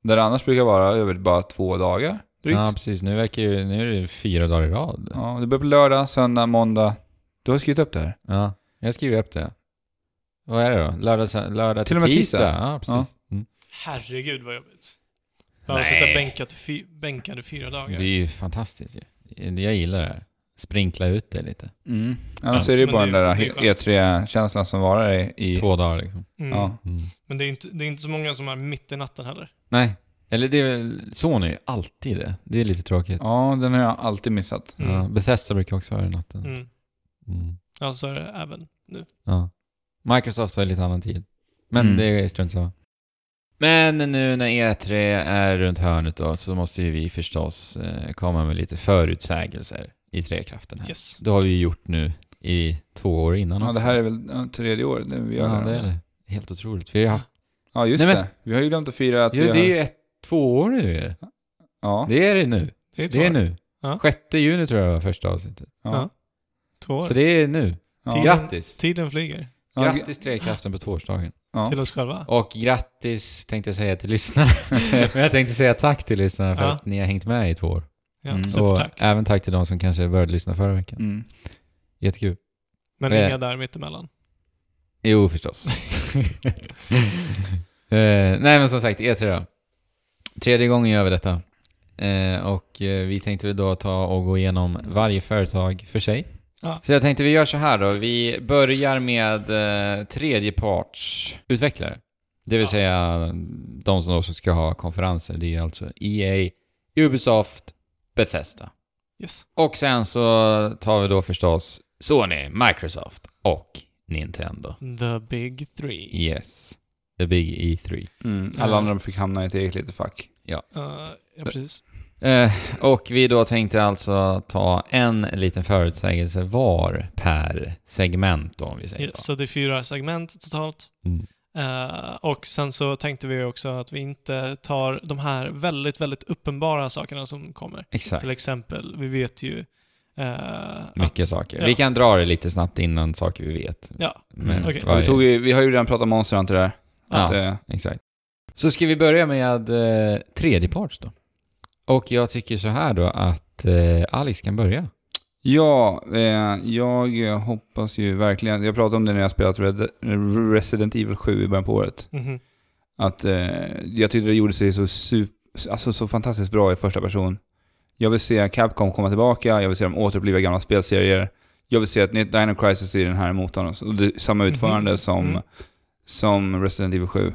S2: Där det annars brukar vara över bara två dagar drygt.
S3: Ja, precis. Nu verkar ju, nu är det fyra dagar i rad. Ja.
S2: Ja, det börjar på lördag, söndag, måndag. Du har skrivit upp det här.
S3: Jag skriver upp det. Vad är det då? Lördag, sö- lördag
S2: Till och
S3: till,
S2: med
S3: tisdag?
S2: tisdag.
S3: Ja, precis. Mm.
S1: Herregud vad jobbigt. Behöver
S3: Nej.
S1: sitta bänkad i fy, bänkad i fyra dagar.
S3: Det är ju fantastiskt ju. Det- Jag gillar det här. Sprinkla ut det lite.
S2: Mm. Annars
S3: Ja,
S2: är det ju
S1: men
S2: bara
S1: det-
S2: den där
S1: det är skönt.
S2: E3-känslan som varar i... i
S3: Två dagar liksom.
S1: Mm.
S2: Ja.
S1: Men det är, inte, det är inte så många som är mitt i natten heller.
S3: Nej. Eller det är väl... Son är ju alltid det. Det är lite tråkigt.
S2: ja, den har jag alltid missat.
S1: Mm.
S3: Ja, Bethesda brukar också vara i natten.
S1: Mm.
S3: Mm.
S1: Ja, så är det även nu.
S3: Ja. Microsoft har ju lite annan tid. Men
S2: Mm.
S3: det är strunt samma. Men nu när E3 är runt hörnet då så måste ju vi förstås eh, komma med lite förutsägelser i Trekraften här.
S1: Yes.
S3: Det har vi ju gjort nu i två år innan
S2: Ja,
S3: också.
S2: det här är väl ja, tredje året nu vi gör
S3: Ja,
S2: det.
S3: det är det. Helt otroligt. Vi har ju haft...
S2: Ja, just
S3: Nej, men-
S2: det. Vi har ju glömt att fira att
S3: Jo,
S2: vi har...
S3: det är ju ett, två år nu ju.
S2: Ja,
S3: Det är det nu.
S1: Det är två
S3: Det är
S1: år.
S3: nu.
S1: Ja.
S3: Sjätte juni tror jag var första avsnittet.
S2: ja,
S1: Två år.
S3: Så det är nu.
S2: ja.
S1: Tiden-
S3: Grattis!
S1: Tiden flyger.
S2: Ja, gra-
S3: Grattis Trekraften på tvåårsdagen.
S2: Ja.
S1: Till oss själva.
S3: Och grattis tänkte jag säga till lyssnarna. Men jag tänkte säga tack till lyssnarna för
S1: Ja.
S3: att ni har hängt med i två år.
S1: Ja,
S2: Mm.
S1: Supertack.
S3: Och även tack till de som kanske började lyssna förra veckan.
S2: Mm.
S3: Jättekul.
S1: Men
S3: eh.
S1: inga där mittemellan.
S3: Jo, förstås. Eh, nej, men som sagt, E3 då. Tredje gången gör vi detta. Eh, och eh, vi tänkte väl då ta och gå igenom varje företag för sig.
S1: Ja.
S3: Så jag tänkte vi gör så här då. Vi börjar med eh, tredjepartsutvecklare. Det vill
S1: Ja.
S3: säga de som också ska ha konferenser. Det är alltså EA, Ubisoft, Bethesda.
S1: Yes.
S3: Och sen så tar vi då förstås Sony, Microsoft och Nintendo.
S1: The big three.
S3: Yes. The big E E3.
S2: Mm. Alla andra fick hamna i ett eget litet fack.
S1: Eh, ja, precis.
S3: Eh, och vi då tänkte alltså ta en liten förutsägelse var per segment då, om vi säger
S1: Yes, så det är fyra segment totalt.
S3: så. Mm.
S1: Eh, och sen så tänkte vi också att vi inte tar de här väldigt, väldigt uppenbara sakerna som kommer.
S3: Exakt.
S1: Till exempel, vi vet ju eh,
S3: Mycket
S1: att...
S3: saker.
S1: ja.
S3: Vi kan dra det lite snabbt innan saker vi vet.
S1: Ja.
S3: Men
S2: Mm.
S1: Okej.
S2: Ja, vi,
S3: varje-
S2: tog ju, vi har ju redan pratat Monster Hunter där.
S3: Ja.
S2: Att, eh,
S3: Exakt. Så ska vi börja med eh, tredjeparts då. Och jag tycker så här då att eh, Alex kan börja.
S2: Ja, eh, jag hoppas ju verkligen, jag pratade om det när jag spelat Red, Resident Evil 7 i början på året,
S1: Mhm.
S2: att eh, jag tyckte det gjorde sig så, super, alltså, så fantastiskt bra i första person. Jag vill se Capcom komma tillbaka, jag vill se dem återuppliva gamla spelserier, jag vill se ett nytt Dino Crisis i den här motorn, och så- och det, samma utförande
S1: Mhm.
S2: som,
S1: Mm.
S2: som Resident Evil 7.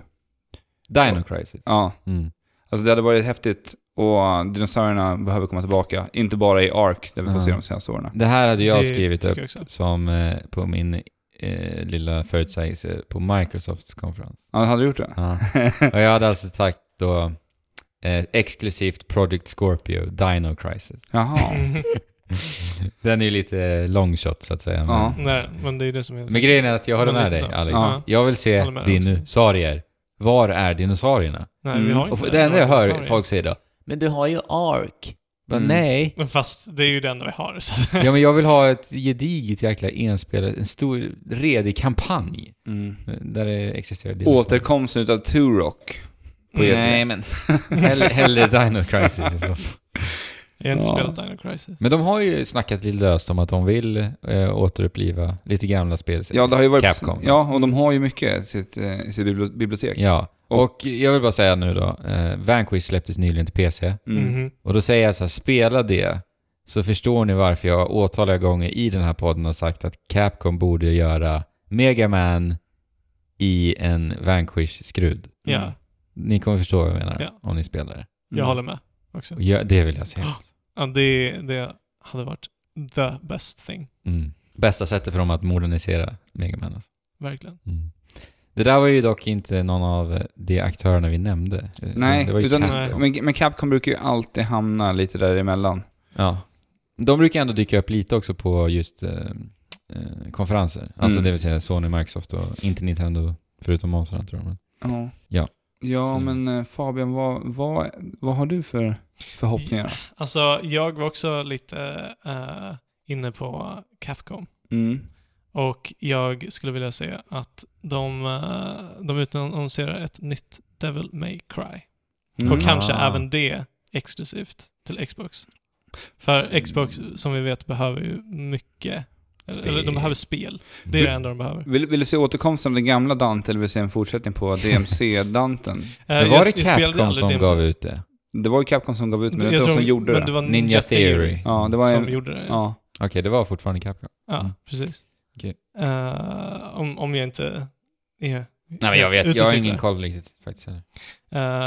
S3: Dino Crisis.
S2: Ja,
S3: Mm.
S2: alltså det hade varit häftigt och dinosaurierna behöver komma tillbaka, inte bara i Ark där vi får
S3: Ja.
S2: se de senaste åren.
S3: Det här hade jag
S1: Det
S3: skrivit
S1: tycker
S3: upp
S1: jag också.
S3: som eh, på min eh, lilla förutsägelse på Microsofts konferens.
S2: Ja, hade du gjort det?
S3: Ja. Och jag hade alltså sagt då eh, exklusivt Project Scorpio, Dino Crisis.
S2: Jaha.
S1: Mhm.
S3: Den är ju lite long shot så att säga. Men,
S2: Ja.
S1: Nej, men det är det som är...
S3: men grejen är att jag håller
S1: Men
S3: med dig
S1: lite så.
S3: Alex.
S2: Ja.
S3: Jag vill se
S1: Håller med dig också.
S3: dinosaurier. Var är dinosaurierna?
S1: Nej, vi har
S2: Mm.
S1: inte
S3: Och det enda jag hör
S1: Sorry.
S3: folk säga då, men du har ju ARK. Men
S2: Mm.
S3: nej.
S1: Men fast det är ju det enda vi har. Så att,
S3: Ja men jag vill ha ett gediget jäkla enspelare, en stor redig kampanj.
S2: Mm.
S3: Där det existerar dinosaurier.
S2: Återkomsten utav Turok. på E3.
S3: Nej men, hellre, hellre Dino Crisis. och så.
S1: jag har inte
S2: Ja.
S1: spelat Dino Crisis.
S3: Men de har ju snackat lite löst om att de vill eh, återuppliva lite gamla spel.
S2: Ja, det har ju varit...
S3: Capcom.
S2: Ja, och de har ju mycket i sitt, eh, i sitt bibli- bibliotek.
S3: Ja. Och jag vill bara säga nu då, eh, Vanquish släpptes nyligen till PC.
S2: Mm.
S1: Mhm.
S3: Och då säger jag så här, spela det. Så förstår ni varför jag åtaliga gånger i den här podden har sagt att Capcom borde göra Mega Man i en Vanquish-skrud.
S1: Ja,
S2: Mm.
S3: Ni kommer förstå vad jag menar
S1: Ja.
S3: om ni spelar det.
S1: jag håller med också.
S3: Och jag- det vill jag se.
S1: Ja, det, det hade varit the best thing.
S3: Mm. Bästa sättet för dem att modernisera Mega Man. Alltså.
S1: Verkligen.
S3: Mm. Det där var ju dock inte någon av de aktörerna vi nämnde.
S2: Nej,
S3: det var ju
S2: utan,
S3: Capcom.
S2: men, men Capcom brukar ju alltid hamna lite däremellan.
S3: Ja. De brukar ändå dyka upp lite också på just eh, eh, konferenser. Alltså
S2: Mm.
S3: det vill säga Sony, Microsoft och inte Nintendo, förutom Monster Hunter. tror jag. Men
S2: Ja.
S3: Ja.
S2: Ja,
S3: Så.
S2: men eh, Fabian, vad, vad, vad har du för förhoppningar?
S1: Alltså, jag var också lite eh, inne på Capcom.
S2: Mm.
S1: Och jag skulle vilja se att de, eh, de utannonserar ett nytt Devil May Cry. Och
S2: Mm.
S1: kanske
S3: Ah.
S1: även det exklusivt till Xbox. För Xbox,
S2: Mm.
S1: som vi vet, behöver ju mycket. Eller, eller de
S3: Spel.
S1: behöver spel. Det är det enda de behöver.
S2: Vill, vill du se återkomsten av den gamla Dante eller vill du se en fortsättning på DMC-Danten?
S1: Eh,
S3: Men
S1: jag-
S3: var det
S1: jag spelade
S3: Capcom
S1: aldrig
S3: som
S1: DMC.
S3: gav ut det?
S2: Det var ju Capcom som gav ut men det
S1: Jag
S2: var inte
S1: tror
S2: de som
S1: de-
S2: gjorde
S1: men
S2: det.
S1: det var
S3: Ninja Theory.
S2: Ja, det var
S1: som
S2: en...
S1: gjorde det. Ja,
S2: Ja.
S3: Okej, det var fortfarande Capcom. Mm.
S1: precis.
S3: Okej.
S1: Eh, om, om jag inte är
S3: Nej men jag vet,
S1: ute
S3: jag
S1: och
S3: har
S1: cyklar.
S3: ingen koll riktigt faktiskt heller.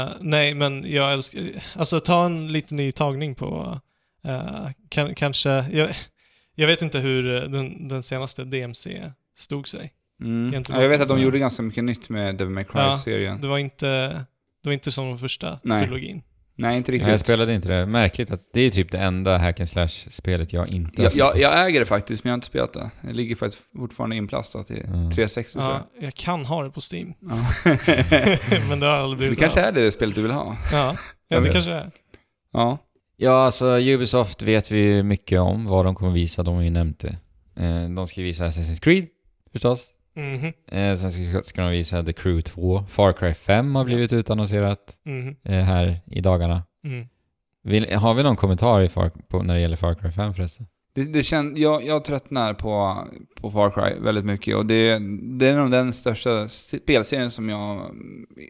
S1: Eh, nej, men jag älskar... Alltså, ta en liten ny tagning på... eh, kan, kanske... Jag, jag vet inte hur eh, den, den senaste DMC stod sig.
S2: Mm.
S1: Gentemot
S2: ja. Jag vet att de
S1: den-
S2: gjorde ganska mycket nytt med Devil May Cry-serien.
S1: Det var inte, det var inte som den första
S2: Nej.
S1: trilogin.
S2: Nej, inte
S3: Jag
S2: riktigt.
S3: spelade inte det. Märkligt att det är typ det enda hack and slash-spelet jag inte har
S2: Jag, jag,
S3: spelat.
S2: jag äger det faktiskt, men jag har inte spelat det. Det ligger faktiskt fortfarande inplastat i
S3: Mm.
S2: 360 tror jag.
S1: Ja, jag kan ha det på Steam.
S2: Ja.
S1: men det har aldrig
S2: Det
S1: blivit
S2: kanske
S1: av.
S2: är det spelet du vill ha.
S1: Ja, ja
S2: Jag
S1: det
S2: vet.
S1: kanske är.
S2: Ja.
S3: Ja, alltså Ubisoft vet vi ju mycket om vad de kommer visa, de har ju nämnt det. Eh, De ska ju visa Assassin's Creed, förstås.
S1: Mhm,
S3: Eh, Sen ska, ska de visa The Crew 2. Far Cry 5 har blivit utannonserat
S1: mhm,
S3: eh, här i dagarna.
S1: mm.
S3: Vill, har vi någon kommentar i Far, på, när det gäller Far Cry 5 förresten?
S2: Det, det känd, jag, jag tröttnar på, på Far Cry väldigt mycket och det, det är nog den största spelserien som jag...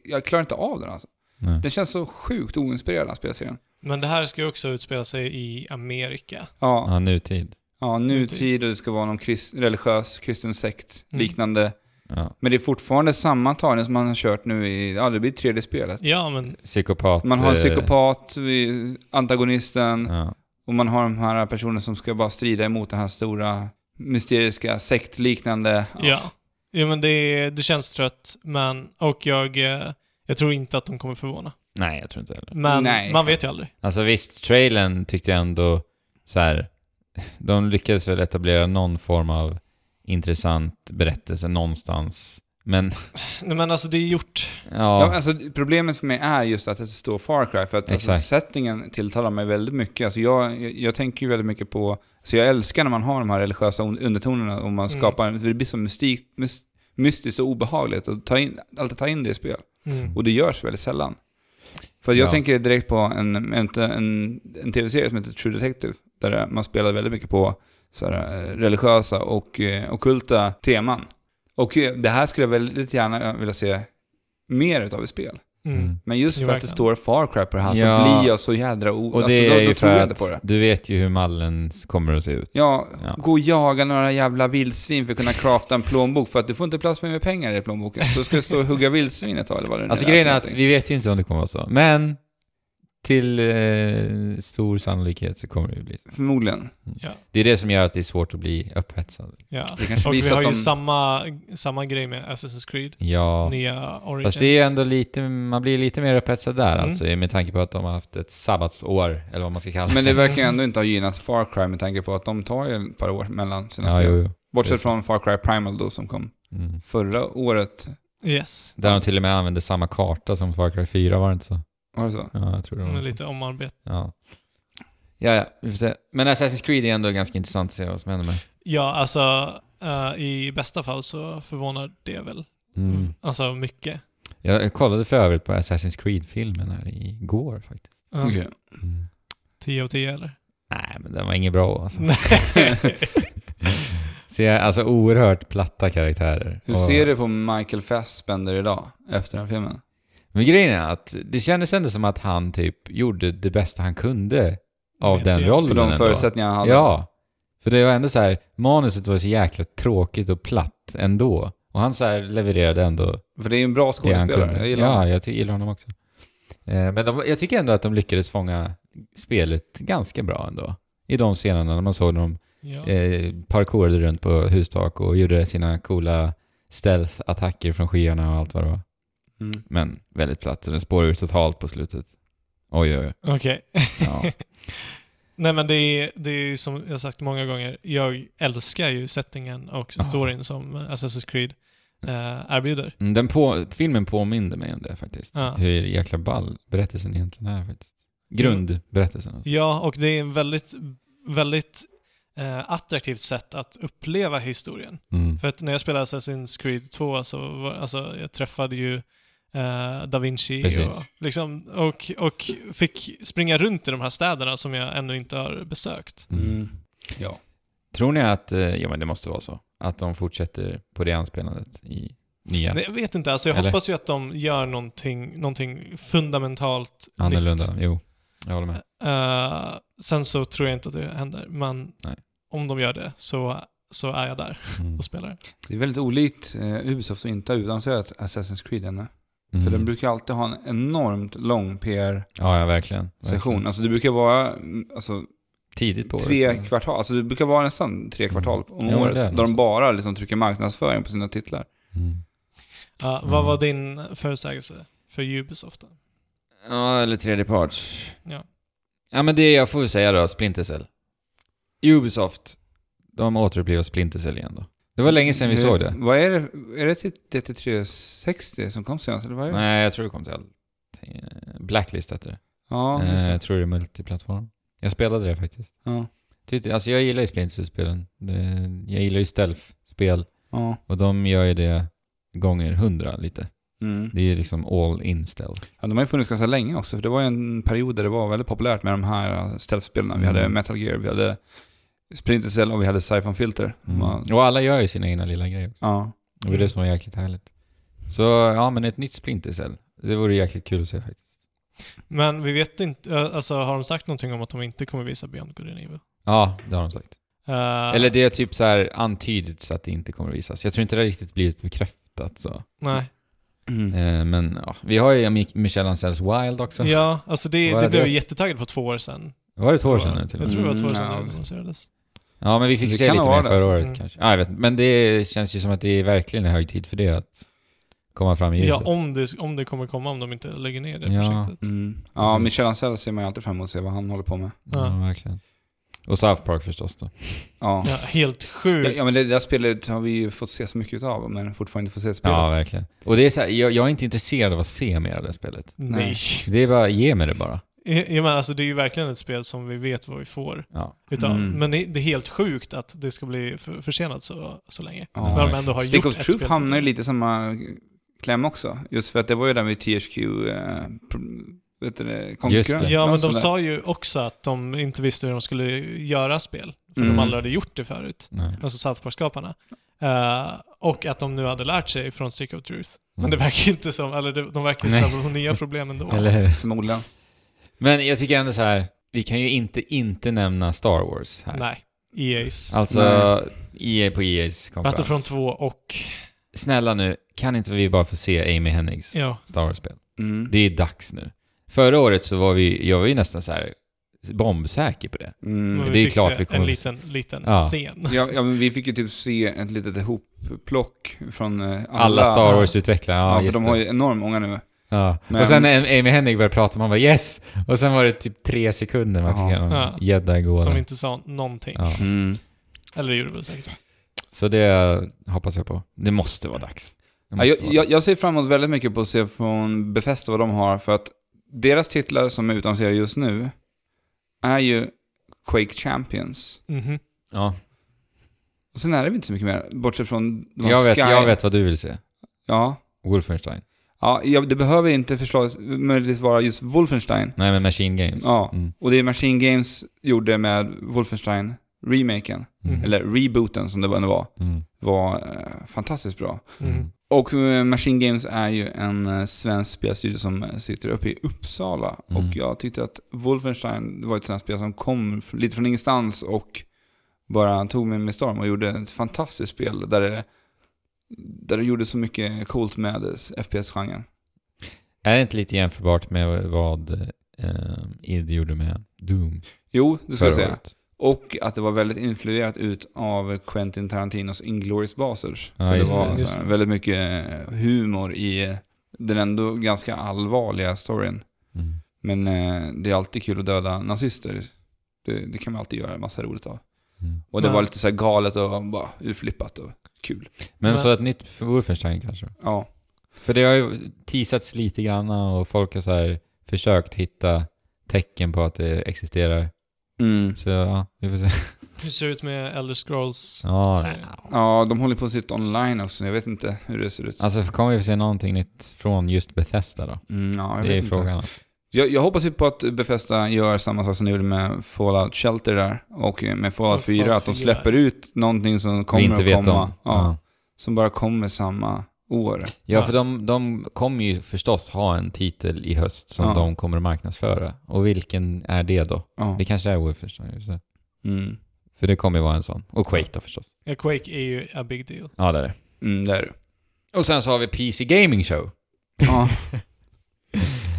S2: Jag klarar inte av den alltså.
S3: Nej.
S2: Den känns så sjukt oinspirerad, den här spelserien.
S1: Men det här ska ju också utspela sig i Amerika.
S2: Ja,
S3: Ja, nutid.
S2: ja nutid och det ska vara någon krist, religiös kristen sekt
S1: Mm.
S2: liknande.
S3: Ja.
S2: Men det är fortfarande samma tagning som man har kört nu i... Ja, det blir tredje spelet.
S1: Ja, men
S3: Psykopat.
S2: Man har en
S3: eh,
S2: psykopat, vi- antagonisten
S3: Ja.
S2: och man har de här personerna som ska bara strida emot den här stora mysteriska sektliknande...
S1: ja. ja men det, det känns trött, men... Och jag, eh, jag tror inte att de kommer förvåna.
S3: Nej, jag tror inte heller.
S1: Men
S2: Nej.
S1: man vet ju aldrig.
S3: Alltså visst, trailern tyckte jag ändå så här. De lyckades väl etablera någon form av intressant berättelse någonstans. Men Mm.
S1: Nej, men alltså det är gjort.
S3: ja,
S2: Ja, alltså, problemet för mig är just att det står Far Cry, för att alltså,
S3: Exakt.
S2: settingen tilltalar mig väldigt mycket. Alltså, jag, jag, jag tänker ju väldigt mycket på, så jag älskar när man har de här religiösa un- undertonerna och man
S1: Mm.
S2: skapar, för det blir så mystik, mys, mystiskt och obehagligt att ta in, alltid ta in det i spel.
S1: Mm.
S2: Och det görs väldigt sällan. För jag
S3: Ja.
S2: tänker direkt på en, en, en, en tv-serie som heter True Detective, där man spelar väldigt mycket på så här, eh, religiösa och eh, ockulta teman. Och eh, det här skulle jag väldigt gärna vilja se mer utav i spel.
S1: Mm.
S2: Men
S1: Jo,
S2: just för att det
S1: verkligen.
S2: står Far Cry på det här
S3: Ja.
S2: så blir jag så jädra o...
S3: Och det
S2: alltså, då,
S3: är
S2: då
S3: ju
S2: tror
S3: för
S2: jag inte
S3: att
S2: på det.
S3: du vet ju hur mallen kommer att se ut.
S2: Ja,
S3: Ja.
S2: gå och jaga några jävla vildsvin för att kunna crafta en plånbok för att du får inte plats med mer pengar i plånboken. Så ska du stå och hugga vildsvin ett tag eller vad det nu
S3: Alltså
S2: för
S3: grejen är att
S2: någonting.
S3: vi vet ju inte om det kommer vara så. Men till eh, stor sannolikhet så kommer det ju bli så.
S2: Förmodligen.
S1: Ja.
S3: Det är det som gör att det är svårt att bli upphetsad.
S1: Ja.
S2: Det kanske
S1: Och
S2: blir
S1: vi
S2: så
S1: har
S2: att
S1: ju
S2: de...
S1: samma, samma grej med Assassin's Creed.
S3: Ja.
S1: Nya Origins.
S3: Fast det är ändå lite, man blir lite mer upphetsad där
S1: Mm.
S3: alltså med tanke på att de har haft ett sabbatsår, eller vad man ska kalla det.
S2: Men det verkar ju ändå inte ha gynnat Far Cry med tanke på att de tar ju ett par år mellan sina
S3: ja,
S2: spel.
S3: jo, jo. det är
S2: Bortsett
S3: så.
S2: från Far Cry Primal då som kom
S3: Mm.
S2: förra året.
S1: Yes.
S3: Där de till och med använde samma karta som Far Cry 4, var det inte så?
S2: Var det så?
S3: Ja, jag tror
S2: Mm,
S3: det var
S1: Men
S3: så.
S1: lite omarbet.
S3: Ja. Ja, ja, vi får se. Men Assassin's Creed är ändå ganska intressant att se vad som händer med.
S1: Ja, alltså eh, i bästa fall så förvånar det väl.
S3: Mm.
S1: Alltså mycket.
S3: Jag kollade för övrigt på Assassin's Creed-filmen här igår faktiskt.
S1: Ja.
S2: Okej. Mm.
S1: 10 Eh, av 10 eller?
S3: Nej, men den var inget bra alltså.
S1: Nej.
S3: Så jag, alltså oerhört platta karaktärer.
S2: Hur
S3: Och-
S2: ser du på Michael Fassbender idag, efter den filmen?
S3: Men grejen är att det kändes ändå som att han typ gjorde det bästa han kunde av
S1: Vet
S3: den
S1: jag.
S3: rollen
S2: För de
S3: ändå.
S2: förutsättningar han hade?
S3: Ja. För det var ändå så här, manuset var så jäkla tråkigt och platt ändå. Och han så här levererade ändå
S2: För det är ju en bra
S3: det han
S2: skådespelare,
S3: kunde.
S2: jag gillar honom.
S3: ja, jag ty- gillar honom också. Eh, Men de, jag tycker ändå att de lyckades fånga spelet ganska bra ändå. I de scenerna när man såg dem
S1: ja.
S3: eh, parkourade runt på hustak och gjorde sina coola stealth-attacker från skyarna och allt vad det var.
S2: Mm.
S3: Men väldigt platt. Den spårar ut totalt på slutet. Oj, oj, oj.
S1: Okej.
S3: Ja.
S1: Nej men det är, det är ju som jag sagt många gånger, jag älskar ju settingen och
S3: Ja.
S1: storyn som Assassin's Creed eh, erbjuder.
S3: Mm, Den på, filmen påminde mig om det faktiskt.
S1: Ja.
S3: Hur jäkla ball berättelsen egentligen är faktiskt. Grundberättelsen alltså.
S1: Ja, och det är en väldigt, väldigt eh, attraktivt sätt att uppleva historien.
S3: Mm.
S1: För att när jag spelade Assassin's Creed 2 så var, alltså, jag träffade ju eh, Da Vinci och,
S3: Precis.
S1: liksom, och, och fick springa runt i de här städerna som jag ännu inte har besökt.
S2: Mm. Ja.
S3: Tror ni att, eh, ja men det måste vara så, att de fortsätter på det anspelandet i nya?
S1: Nej, Jag vet inte, alltså jag
S3: Eller?
S1: hoppas ju att de gör någonting, någonting fundamentalt
S3: Annorlunda,
S1: nytt.
S3: jo. Jag håller med.
S1: Eh, sen så tror jag inte att det händer, men
S3: Nej.
S1: om de gör det så, så är jag där
S3: Mm.
S1: och spelar.
S2: Det är väldigt olikt eh, Ubisoft att inte ha utannonserat Assassin's Creed ännu.
S3: Mm.
S2: För den brukar alltid ha en enormt lång PR-session.
S3: Ja, ja verkligen. verkligen.
S2: Alltså det brukar vara mm, alltså,
S3: Tidigt på
S2: tre
S3: året. liksom. Mm.
S2: kvartal, alltså det brukar vara nästan tre kvartal om
S3: Ja,
S2: året.
S3: det är
S2: Där de
S3: något.
S2: bara liksom trycker marknadsföring på sina titlar.
S3: Mm.
S1: Ja, Eh, Vad
S3: Mm.
S1: var din förutsägelse för Ubisoft? Då?
S3: Ja, eller tredje parts.
S1: Ja.
S3: Ja, men det jag får väl säga då, Splinter Cell. Ubisoft, de återupplivar Splinter Cell igen då. Det var länge sedan vi
S2: Hur-
S3: såg det.
S2: Vad är det? Är det till DT360 som kom senast? Eller vad är det?
S3: Nej, jag tror det kom till allting. Blacklist hette det.
S2: Ja, just
S3: eh,
S2: det.
S3: jag tror det är multiplattform. Jag spelade det faktiskt.
S2: ja,
S3: Tyckte, alltså jag gillar ju Splinter Cell-spelen. Det- Jag gillar ju stealth-spel.
S2: ja.
S3: Och de gör ju det gånger hundra lite.
S2: Mm.
S3: Det är ju liksom all in stealth.
S2: ja. De har ju funnits ganska länge också, för det var ju en period där det var väldigt populärt med de här eh, stealth-spelarna. Vi hade
S3: Mm.
S2: Metal Gear, vi hade Splinter Cell och vi hade Siphon Filter.
S3: Mm.
S2: Man-
S3: Och alla gör ju sina egna lilla grejer.
S2: Ja.
S3: Det var det som var jäkligt härligt. Så ja, men ett nytt Splinter Cell. Det vore jäkligt kul att se faktiskt.
S1: Men vi vet inte, eh, alltså har de sagt någonting om att de inte kommer visa Beyond Good and Evil?
S3: Ja, det har de sagt.
S1: Eh,
S3: Eller det är typ så här antydits att det inte kommer att visas. Jag tror inte det har riktigt blivit bekräftat så.
S1: Nej.
S2: Mm.
S3: Eh, men ja, vi har ju Mi- Michel Ancells Wild också.
S1: Ja, alltså det,
S3: Vad
S1: det
S3: är
S1: blev
S3: det?
S1: jag jättetaggad på två år sedan.
S3: Var det två år sedan typ. nu till
S1: Jag
S3: och med?
S1: tror det var två år
S2: Mm,
S1: sedan
S2: ja.
S1: det annonserades.
S3: Ja, men vi fick
S2: Det
S3: se
S2: kan
S3: lite
S2: ha
S3: mer
S2: varit det,
S3: förra året
S1: Mm.
S3: kanske. Ja, jag vet inte. Men det känns ju som att det är verkligen är hög tid för det att komma fram i ljuset.
S1: Ja, om det, om det kommer komma, om de inte lägger ner det
S3: Ja.
S1: projektet.
S2: Mm. Ja, Michel Ancel ser man ju alltid fram emot att se vad han håller på med.
S3: ja, verkligen. Och South Park förstås då.
S2: Ja.
S1: Ja, helt
S2: Ja,
S1: sjukt.
S2: ja, men det där spelet har vi ju fått se så mycket utav, men fortfarande inte fått se spelet.
S3: Ja, verkligen. Och det är så här, jag, jag är inte intresserad av att se mer av det spelet.
S1: Nej.
S3: Det är bara, ge mig det bara.
S1: Jag jag menar, alltså, det är ju verkligen ett spel som vi vet vad vi får
S3: Ja.
S1: utav.
S2: Mm.
S1: Men det, det är helt sjukt att det ska bli för, försenat så, så länge.
S2: Ja,
S1: När de
S3: verkligen.
S1: ändå har
S2: Stick
S1: gjort
S2: of
S1: ett
S2: Truth
S1: spel
S2: hamnar ju
S1: till.
S2: lite i samma kläm också. Just för att det var ju där med THQ, eh, pro- vet du det, konkurrens. Alltså,
S3: lite-
S1: Ja, men de
S2: sådär.
S1: sa ju också att de inte visste hur de skulle göra spel. För
S2: Mm.
S1: de aldrig hade gjort det förut.
S3: Nej.
S1: Alltså South Park-skaparna. Eh, och att de nu hade lärt sig från Stick of Truth. Men det verkar ju inte som, eller det- de verkar ju
S3: Nej.
S1: stöta på nya problem ändå.
S3: Eller hur?
S2: Förmodligen.
S3: Men jag tycker ändå så här, vi kan ju inte inte nämna Star Wars här.
S1: Nej. EA's.
S3: Alltså,
S2: Nej.
S3: EA på EAs konferens.
S1: Battlefront 2 och...
S3: Snälla nu, kan inte vi bara få se Amy Hennigs
S1: Ja.
S3: Star Wars-spel?
S2: Mm.
S3: Det är dags nu. Förra året så var vi, jag var ju nästan så här bombsäker på det.
S1: men
S2: Mm.
S3: det är
S1: vi fick
S3: klart
S1: se
S3: vi kommer
S1: en
S3: att se.
S1: liten, liten
S3: Ja.
S1: scen.
S2: Ja, ja, men vi fick ju typ se ett litet ihopplock från eh, alla.
S3: Alla Star Wars-utvecklare, ja,
S2: Ja, för
S3: just
S2: de har
S3: det.
S2: ju enormt många nu.
S3: Ja.
S2: Men-
S3: Och sen när Amy Hennig började prata, man bara yes! Och sen var det typ tre sekunder man
S2: Ja.
S3: fick se någon
S1: Ja.
S3: gädda i
S1: Som
S3: gården.
S1: inte sa någonting.
S3: Ja.
S2: Mm.
S1: Eller det gjorde det väl säkert.
S3: Så det hoppas jag på. Det måste vara dags. Det
S2: Ja,
S3: måste
S2: jag,
S3: vara
S2: jag, jag ser fram emot väldigt mycket på att se från Bethesda vad de har, för att deras titlar som är utannonserade just nu är ju Quake Champions.
S1: Mhm.
S3: dags. ja.
S2: Och sen är det väl inte så mycket mer, bortsett från de här
S3: jag, vet,
S2: Sky.
S3: jag vet vad du vill se.
S2: Ja.
S3: Wolfenstein.
S2: Ja, ja, det behöver inte förslag möjligtvis vara just Wolfenstein.
S3: Nej, men Machine Games.
S2: Ja.
S3: Mm.
S2: Och det är Machine Games gjorde med Wolfenstein-remaken,
S1: Mm.
S2: eller rebooten som det ändå var,
S3: Mm.
S2: var eh, fantastiskt bra.
S1: Mhm.
S2: Och eh, Machine Games är ju en eh, svensk spelstudio som eh, sitter uppe i Uppsala.
S3: Mm.
S2: Och jag tyckte att Wolfenstein var ett sånt här spel som kom f- lite från ingenstans och bara tog mig med storm och gjorde ett fantastiskt spel där det, där det gjorde så mycket coolt med eh, FPS-genren.
S3: Är det inte lite jämförbart med vad eh, id gjorde med Doom
S2: Jo, det ska
S3: förra
S2: jag säga.
S3: året?
S2: Och att det var väldigt influerat ut av Quentin Tarantinos Inglourious Basterds.
S3: Ja,
S2: För det
S3: just
S2: var
S3: det,
S1: just
S2: så här
S1: det.
S2: väldigt mycket eh, humor i eh, den ändå ganska allvarliga storyn.
S3: Mm.
S2: Men eh, det är alltid kul att döda nazister. Det, det kan man alltid göra en massa roligt av.
S3: Mm.
S2: Och det
S1: Men-
S2: var lite så här galet och bara urflippat och kul.
S3: Men
S1: Men-
S3: så ett nytt för Wolfenstein kanske?
S2: Ja.
S3: För det har ju teasats lite grann och folk har så här försökt hitta tecken på att det existerar.
S2: Mm.
S3: Så ja, vi får se.
S1: Hur ser det ut med Elder Scrolls?
S3: Ja,
S1: Så-
S2: Ja, de håller på sitt online också. Jag vet inte hur det ser ut.
S3: Alltså kommer vi få se någonting nytt från just Bethesda då?
S2: Mm, ja, jag
S3: det är
S2: vet inte.
S3: frågan. Alltså.
S2: Jag, jag hoppas ju på att Bethesda gör samma sak som de gjorde med Fallout Shelter där och med Fallout
S1: Fallout
S2: 4, att de
S1: 4.
S2: släpper ut någonting som
S3: Vi
S2: kommer
S3: inte
S2: att
S3: vet
S2: komma.
S3: om.
S2: Ja, Som bara kommer samma år.
S3: Ja, för de, de kommer ju förstås ha en titel i höst som
S2: Ja.
S3: de kommer att marknadsföra. Och vilken är det då?
S2: Ja.
S3: Det kanske är Wolfenstein. just det.
S2: Mm.
S3: För det kommer ju vara en sån. Och Quake då förstås.
S1: Ja, Quake är ju a big deal.
S3: Ja, det är det.
S2: Mm, där är det.
S3: Och sen så har vi PC Gaming Show.
S2: Ja.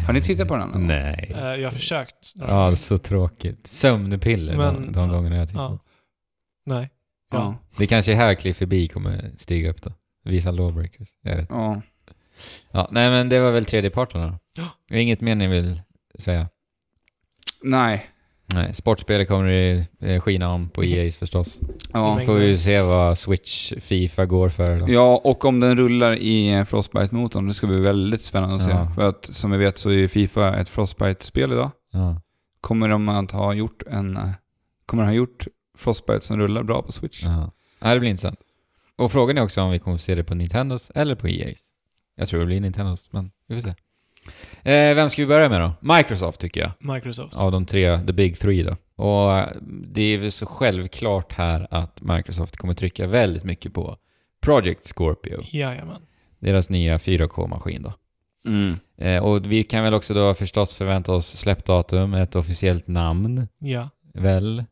S2: Har ni tittat på den? eller?
S3: Nej.
S1: Eh, jag har försökt. några
S3: Ja,
S1: gånger.
S3: så tråkigt. Sömnpiller de,
S1: Men-
S3: de gångerna jag tittat.
S1: ja. Nej.
S2: Ja.
S3: Det kanske är här Cliffy B kommer stiga upp då. Visa Lawbreakers. Jag vet.
S2: ja.
S3: Ja, nej men det var väl tredjeparterna då.
S1: Ja.
S3: Det är Inget mer ni vill säga?
S2: Nej.
S3: Nej, sportspel kommer det eh, skina om på EA's förstås.
S2: Ja.
S1: Men-
S3: Får vi ju se vad Switch Fifa går för då.
S2: ja, och om den rullar i Frostbite-motorn, det ska bli väldigt spännande att se.
S3: Ja.
S2: För att som vi vet så är ju Fifa ett Frostbite-spel idag.
S3: Ja.
S2: Kommer de att ha gjort en... eh, Kommer de ha gjort Frostbite som rullar bra på Switch?
S3: Ja. ja, det blir intressant. Och frågan är också om vi kommer få se det på Nintendos eller på EA's. Jag tror det blir Nintendos, men vi får se. Eh, vem ska vi börja med då? Microsoft tycker jag.
S1: Microsoft.
S3: Av de tre, the big three då. Och eh, det är väl så självklart här att Microsoft kommer trycka väldigt mycket på Project Scorpio.
S1: Jajamän.
S3: Deras nya 4K-maskin då.
S2: Mm.
S3: Eh, och vi kan väl också då förstås förvänta oss släppdatum, ett officiellt namn,
S1: Ja.
S3: väl?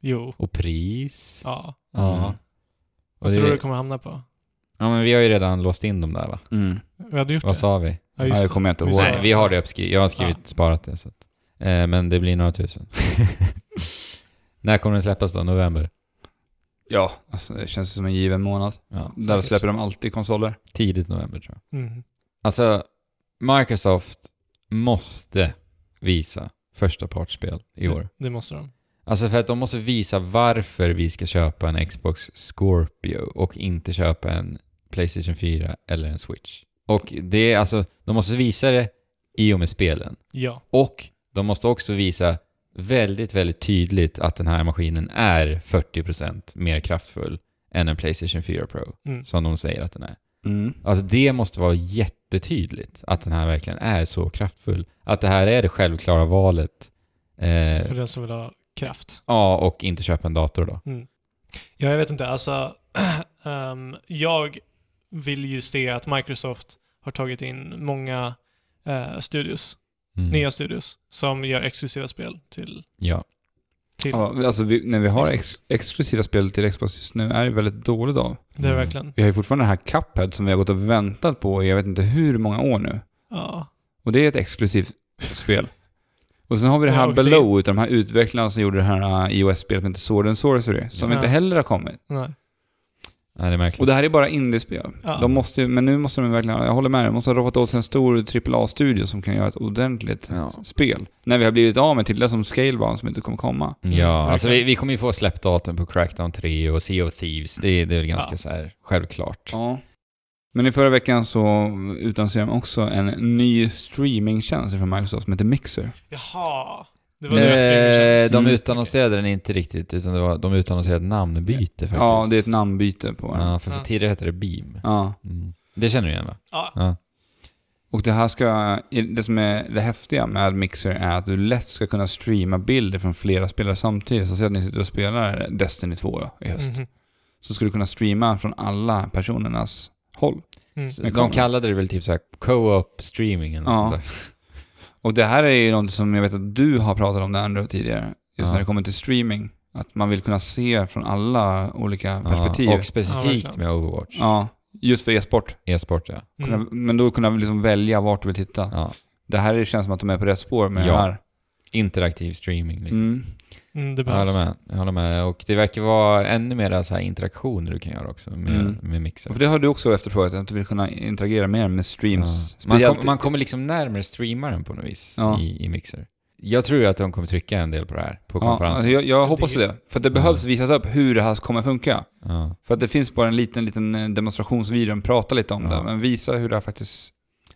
S1: Jo.
S3: Och pris?
S1: Ja.
S3: Ja. Och
S1: Vad tror du
S3: det,
S1: det kommer hamna på?
S3: ja men vi har ju redan låst in dem där va?
S2: Mm.
S1: Vi hade gjort
S3: Vad
S1: det.
S3: sa vi?
S1: Ja,
S2: Ja,
S1: just
S2: jag
S1: det.
S2: kommer inte
S1: Vi
S2: ihåg.
S1: sa-
S3: Nej, vi har det uppskrivet. Jag har skrivit,
S1: Ja.
S3: sparat det. Så att, eh, men det blir några tusen. När kommer den släppas då? November?
S2: Ja, alltså, det känns som en given månad.
S3: Ja,
S2: Där
S1: säkert.
S2: släpper de alltid konsoler.
S3: tidigt november tror jag.
S1: Mm.
S3: Alltså, Microsoft måste visa första partsspel i år.
S1: Det, det måste de.
S3: Alltså för att de måste visa varför vi ska köpa en Xbox Scorpio och inte köpa en Playstation 4 eller en Switch. Och det är alltså, de måste visa det i och med spelen.
S1: Ja.
S3: Och de måste också visa väldigt, väldigt tydligt att den här maskinen är 40% mer kraftfull än en Playstation 4 Pro,
S1: Mm.
S3: som de säger att den är.
S2: Mm.
S3: Alltså det måste vara jättetydligt att den här verkligen är så kraftfull. Att det här är det självklara valet. Eh,
S1: För den som vill ha kraft.
S3: ja, och inte köpa en dator då.
S1: Ja, jag vet inte. Alltså, ehm, jag vill ju se att Microsoft har tagit in många eh, studios,
S3: Mm.
S1: nya studios, som gör exklusiva spel till...
S3: Ja.
S1: till.
S2: Ja, alltså vi, när vi har ex, exklusiva spel till Xbox just nu är det väldigt dåligt av.
S1: Det är
S3: Mm.
S1: verkligen...
S2: Vi har ju fortfarande den här Cuphead som vi har gått och väntat på i jag vet inte hur många år nu.
S1: Ja.
S2: Och det är ett exklusivt spel. Och sen har vi det
S1: Ja,
S2: här
S1: och det-
S2: Below, utav de här utvecklarna som gjorde det här äh, iOS-spelet som heter Sword and Sorcery, som
S1: Ja.
S2: inte heller har kommit.
S1: Nej.
S3: Nej, det är märkligt.
S2: Och det här är bara indiespel.
S1: Ja.
S2: De måste ju, men nu måste de verkligen, jag håller med dig, de måste ha roffat åt sig en stor AAA-studio som kan göra ett ordentligt
S3: Ja.
S2: spel. När vi har blivit av med Tilda som Scalebound som inte kommer komma.
S3: Ja, alltså vi,
S1: verkligen.
S3: vi kommer ju få släppdatum på Crackdown 3 och Sea of Thieves. Det, det är väl ganska
S1: Ja.
S3: så här självklart.
S2: Ja. Men i förra veckan så utannonserade de också en ny streamingtjänst från Microsoft som heter Mixer.
S1: Jaha. Det var deras Mm.
S3: Eh,
S1: streamingtjänst.
S3: de utannonserade den inte riktigt, utan det var, de utannonserade ett namnbyte faktiskt.
S2: Ja, det är ett namnbyte på den. Ja.
S3: Ja, för, för
S1: Ja.
S3: tidigare hette det Beam. Mm. Det känner du igen va?
S1: Ja.
S3: Ja.
S2: Och det här ska, det som är det häftiga med Mixer är att du lätt ska kunna streama bilder från flera spelare samtidigt. Så säg att ni sitter och spelar Destiny 2 då, i
S3: Mm.
S2: höst.
S1: Mhm.
S2: Så ska du kunna streama från alla personernas håll.
S1: Mm.
S3: Så
S2: Men
S3: De
S2: kom.
S3: kallade det väl typ såhär co-op streaming eller något
S2: Ja.
S3: sånt där.
S2: Och det här är ju något som jag vet att du har pratat om det Andrew tidigare. Just
S3: Ja.
S2: när det kommer till streaming. Att man vill kunna se från alla olika perspektiv.
S3: Ja, och
S1: Ja,
S3: specifikt
S1: verkligen.
S3: med Overwatch.
S2: Ja, just för e-sport.
S3: E-sport ja.
S1: Mm.
S2: Kunna, Men då kunna liksom välja vart du vill titta.
S3: ja.
S2: Det här känns som att de är på rätt spår med
S3: Ja.
S2: det här.
S3: Interaktiv streaming liksom.
S2: Mm.
S1: Mm, det
S3: Jag
S1: behövs.
S3: håller med. Jag håller med. Och det verkar vara ännu mer så här interaktioner du kan göra också med,
S2: Mm.
S3: med mixer.
S2: För det har du också efterfrågat, att du vill kunna interagera mer med streams.
S3: Ja. Man,
S2: Speciellt-
S3: kom, man kommer liksom närmare streamaren på något vis
S2: Ja.
S3: i, i mixer. Jag tror ju att de kommer trycka en del på det här på
S2: ja, alltså
S3: konferensen.
S2: jag, jag hoppas det. För att det
S3: Ja.
S2: behövs visas upp hur det här kommer funka.
S3: Ja.
S2: För att det finns bara en liten, liten eh, demonstrationsvideo, de pratar lite om
S3: Ja.
S2: det, men visa hur det här faktiskt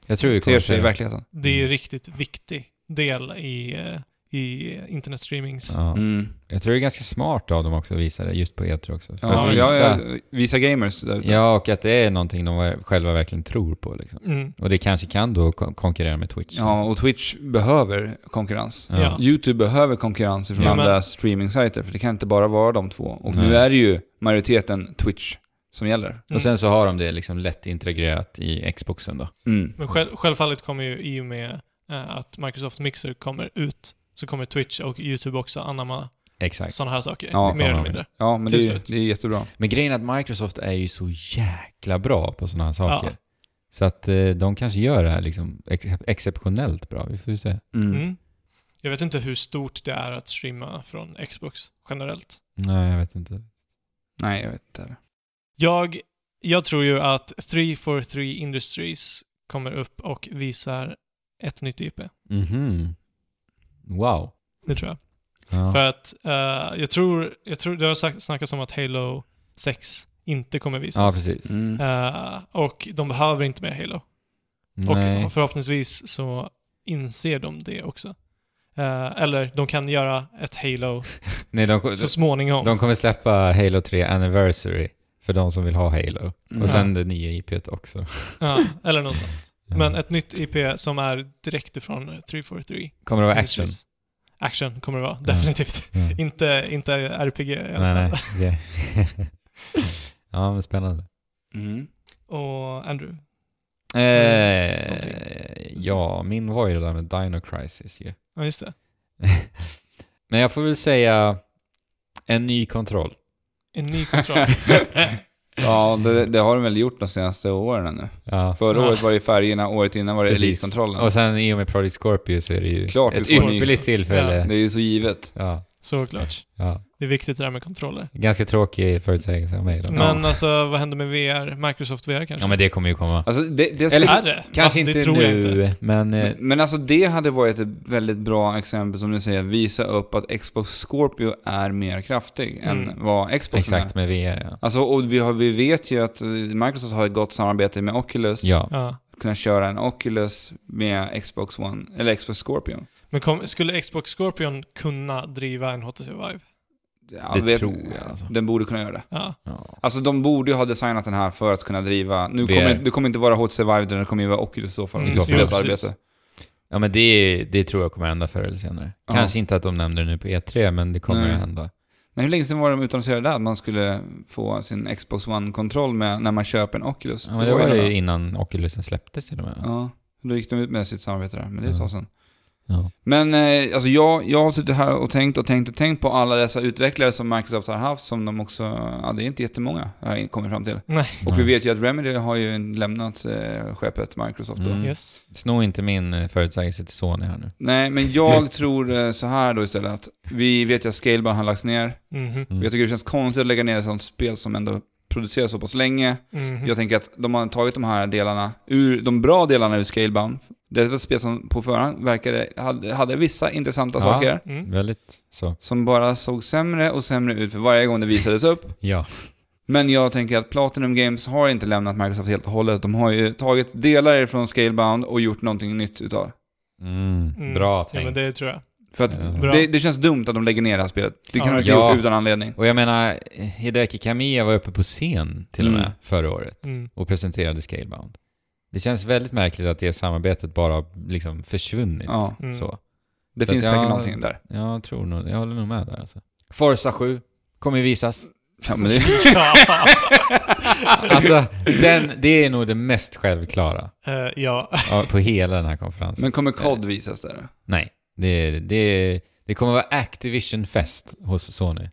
S3: Jag tror vi kommer
S2: ter
S3: se
S2: sig i
S3: det.
S2: verkligheten.
S1: Det är ju riktigt viktig del i, eh, i internetstreamings...
S3: Ja.
S2: Mm.
S3: Jag tror det är ganska smart av dem också att visa det just på E3 också. För
S2: Ja,
S3: att
S2: ja,
S3: visa,
S2: ja,
S3: ja,
S2: visa gamers där ute.
S3: och att det är någonting de ver- själva verkligen tror på liksom.
S1: Mm.
S3: Och det kanske kan då kon- konkurrera med Twitch.
S2: Ja, och Twitch behöver konkurrens.
S3: Ja.
S1: Ja.
S2: YouTube behöver konkurrens från
S1: Ja,
S2: andra
S1: men-
S2: streaming-sajter, för det kan inte bara vara de två. Och
S3: Nej.
S2: nu är det ju majoriteten Twitch som gäller.
S1: Mm.
S3: Och sen så har de det liksom lätt integrerat i Xboxen då.
S2: Mm.
S1: Men själv, självfallet kommer ju i och med eh, att Microsofts Mixer kommer ut så kommer Twitch och YouTube också anamma
S3: Exakt.
S1: sådana här saker.
S2: Ja,
S1: mer eller
S3: kommer
S1: mindre.
S2: Ja, men det
S1: Till
S2: är,
S1: slut.
S2: det är jättebra.
S3: Men grejen är att Microsoft är ju så jäkla bra på sådana här saker. Så att eh, de kanske gör det här liksom ex exceptionellt bra. Vi får ju se.
S2: Mm.
S1: Mm. Jag vet inte hur stort det är att streama från Xbox generellt.
S3: Nej, jag vet inte.
S2: Nej, jag vet inte.
S1: Jag, jag tror ju att 343 Industries kommer upp och visar ett nytt IP.
S3: Mhm. Wow.
S1: Det tror jag.
S3: Ja.
S1: För att eh, jag tror, jag tror, det har sagt- snackats om att Halo 6 inte kommer
S3: ja,
S1: visas.
S3: precis.
S2: Mm.
S1: Eh, och de behöver inte mer Halo.
S2: Mm.
S3: Nej.
S1: Och förhoppningsvis så inser de det också. Eh, eller de kan göra ett Halo
S3: Nej, de,
S1: så småningom.
S3: de kommer släppa Halo 3 Anniversary för de som vill ha Halo.
S2: Mm.
S3: Och sen det nya IPet också.
S1: Ja, eller något sånt.
S3: Ja.
S1: Men ett nytt IP som är direkt ifrån 343.
S3: Kommer det vara action?
S1: Industries. Action kommer det vara, definitivt.
S3: Ja.
S1: inte, inte RPG i alla
S3: Nej,
S1: fall.
S3: nej. Okej. ja, men spännande.
S2: Mm.
S1: Och Andrew. Mm,
S3: Eh, ja, min var ju det där med Dino Crisis ju.
S1: Ja, just det.
S3: Men jag får väl säga en ny kontroll.
S1: En ny kontroll.
S2: Ja, det, det har de väl gjort de senaste åren ännu.
S3: Ja.
S2: Förra
S1: Ja.
S2: året var det färgerna, året innan var det
S3: Precis.
S2: elitkontrollen.
S3: Och sen i och med Project Scorpio så är det ju
S2: Klart
S3: ett
S2: det får ni.
S3: ypperligt
S1: Ja.
S3: tillfälle.
S2: Det är ju så givet.
S3: Ja.
S1: Såklart.
S3: Ja.
S1: Det är viktigt det där med kontroller.
S3: Ganska tråkig förutsägelse av mig då.
S1: Men alltså, vad händer med VR? Microsoft VR kanske?
S3: Ja, men det kommer ju komma.
S2: Alltså, det, det ska,
S3: Eller-
S1: är det?
S3: Kanske
S1: ja,
S3: inte
S1: det tror
S3: nu,
S1: jag inte.
S3: men... eh,
S2: men, men alltså det hade varit ett väldigt bra exempel som du säger, visa upp att Xbox Scorpio är mer kraftig
S1: Mm.
S2: än vad Xbox är.
S3: Exakt, med VR ja.
S2: Alltså, och vi, har, vi vet ju att eh, Microsoft har ett gott samarbete med Oculus.
S3: ja.
S1: Ja.
S2: Kunna köra en Oculus med Xbox One, eller Xbox Scorpio.
S1: Men kom, skulle Xbox Scorpion kunna driva en HTC Vive?
S2: Ja,
S3: Det
S2: vet-
S3: tror jag, alltså.
S2: Den borde kunna göra det.
S1: Ja.
S3: ja.
S2: Alltså de borde ju ha designat den här för att kunna driva... Nu
S3: VR.
S2: kommer, det kommer inte vara HTC Vive, utan det kommer ju vara Oculus i så fall. om
S1: Mm,
S2: det
S3: jo,
S2: är deras
S1: precis.
S2: arbete.
S3: Ja, men det, det tror jag kommer hända förr eller senare.
S2: Ja.
S3: Kanske inte att de nämner det nu på E3, men det kommer
S2: Nej.
S3: att hända.
S2: Nej, hur länge sedan var de utannonserade där? Att man skulle få sin Xbox One-kontroll med när man köper en Oculus.
S3: Ja, men det var
S2: ju...
S3: ju
S2: det.
S3: innan Oculusen släpptes till och med.
S2: Ja, då gick de ut med sitt samarbete där, men det är ett tag sedan.
S3: Ja.
S2: Men eh, alltså jag, jag har suttit här och tänkt och tänkt och tänkt på alla dessa utvecklare som Microsoft har haft som de också, ja det är inte jättemånga har jag kommit fram till.
S1: Nej.
S2: Och vi vet ju att Remedy har ju lämnat eh, skeppet Microsoft då.
S3: Mm.
S1: Yes.
S3: Sno inte min eh, förutsägelse till Sony här nu.
S2: Nej, men jag tror eh, så här då istället att vi vet ju att Scalebound har lagts ner.
S1: Mhm.
S3: Mm.
S2: Jag tycker det känns konstigt att lägga ner ett sånt spel som ändå produceras så pass länge.
S3: Mm.
S1: Mhm.
S2: Jag tänker att de har tagit de här delarna, ur, de bra delarna ur Scalebound. Det var ett spel som på förhand verkade, hade, hade vissa intressanta
S3: Ja.
S2: saker.
S1: Mm.
S3: Väldigt så.
S2: Som bara såg sämre och sämre ut för varje gång det visades upp.
S3: Ja.
S2: Men jag tänker att Platinum Games har inte lämnat Microsoft helt och hållet. De har ju tagit delar från Scalebound och gjort någonting nytt utav
S3: Mm.
S1: Mm.
S3: Bra
S1: Ja,
S3: tänkt.
S1: men det tror jag.
S2: För att
S3: Ja.
S1: Bra.
S2: det, det känns dumt att de lägger ner det här spelet. Det kan
S1: Ja.
S2: de inte
S3: Ja.
S2: gjort utan anledning.
S3: Och jag menar, eh, Hideki Kamiya var uppe på scen till och
S2: Mm.
S3: med förra året
S1: Mm.
S3: och presenterade Scalebound. Det känns väldigt märkligt att det samarbetet bara har liksom försvunnit.
S2: Ja,
S1: Mm.
S3: Så.
S2: det
S3: Så
S2: finns
S3: att jag-
S2: säkert någonting där.
S3: Jag tror nog, jag håller nog med där alltså. Forza 7 kommer ju visas.
S2: Ja, men det,
S1: ja.
S3: Alltså, den, det är nog det mest självklara
S1: Eh, ja.
S3: av- på hela den här konferensen.
S2: men kommer COD visas där?
S3: Nej, det, det, det kommer vara Activision-fest hos Sony.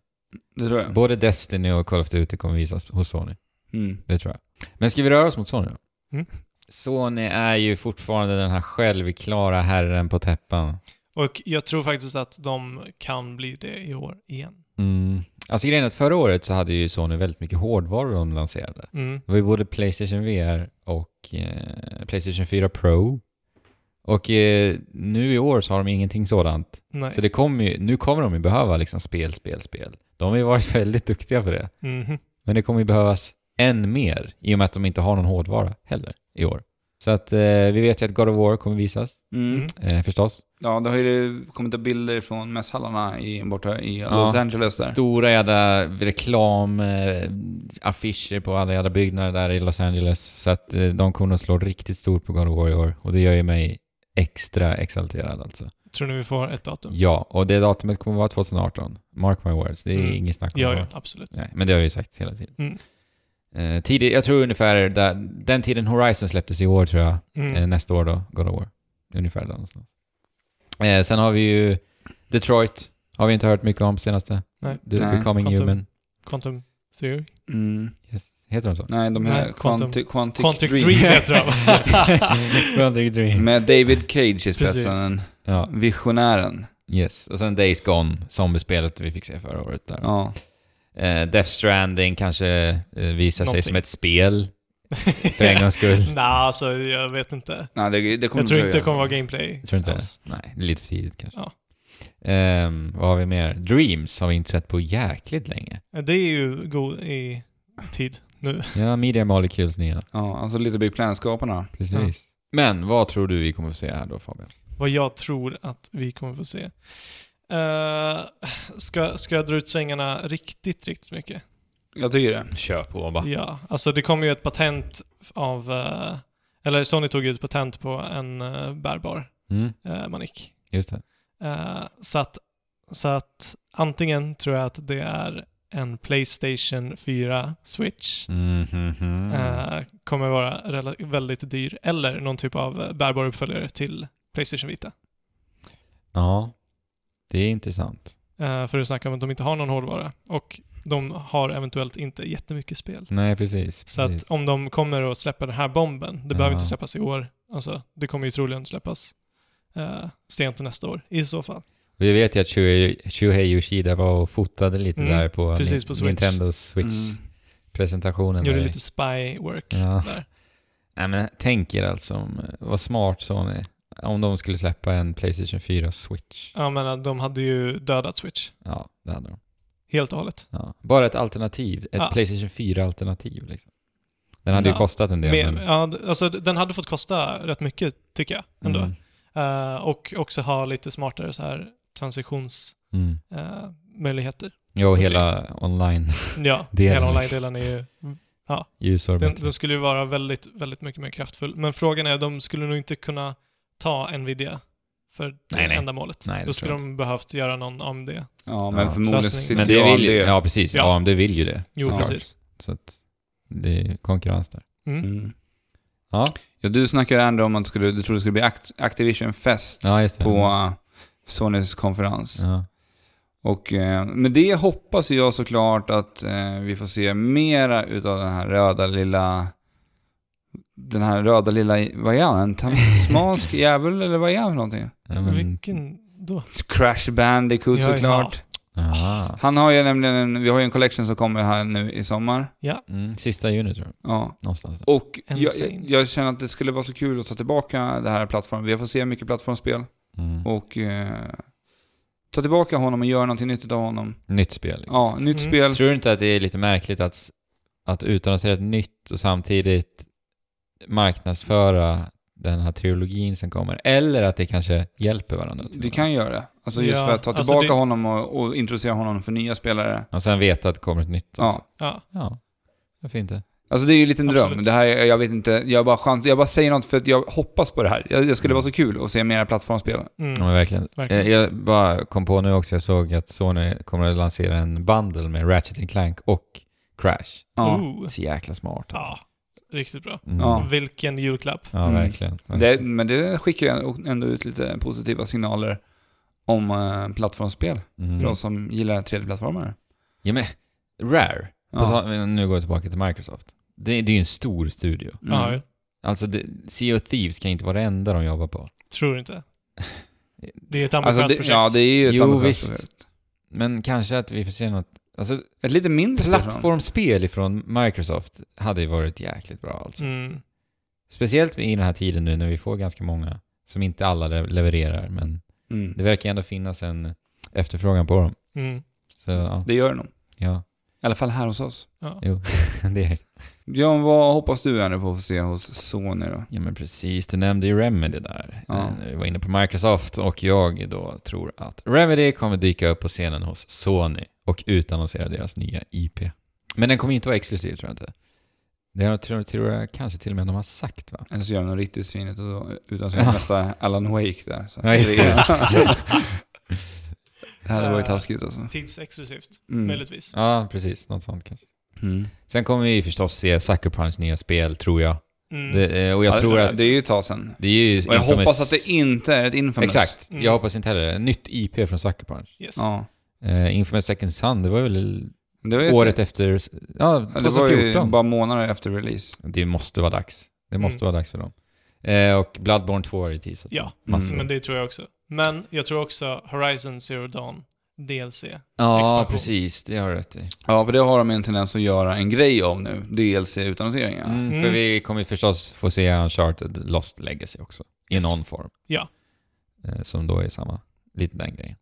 S2: Det tror jag.
S3: Både Destiny och Call of Duty kommer visas hos Sony.
S2: Mm.
S3: Det tror jag. Men ska vi röra oss mot Sony då?
S1: Mm.
S3: Sony är ju fortfarande den här självklara herren på täppan.
S1: Och jag tror faktiskt att de kan bli det i år igen.
S3: Mm. Alltså grejen är att förra året så hade ju Sony väldigt mycket hårdvaror de lanserade.
S1: Mm.
S3: Det var ju både Playstation VR och eh, Playstation 4 Pro. Och eh, nu i år så har de ingenting sådant.
S1: Nej.
S3: Så det kommer ju, nu kommer de ju behöva liksom spel, spel, spel. De har ju varit väldigt duktiga på det.
S1: Mhm.
S3: Men det kommer ju behövas än mer i och med att de inte har någon hårdvara heller i år. Så att eh, vi vet ju att God of War kommer visas,
S2: Mm.
S1: Mm.
S3: eh, förstås.
S2: Ja, det har ju kommit upp bilder från mässhallarna i, borta i Los
S3: Ja.
S2: Angeles där.
S3: Stora jävla reklamaffischer på alla jävla byggnader där i Los Angeles. Så att eh, de kommer att slå riktigt stort på God of War i år. Och det gör ju mig extra exalterad alltså.
S1: Tror ni vi får ett datum?
S3: Ja, och det datumet kommer att vara 2018. Mark my words, det är
S1: Mm.
S3: inget snack om
S1: Ja,
S3: det.
S1: ja, absolut.
S3: Nej, men det har jag ju sagt hela tiden.
S1: Mm.
S3: Eh, tidig, jag tror ungefär där, den tiden Horizon släpptes i år tror jag. Eh,
S1: Mm.
S3: nästa år då, God of War. Ungefär där någonstans. Eh, sen har vi ju Detroit. Har vi inte hört mycket om senaste.
S1: Nej.
S3: The
S2: Nej,
S3: Becoming
S1: Quantum.
S3: Human.
S1: Quantum Theory?
S2: Mm.
S3: Yes. Heter de så?
S2: Nej, de här
S1: Nej, Quantum-
S2: Quantic, Quantic,
S1: Quantic Dream,
S2: Dream.
S1: heter de.
S3: Quantic Dream.
S2: Med David Cage i
S1: Precis.
S2: spetsen.
S3: Mm. Ja,
S2: Visionären.
S3: yes. Och sen Days Gone, zombiespelet vi fick se förra året där.
S2: Ja.
S3: Eh, Death Stranding kanske eh, visar sig
S1: Någonting.
S3: som ett spel, för en gångs skull.
S1: Nej, alltså jag vet inte.
S2: Nej, det, det kommer
S1: Jag tror inte det
S2: dröja.
S1: kommer vara gameplay.
S3: Jag tror inte det.
S1: alls.
S3: Nej, det är lite för tidigt kanske.
S1: Ja.
S3: Ehm, vad har vi mer? Dreams har vi inte sett på jäkligt länge.
S1: Det är ju god i tid nu.
S3: Ja, Media Molecules nya.
S2: Ja, alltså lite Big Planet-skaparna.
S3: Precis. Men vad tror du vi kommer få se här då Fabian?
S1: Vad jag tror att vi kommer få se. Eh, ska, ska jag dra ut svängarna riktigt, riktigt mycket?
S2: Jag tycker det.
S3: Kör på bara.
S1: Ja, alltså det kom ju ett patent av... eh, eller Sony tog ju ett patent på en eh, bärbar
S3: Mm,
S1: eh, manik.
S3: just det.
S1: Eh, så, att, så att antingen tror jag att det är en Playstation 4 Switch.
S3: Mm, mm, mm.
S1: eh, kommer vara rela- väldigt dyr. Eller någon typ av eh, bärbar uppföljare till Playstation Vita.
S3: Ja, det är intressant.
S1: Eh, för att snacka om att de inte har någon hårdvara. Och de har eventuellt inte jättemycket spel.
S3: Nej, precis.
S1: Så
S3: precis.
S1: att om de kommer och släpper den här bomben, det behöver
S3: Ja.
S1: inte släppas i år. Alltså, det kommer ju troligen släppas eh, sent nästa år i så fall.
S3: Vi vet ju att Shuhei- Shuhei Yoshida var och fotade lite
S1: Mm,
S3: där på,
S1: precis,
S3: Ni-
S1: på Switch. Mm.
S3: Nintendo
S2: Mm.
S3: Switch-presentationen.
S1: Gjorde
S3: där.
S1: lite spy work
S3: Ja.
S1: där.
S3: Nej men tänk er alltså om, vad smart Sony, om de skulle släppa en Playstation 4 Switch.
S1: Jag menar, eh, de hade ju dödat Switch.
S3: Ja, det hade de.
S1: Helt och hållet.
S3: Ja. Bara ett alternativ, ett
S1: Ja.
S3: Playstation 4-alternativ liksom. Den hade
S1: Ja.
S3: ju kostat en del.
S1: Men,
S3: men,
S1: ja, d- alltså, d- den hade fått kosta rätt mycket, tycker jag. Ändå.
S3: Mm,
S1: Eh, och också ha lite smartare så här transitionsmöjligheter.
S3: mm.
S1: Eh, möjligheter.
S3: Jo, och hela online
S1: ja,
S3: Delen,
S1: hela
S3: liksom.
S1: online-delen är ju...
S3: ljusår.
S1: Den, den skulle ju vara väldigt, väldigt mycket mer kraftfull. Men frågan är, de skulle nog inte kunna ta Nvidia för det
S3: Nej, nej.
S1: ändamålet.
S3: Nej, det
S1: Då
S3: tror
S1: skulle
S3: jag
S1: de behövt göra någon AMD.
S2: Ja, men
S3: Ja.
S2: förmodligen
S1: Lösning.
S2: sitter
S3: men det
S2: jag
S3: vill ju,
S2: det.
S3: ja precis,
S1: Ja.
S3: ja. AMD vill ju det.
S1: Jo,
S2: Såklart.
S1: precis.
S3: Så att det är konkurrens där.
S1: Mm.
S2: Mm.
S3: Ja,
S2: Ja, du snackade ändå om att du, skulle, du trodde det skulle bli Act- Activision-fest
S3: ja just det.
S2: på eh, Sonys konferens.
S3: Ja.
S2: Och eh, med det hoppas jag såklart att eh, vi får se mera utav den här röda lilla... Den här röda lilla... Vad är han? En tasmansk jävel eller vad är han för någonting?
S3: Ja, men-
S1: Vilken då?
S2: Crash Bandicoot
S1: Ja, ja.
S2: såklart.
S3: Aha.
S2: Han har ju nämligen en, vi har ju en collection som kommer här nu i sommar.
S3: Mm, sista juni tror jag,
S2: Ja.
S3: någonstans. där.
S2: Och jag,
S1: Insane.
S2: jag känner att det skulle vara så kul att ta tillbaka det här plattformen. Vi får se mycket plattformsspel
S3: Mm.
S2: och eh, ta tillbaka honom och göra någonting nyttigt av honom.
S3: Nytt spel. liksom.
S2: Ja, nytt
S1: Mm.
S2: spel.
S3: Tror du inte att det är lite märkligt att, att utannonsera ett nytt och samtidigt marknadsföra den här trilogin som kommer? Eller att det kanske hjälper varandra? till
S2: Det
S3: och med.
S2: kan göra det. Alltså just
S1: Ja,
S2: för att ta
S1: alltså
S2: tillbaka
S1: det-
S2: honom och, och introducera honom för nya spelare.
S3: Och sen veta att det kommer ett nytt
S2: Ja.
S3: också.
S1: Ja.
S3: Ja. Varför inte?
S2: Alltså det är ju en liten dröm.
S1: Absolut.
S2: Det här, är- jag vet inte, jag bara, chans, jag bara säger något för att jag hoppas på det här. Jag, jag skulle
S3: Mm.
S2: vara så kul att se mera plattformsspel.
S3: Ja,
S1: Mm.
S3: men verkligen.
S1: Verkligen.
S3: Eh, Jag bara kom på nu också, jag såg att Sony kommer att lansera en bundle med Ratchet Clank och Crash.
S2: Ja.
S1: Ooh.
S3: Så jäkla smart. alltså.
S1: ja, riktigt bra.
S3: Mm.
S2: Ja.
S1: Vilken julklapp.
S3: Ja,
S2: Mm.
S3: verkligen.
S2: Det, men det skickar ju ändå ut lite positiva signaler om eh, plattformsspel.
S3: Mm.
S2: För de som gillar 3D-plattformar.
S3: Ja, men Rare. På
S2: Ja.
S3: tal- nu går jag tillbaka till Microsoft. Det, det är ju en stor studio.
S2: Mm.
S1: Ja, jag
S3: Alltså, det, Sea of Thieves kan inte vara det enda de jobbar på.
S1: tror inte. Det är ett ambitiöst
S2: Alltså det,
S1: projekt.
S2: ja, det är ju ett
S3: Jo,
S2: ambitiöst
S3: visst.
S2: projekt.
S3: Men kanske att vi får se något... Alltså,
S2: Ett lite mindre spel, tror
S3: plattformsspel ifrån Microsoft hade ju varit jäkligt bra alltså.
S1: Mm.
S3: Speciellt i den här tiden nu när vi får ganska många som inte alla le- levererar, men
S2: jag. Mm.
S3: det verkar ändå finnas en efterfrågan på dem.
S1: Mm.
S3: Så ja,
S2: Det gör det nog.
S3: ja.
S2: I alla fall här hos oss.
S1: Ja.
S3: Jo, det är...
S2: John, vad hoppas du här nu på att få se hos Sony då?
S3: Ja men precis, du nämnde ju Remedy där. Eh,
S2: Ja.
S3: Vi var inne på Microsoft och jag då tror att Remedy kommer dyka upp på scenen hos Sony och utannonsera deras nya IP. Men den kommer inte vara exklusiv tror jag inte. Det har- tror, tror jag kanske till och med de har sagt va?
S2: Eller så gör de något riktigt svinigt och då, utan så
S3: Ja.
S2: nästa Alan Wake där. Så.
S3: Ja, just
S2: det. hade varit taskigt alltså.
S1: Tidsexklusivt,
S2: Mm.
S1: möjligtvis.
S3: Ja, precis. Något sånt kanske.
S2: Mm.
S3: Sen kommer vi förstås se Sucker Punch nya spel, tror jag.
S1: Mm.
S3: Det, eh, och jag
S2: Ja,
S3: tror att...
S2: Det är ju ett tag sedan.
S3: Det är ju
S2: Och jag
S3: Infamous-
S2: hoppas att det inte är ett Infamous.
S3: Exakt.
S1: Mm.
S3: Jag hoppas inte heller det. Nytt IP från Sucker Punch.
S1: Yes.
S2: Ja.
S3: Eh, Infamous Second Sun, det var väl
S2: Det var ju
S3: året efter... Ja,
S2: Ja, Det var ju
S3: 2014.
S2: bara månader efter release.
S3: Det måste vara dags. Det måste
S1: Mm.
S3: vara dags för dem. Eh, och Bloodborne 2 har ju teasat.
S1: Ja,
S3: Massor.
S1: Alltså, men det tror jag också. Men jag tror också Horizon Zero Dawn DLC.
S3: Ja,
S1: Expansion.
S3: precis. Det har du rätt i.
S2: Ja, för det har de en tendens att göra en grej av nu. DLC-utannonseringar.
S3: Mm,
S1: Mm.
S3: För vi kommer förstås få se Uncharted Lost Legacy också. I
S1: Yes.
S3: någon form.
S1: Ja.
S3: Eh, som då är samma. Lite den grejen.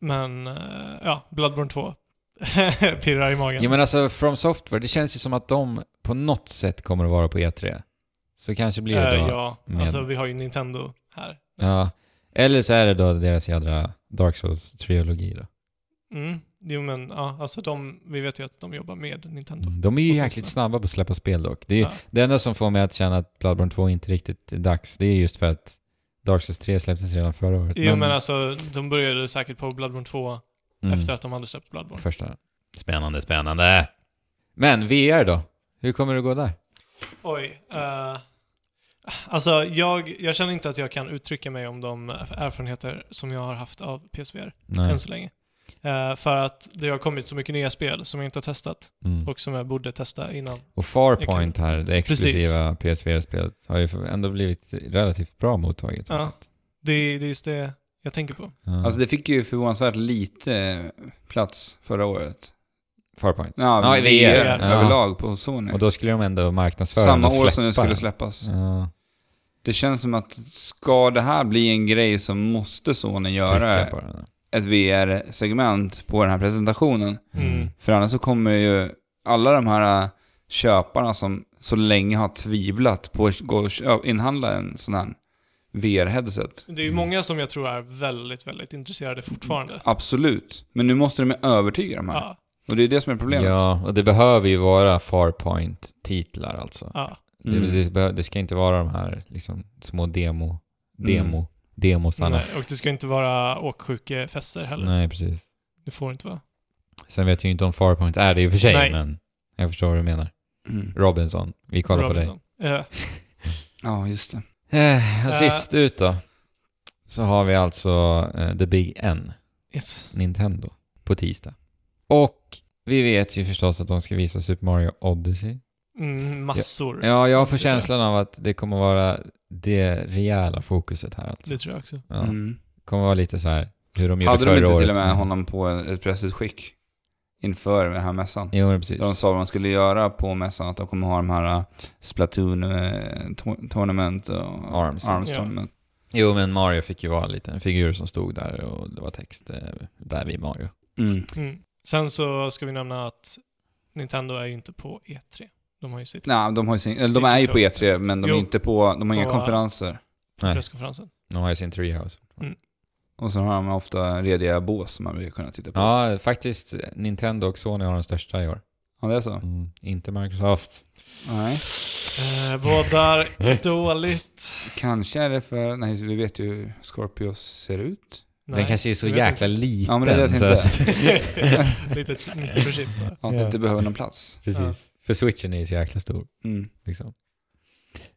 S1: Men, eh, ja, Bloodborne 2 pirrar i magen.
S3: Ja men alltså From Software, det känns ju som att de på något sätt kommer att vara på E3. Så kanske blir det
S1: Eh,
S3: då...
S1: ja,
S3: med-
S1: alltså vi har ju Nintendo här.
S3: Ja.
S1: näst.
S3: Eller så är det då deras jädra Dark Souls-trilogi då.
S1: Mm. Jo men, ja, alltså de, vi vet ju att de jobbar med Nintendo.
S3: Mm. De är ju
S1: Åtminstone.
S3: jäkligt snabba på att släppa spel dock. Det, är, ju-
S1: Ja.
S3: det enda som får mig att känna att Bloodborne 2 inte riktigt är dags, det är just för att Dark Souls 3 släpptes redan förra året.
S1: Jo men alltså, de började säkert på Bloodborne 2
S3: mm,
S1: efter att de hade släppt Bloodborne.
S3: Första. Spännande, spännande. Men VR då? Hur kommer det gå där?
S1: Oj. eh, alltså, jag, jag känner inte att jag kan uttrycka mig om de erfarenheter som jag har haft av PSVR
S3: Nej.
S1: än så länge. Eh, för att det har kommit så mycket nya spel som jag inte har testat
S3: Mm.
S1: och som jag borde testa innan.
S3: Och
S1: Jag kan-
S3: Farpoint här, det exklusiva PSVR-spelet, har ju ändå blivit relativt bra mottaget.
S1: Ja, det, det är just det jag tänker på.
S3: Ja.
S2: Alltså det fick ju förvånansvärt lite eh, plats förra året.
S3: Farpoint.
S2: Ja,
S3: Ja, i
S2: VR
S3: VR. Ja.
S2: överlag på Sony.
S3: Och då skulle de ändå marknadsföra den
S2: Samma
S3: och
S2: år som det
S3: släppa
S2: skulle
S3: den. Mm.
S2: släppas.
S3: Ja,
S2: Det känns som att ska det här bli en grej så måste Sony göra
S3: trycka på den.
S2: ett VR-segment på den här presentationen.
S1: Mm.
S2: För annars så kommer ju alla de här äh, köparna som så länge har tvivlat på att gå och kö- inhandla en sån här VR-headset.
S1: Det är ju många som jag tror är väldigt, väldigt intresserade fortfarande.
S2: Absolut. Men nu måste de ju övertyga
S3: Mm.
S2: de här.
S1: Ja,
S2: Och det är det som är problemet.
S3: Ja, och det behöver ju vara Farpoint-titlar alltså.
S1: ja.
S2: Mm.
S3: Det, det, behö- det ska inte vara de här liksom, små demo, demo,
S2: Mm.
S3: demosarna.
S1: Nej, och det ska inte vara åksjukefester heller.
S3: Nej. precis.
S1: Det får inte vara.
S3: Sen vet jag ju inte om Farpoint är det i och för sig,
S1: Nej.
S3: men jag förstår vad du menar.
S2: Mm.
S3: Robinson, vi kollar på dig.
S1: dig.
S2: Ja, just det.
S3: Eh, och
S1: Eh.
S3: sist ut då, så har vi alltså eh, The Big N,
S1: yes.
S3: Nintendo, på tisdag. Och vi vet ju förstås att de ska visa Super Mario Odyssey.
S1: mm, massor.
S3: Ja, jag får
S1: Odyssey, ja.
S3: känslan av att det kommer vara det rejäla fokuset här alltså.
S1: Det tror jag också.
S3: Ja.
S2: Mm.
S3: kommer vara lite så här hur de gjorde
S2: Hade
S3: förra
S2: de inte
S3: året.
S2: till och med honom på ett pressutskick inför den här mässan?
S3: Jo, men precis.
S2: Där de sa vad de skulle göra på mässan, att de kommer ha de här äh, Splatoon eh, to- Tournament och
S3: Arms.
S2: Arms
S1: Ja.
S2: Tournament.
S3: Jo, men Mario fick ju vara en liten figur som stod där och det var text eh, där vid Mario.
S2: Mm.
S1: Mm. Sen så ska vi nämna att Nintendo är ju inte på E3. De har ju sitt
S2: Nej, de, har ju sin, eller de är ju på E3, men de, är
S1: typ Jo.
S2: inte på, de har inga
S1: Och,
S2: konferenser.
S3: Nej.
S1: presskonferensen.
S3: De har ju sin treehouse.
S2: Och så har de ofta rediga bås som man vill kunna titta på. Ja,
S3: Ja, faktiskt Nintendo och Sony har de största i år.
S2: det är så?
S3: Mm. Inte Microsoft.
S2: Nej.
S1: Eh, bådar dåligt.
S2: Kanske är det för... Nej, vi vet ju hur Scorpios ser ut.
S1: Nej,
S3: Den kanske är så
S1: jag vet
S3: jäkla liten.
S2: Ja, men det är det jag
S3: så
S2: tänkte.
S3: att-
S1: inte. Litet mikrochip bara.
S2: Att det inte behöver någon plats.
S3: Precis. För switchen är ju så jäkla stor.
S2: Mm.
S3: Liksom.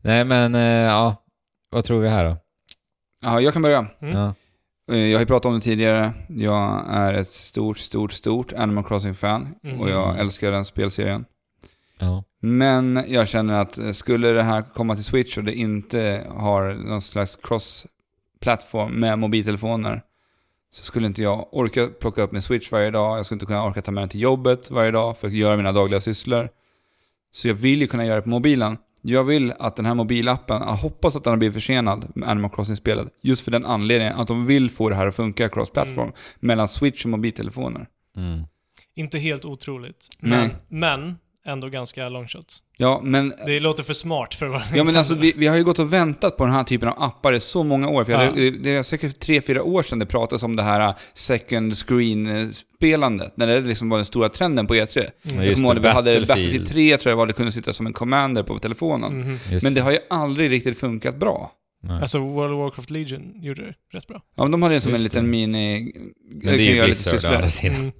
S3: Nej, men eh, ja. Vad tror vi här då?
S2: Ja, jag kan börja.
S1: Mm.
S3: Ja.
S2: Eh, Jag har ju pratat om det tidigare. Jag är ett stort, stort, stort Animal Crossing-fan.
S1: Mm.
S2: Och jag älskar den spelserien.
S3: ja.
S2: Men jag känner att eh, skulle det här komma till Switch och det inte har någon slags cross-plattform med mobiltelefoner så skulle inte jag orka plocka upp min Switch varje dag. Jag skulle inte kunna orka ta med den till jobbet varje dag för att göra mina dagliga sysslor. Så jag vill ju kunna göra det på mobilen. Jag vill att den här mobilappen, jag hoppas att den har blivit försenad med Animal Crossing-spelet, just för den anledningen att de vill få det här att funka cross-platform
S1: Mm.
S2: mellan Switch och mobiltelefoner.
S3: Mm.
S1: Inte helt otroligt.
S2: Nej.
S1: Men, men ändå ganska long shot.
S2: Ja, men...
S1: Det låter för smart för att vara
S2: Ja men alltså
S1: Nintendo.
S2: vi, vi har ju gått och väntat på den här typen av appar i så många år. För jag
S1: Ja.
S2: hade, det är säkert tre, fyra år sedan det pratades om det här eh, second screen-spelandet. När det liksom var den stora trenden på E3.
S3: Ja,
S2: Jag
S1: Mm.
S3: just
S2: kommer ihåg
S3: det,
S2: när vi hade
S3: Battlefield. Mm.
S2: Battlefield 3 tror jag var, det kunde sitta som en commander på telefonen.
S1: Mhm.
S3: Just
S2: Men det har ju aldrig riktigt funkat bra.
S3: Nej.
S1: Alltså World of Warcraft Legion gjorde det rätt bra.
S2: Ja, men de hade ju som
S3: Just
S2: en liten
S3: det.
S2: mini...
S3: Men det är ju Blizzard å
S2: sysslor.
S3: andra sidan.
S1: Mm.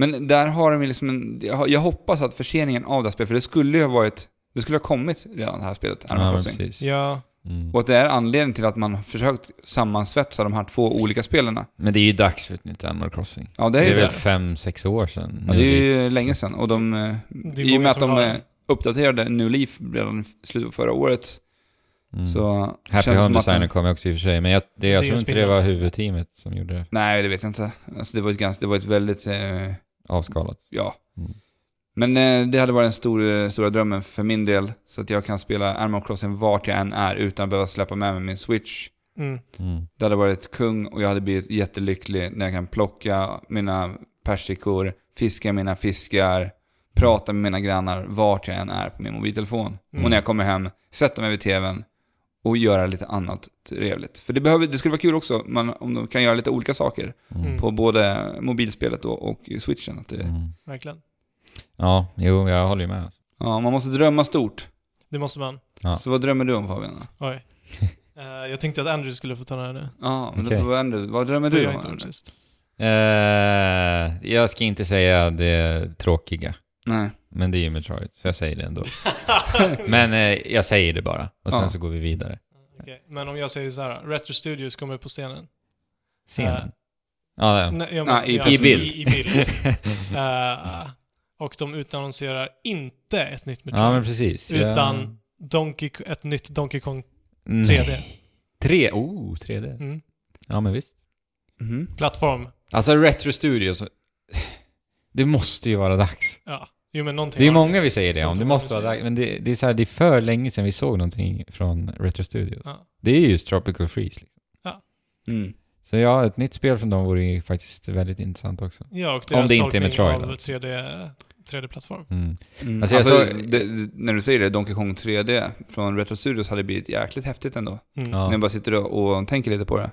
S2: Men där har de ju liksom en, jag- Jag hoppas att förseningen av det här spelet, för det skulle ju ha varit... Det skulle ha kommit redan det här spelet, Animal
S3: Ja, men
S2: Crossing.
S3: precis.
S1: Ja,
S3: Mm.
S2: Och att det är anledningen till att man har försökt sammansvetsa de här två olika spelarna.
S3: Men det är ju dags för ett nytt Animal Crossing.
S2: Ja, det är
S3: Det
S2: ju
S3: är väl
S2: det.
S3: fem, sex år sedan.
S2: Ja, det är ju länge sedan. Och de... eh,
S1: Det är
S2: I och
S1: många
S2: med att
S1: som
S2: de
S1: har
S2: eh,
S1: det.
S2: uppdaterade New Leaf redan i slutet av förra året,
S3: Mm.
S2: så...
S3: Happy
S2: känns det som
S3: Home
S2: att de-
S3: Designer kom ju också i och för sig, men jag, det, jag
S1: Det är
S3: tror
S1: en
S3: inte det var
S1: spin-off.
S3: huvudteamet som gjorde det
S2: Nej, det vet jag inte. Alltså, det var ett, ganska, det var ett väldigt... Eh,
S3: avskalat.
S2: ja.
S3: Mm.
S2: Men eh, det hade varit den stor, eh, stora drömmen för min del. Så att jag kan spela Animal Crossing vart jag än är utan att behöva släppa med mig min Switch.
S1: mm.
S3: Mm.
S2: Det hade varit kung och jag hade blivit jättelycklig när jag kan plocka mina persikor, fiska mina fiskar, prata med mina grannar vart jag än är på min mobiltelefon.
S1: Mm.
S2: Och när jag kommer hem, sätta mig vid tvn och göra lite annat trevligt. För det, behöver, det skulle vara kul också man, om de kan göra lite olika saker
S1: Mm.
S2: på både mobilspelet och, och i switchen. Att det,
S3: Mm.
S1: verkligen.
S3: Ja, jo, jag håller ju med. Alltså.
S2: ja, man måste drömma stort.
S1: Det måste man.
S3: Ja.
S2: Så vad drömmer du om Fabian?
S1: Oj. Eh, jag tänkte att Andrew skulle få ta den här nu.
S2: Ja, men
S3: Okej.
S2: då får du ändå, vad drömmer
S1: Det har
S2: du
S1: jag
S2: om?
S1: inte gjort
S2: Anders?
S1: sist.
S3: Eh, jag ska inte säga det tråkiga,
S2: Nej.
S3: men det är ju Metroid, så jag säger det ändå. men eh, jag säger det bara, och sen
S2: Ja.
S3: så går vi vidare.
S1: Okej, Men om jag säger så här, Retro Studios kommer på scenen.
S3: Scenen. Ja, ja.
S1: Nej, jag
S2: Nej,
S1: menar-
S2: i
S1: ja, alltså,
S3: bild.
S1: I, i bild. Eh, och de utannonserar inte ett nytt Metroid.
S3: ja men precis. Jag-
S1: Utan Donkey, ett nytt Donkey Kong 3D.
S3: Nej. 3D? Oh, 3D.
S1: Mm.
S3: Ja, men visst.
S2: Mhm.
S1: Plattform.
S3: Alltså Retro Studios, det måste ju vara dags.
S1: Ja. Jo men någonting
S3: Det är
S1: har
S3: många vi säger det om, det måste vara dags. Men det, det, är så här, det är för länge sedan vi såg någonting från Retro Studios.
S1: Ja.
S3: Det är just Tropical Freeze. Liksom.
S2: Mm.
S3: Så ja, ett nytt spel från dem vore ju faktiskt väldigt intressant också.
S1: Ja, och
S3: Om
S1: deras
S3: det inte är
S1: tolkning
S3: Metroid,
S1: av
S3: alltså.
S1: 3D, 3D-plattform.
S3: Mm.
S2: Mm.
S3: Alltså,
S2: Alltså,
S3: jag såg-
S2: det, det, när du säger det, Donkey Kong 3D från Retro Studios hade blivit jäkligt häftigt ändå.
S1: Mm.
S3: Ja.
S2: När jag bara sitter och, och tänker lite på det.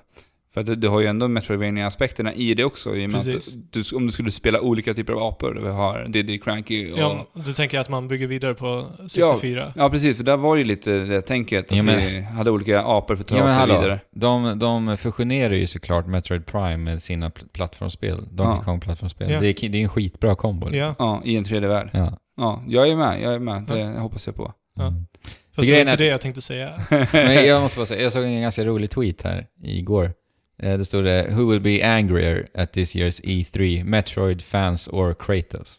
S2: För att du, du har ju ändå Metroidvania-aspekterna i det också. I och med
S1: Precis.
S2: att du, om du skulle spela olika typer av apor, vi har Diddy Cranky och...
S1: Ja,
S2: Ja.
S1: du tänker att man bygger vidare på 64?
S2: precis. För där var det ju lite det tänket. Att
S3: Ja, men-
S2: vi hade olika apor för att ta
S3: Ja, men
S2: sig
S3: hallå,
S2: vidare.
S3: de, de fusionerar ju såklart Metroid Prime med sina pl- plattformsspel. Donkey
S2: Ja.
S3: Kong-plattformsspel.
S1: Ja.
S3: Det, är, ki- det är en skitbra kombo.
S1: Ja.
S3: Liksom.
S2: Ja, i en 3D-värld.
S3: Ja.
S2: Ja, jag är med. Jag är med. Det
S1: Ja.
S2: hoppas jag på.
S1: Ja.
S3: Mm.
S1: Fast det är
S3: grejen
S1: inte
S3: är att-
S1: det jag tänkte säga.
S3: Men jag måste bara säga, jag såg en ganska rolig tweet här igår. Eh, Det stod det “Who will be angrier at this year's E3? Metroid fans or Kratos?”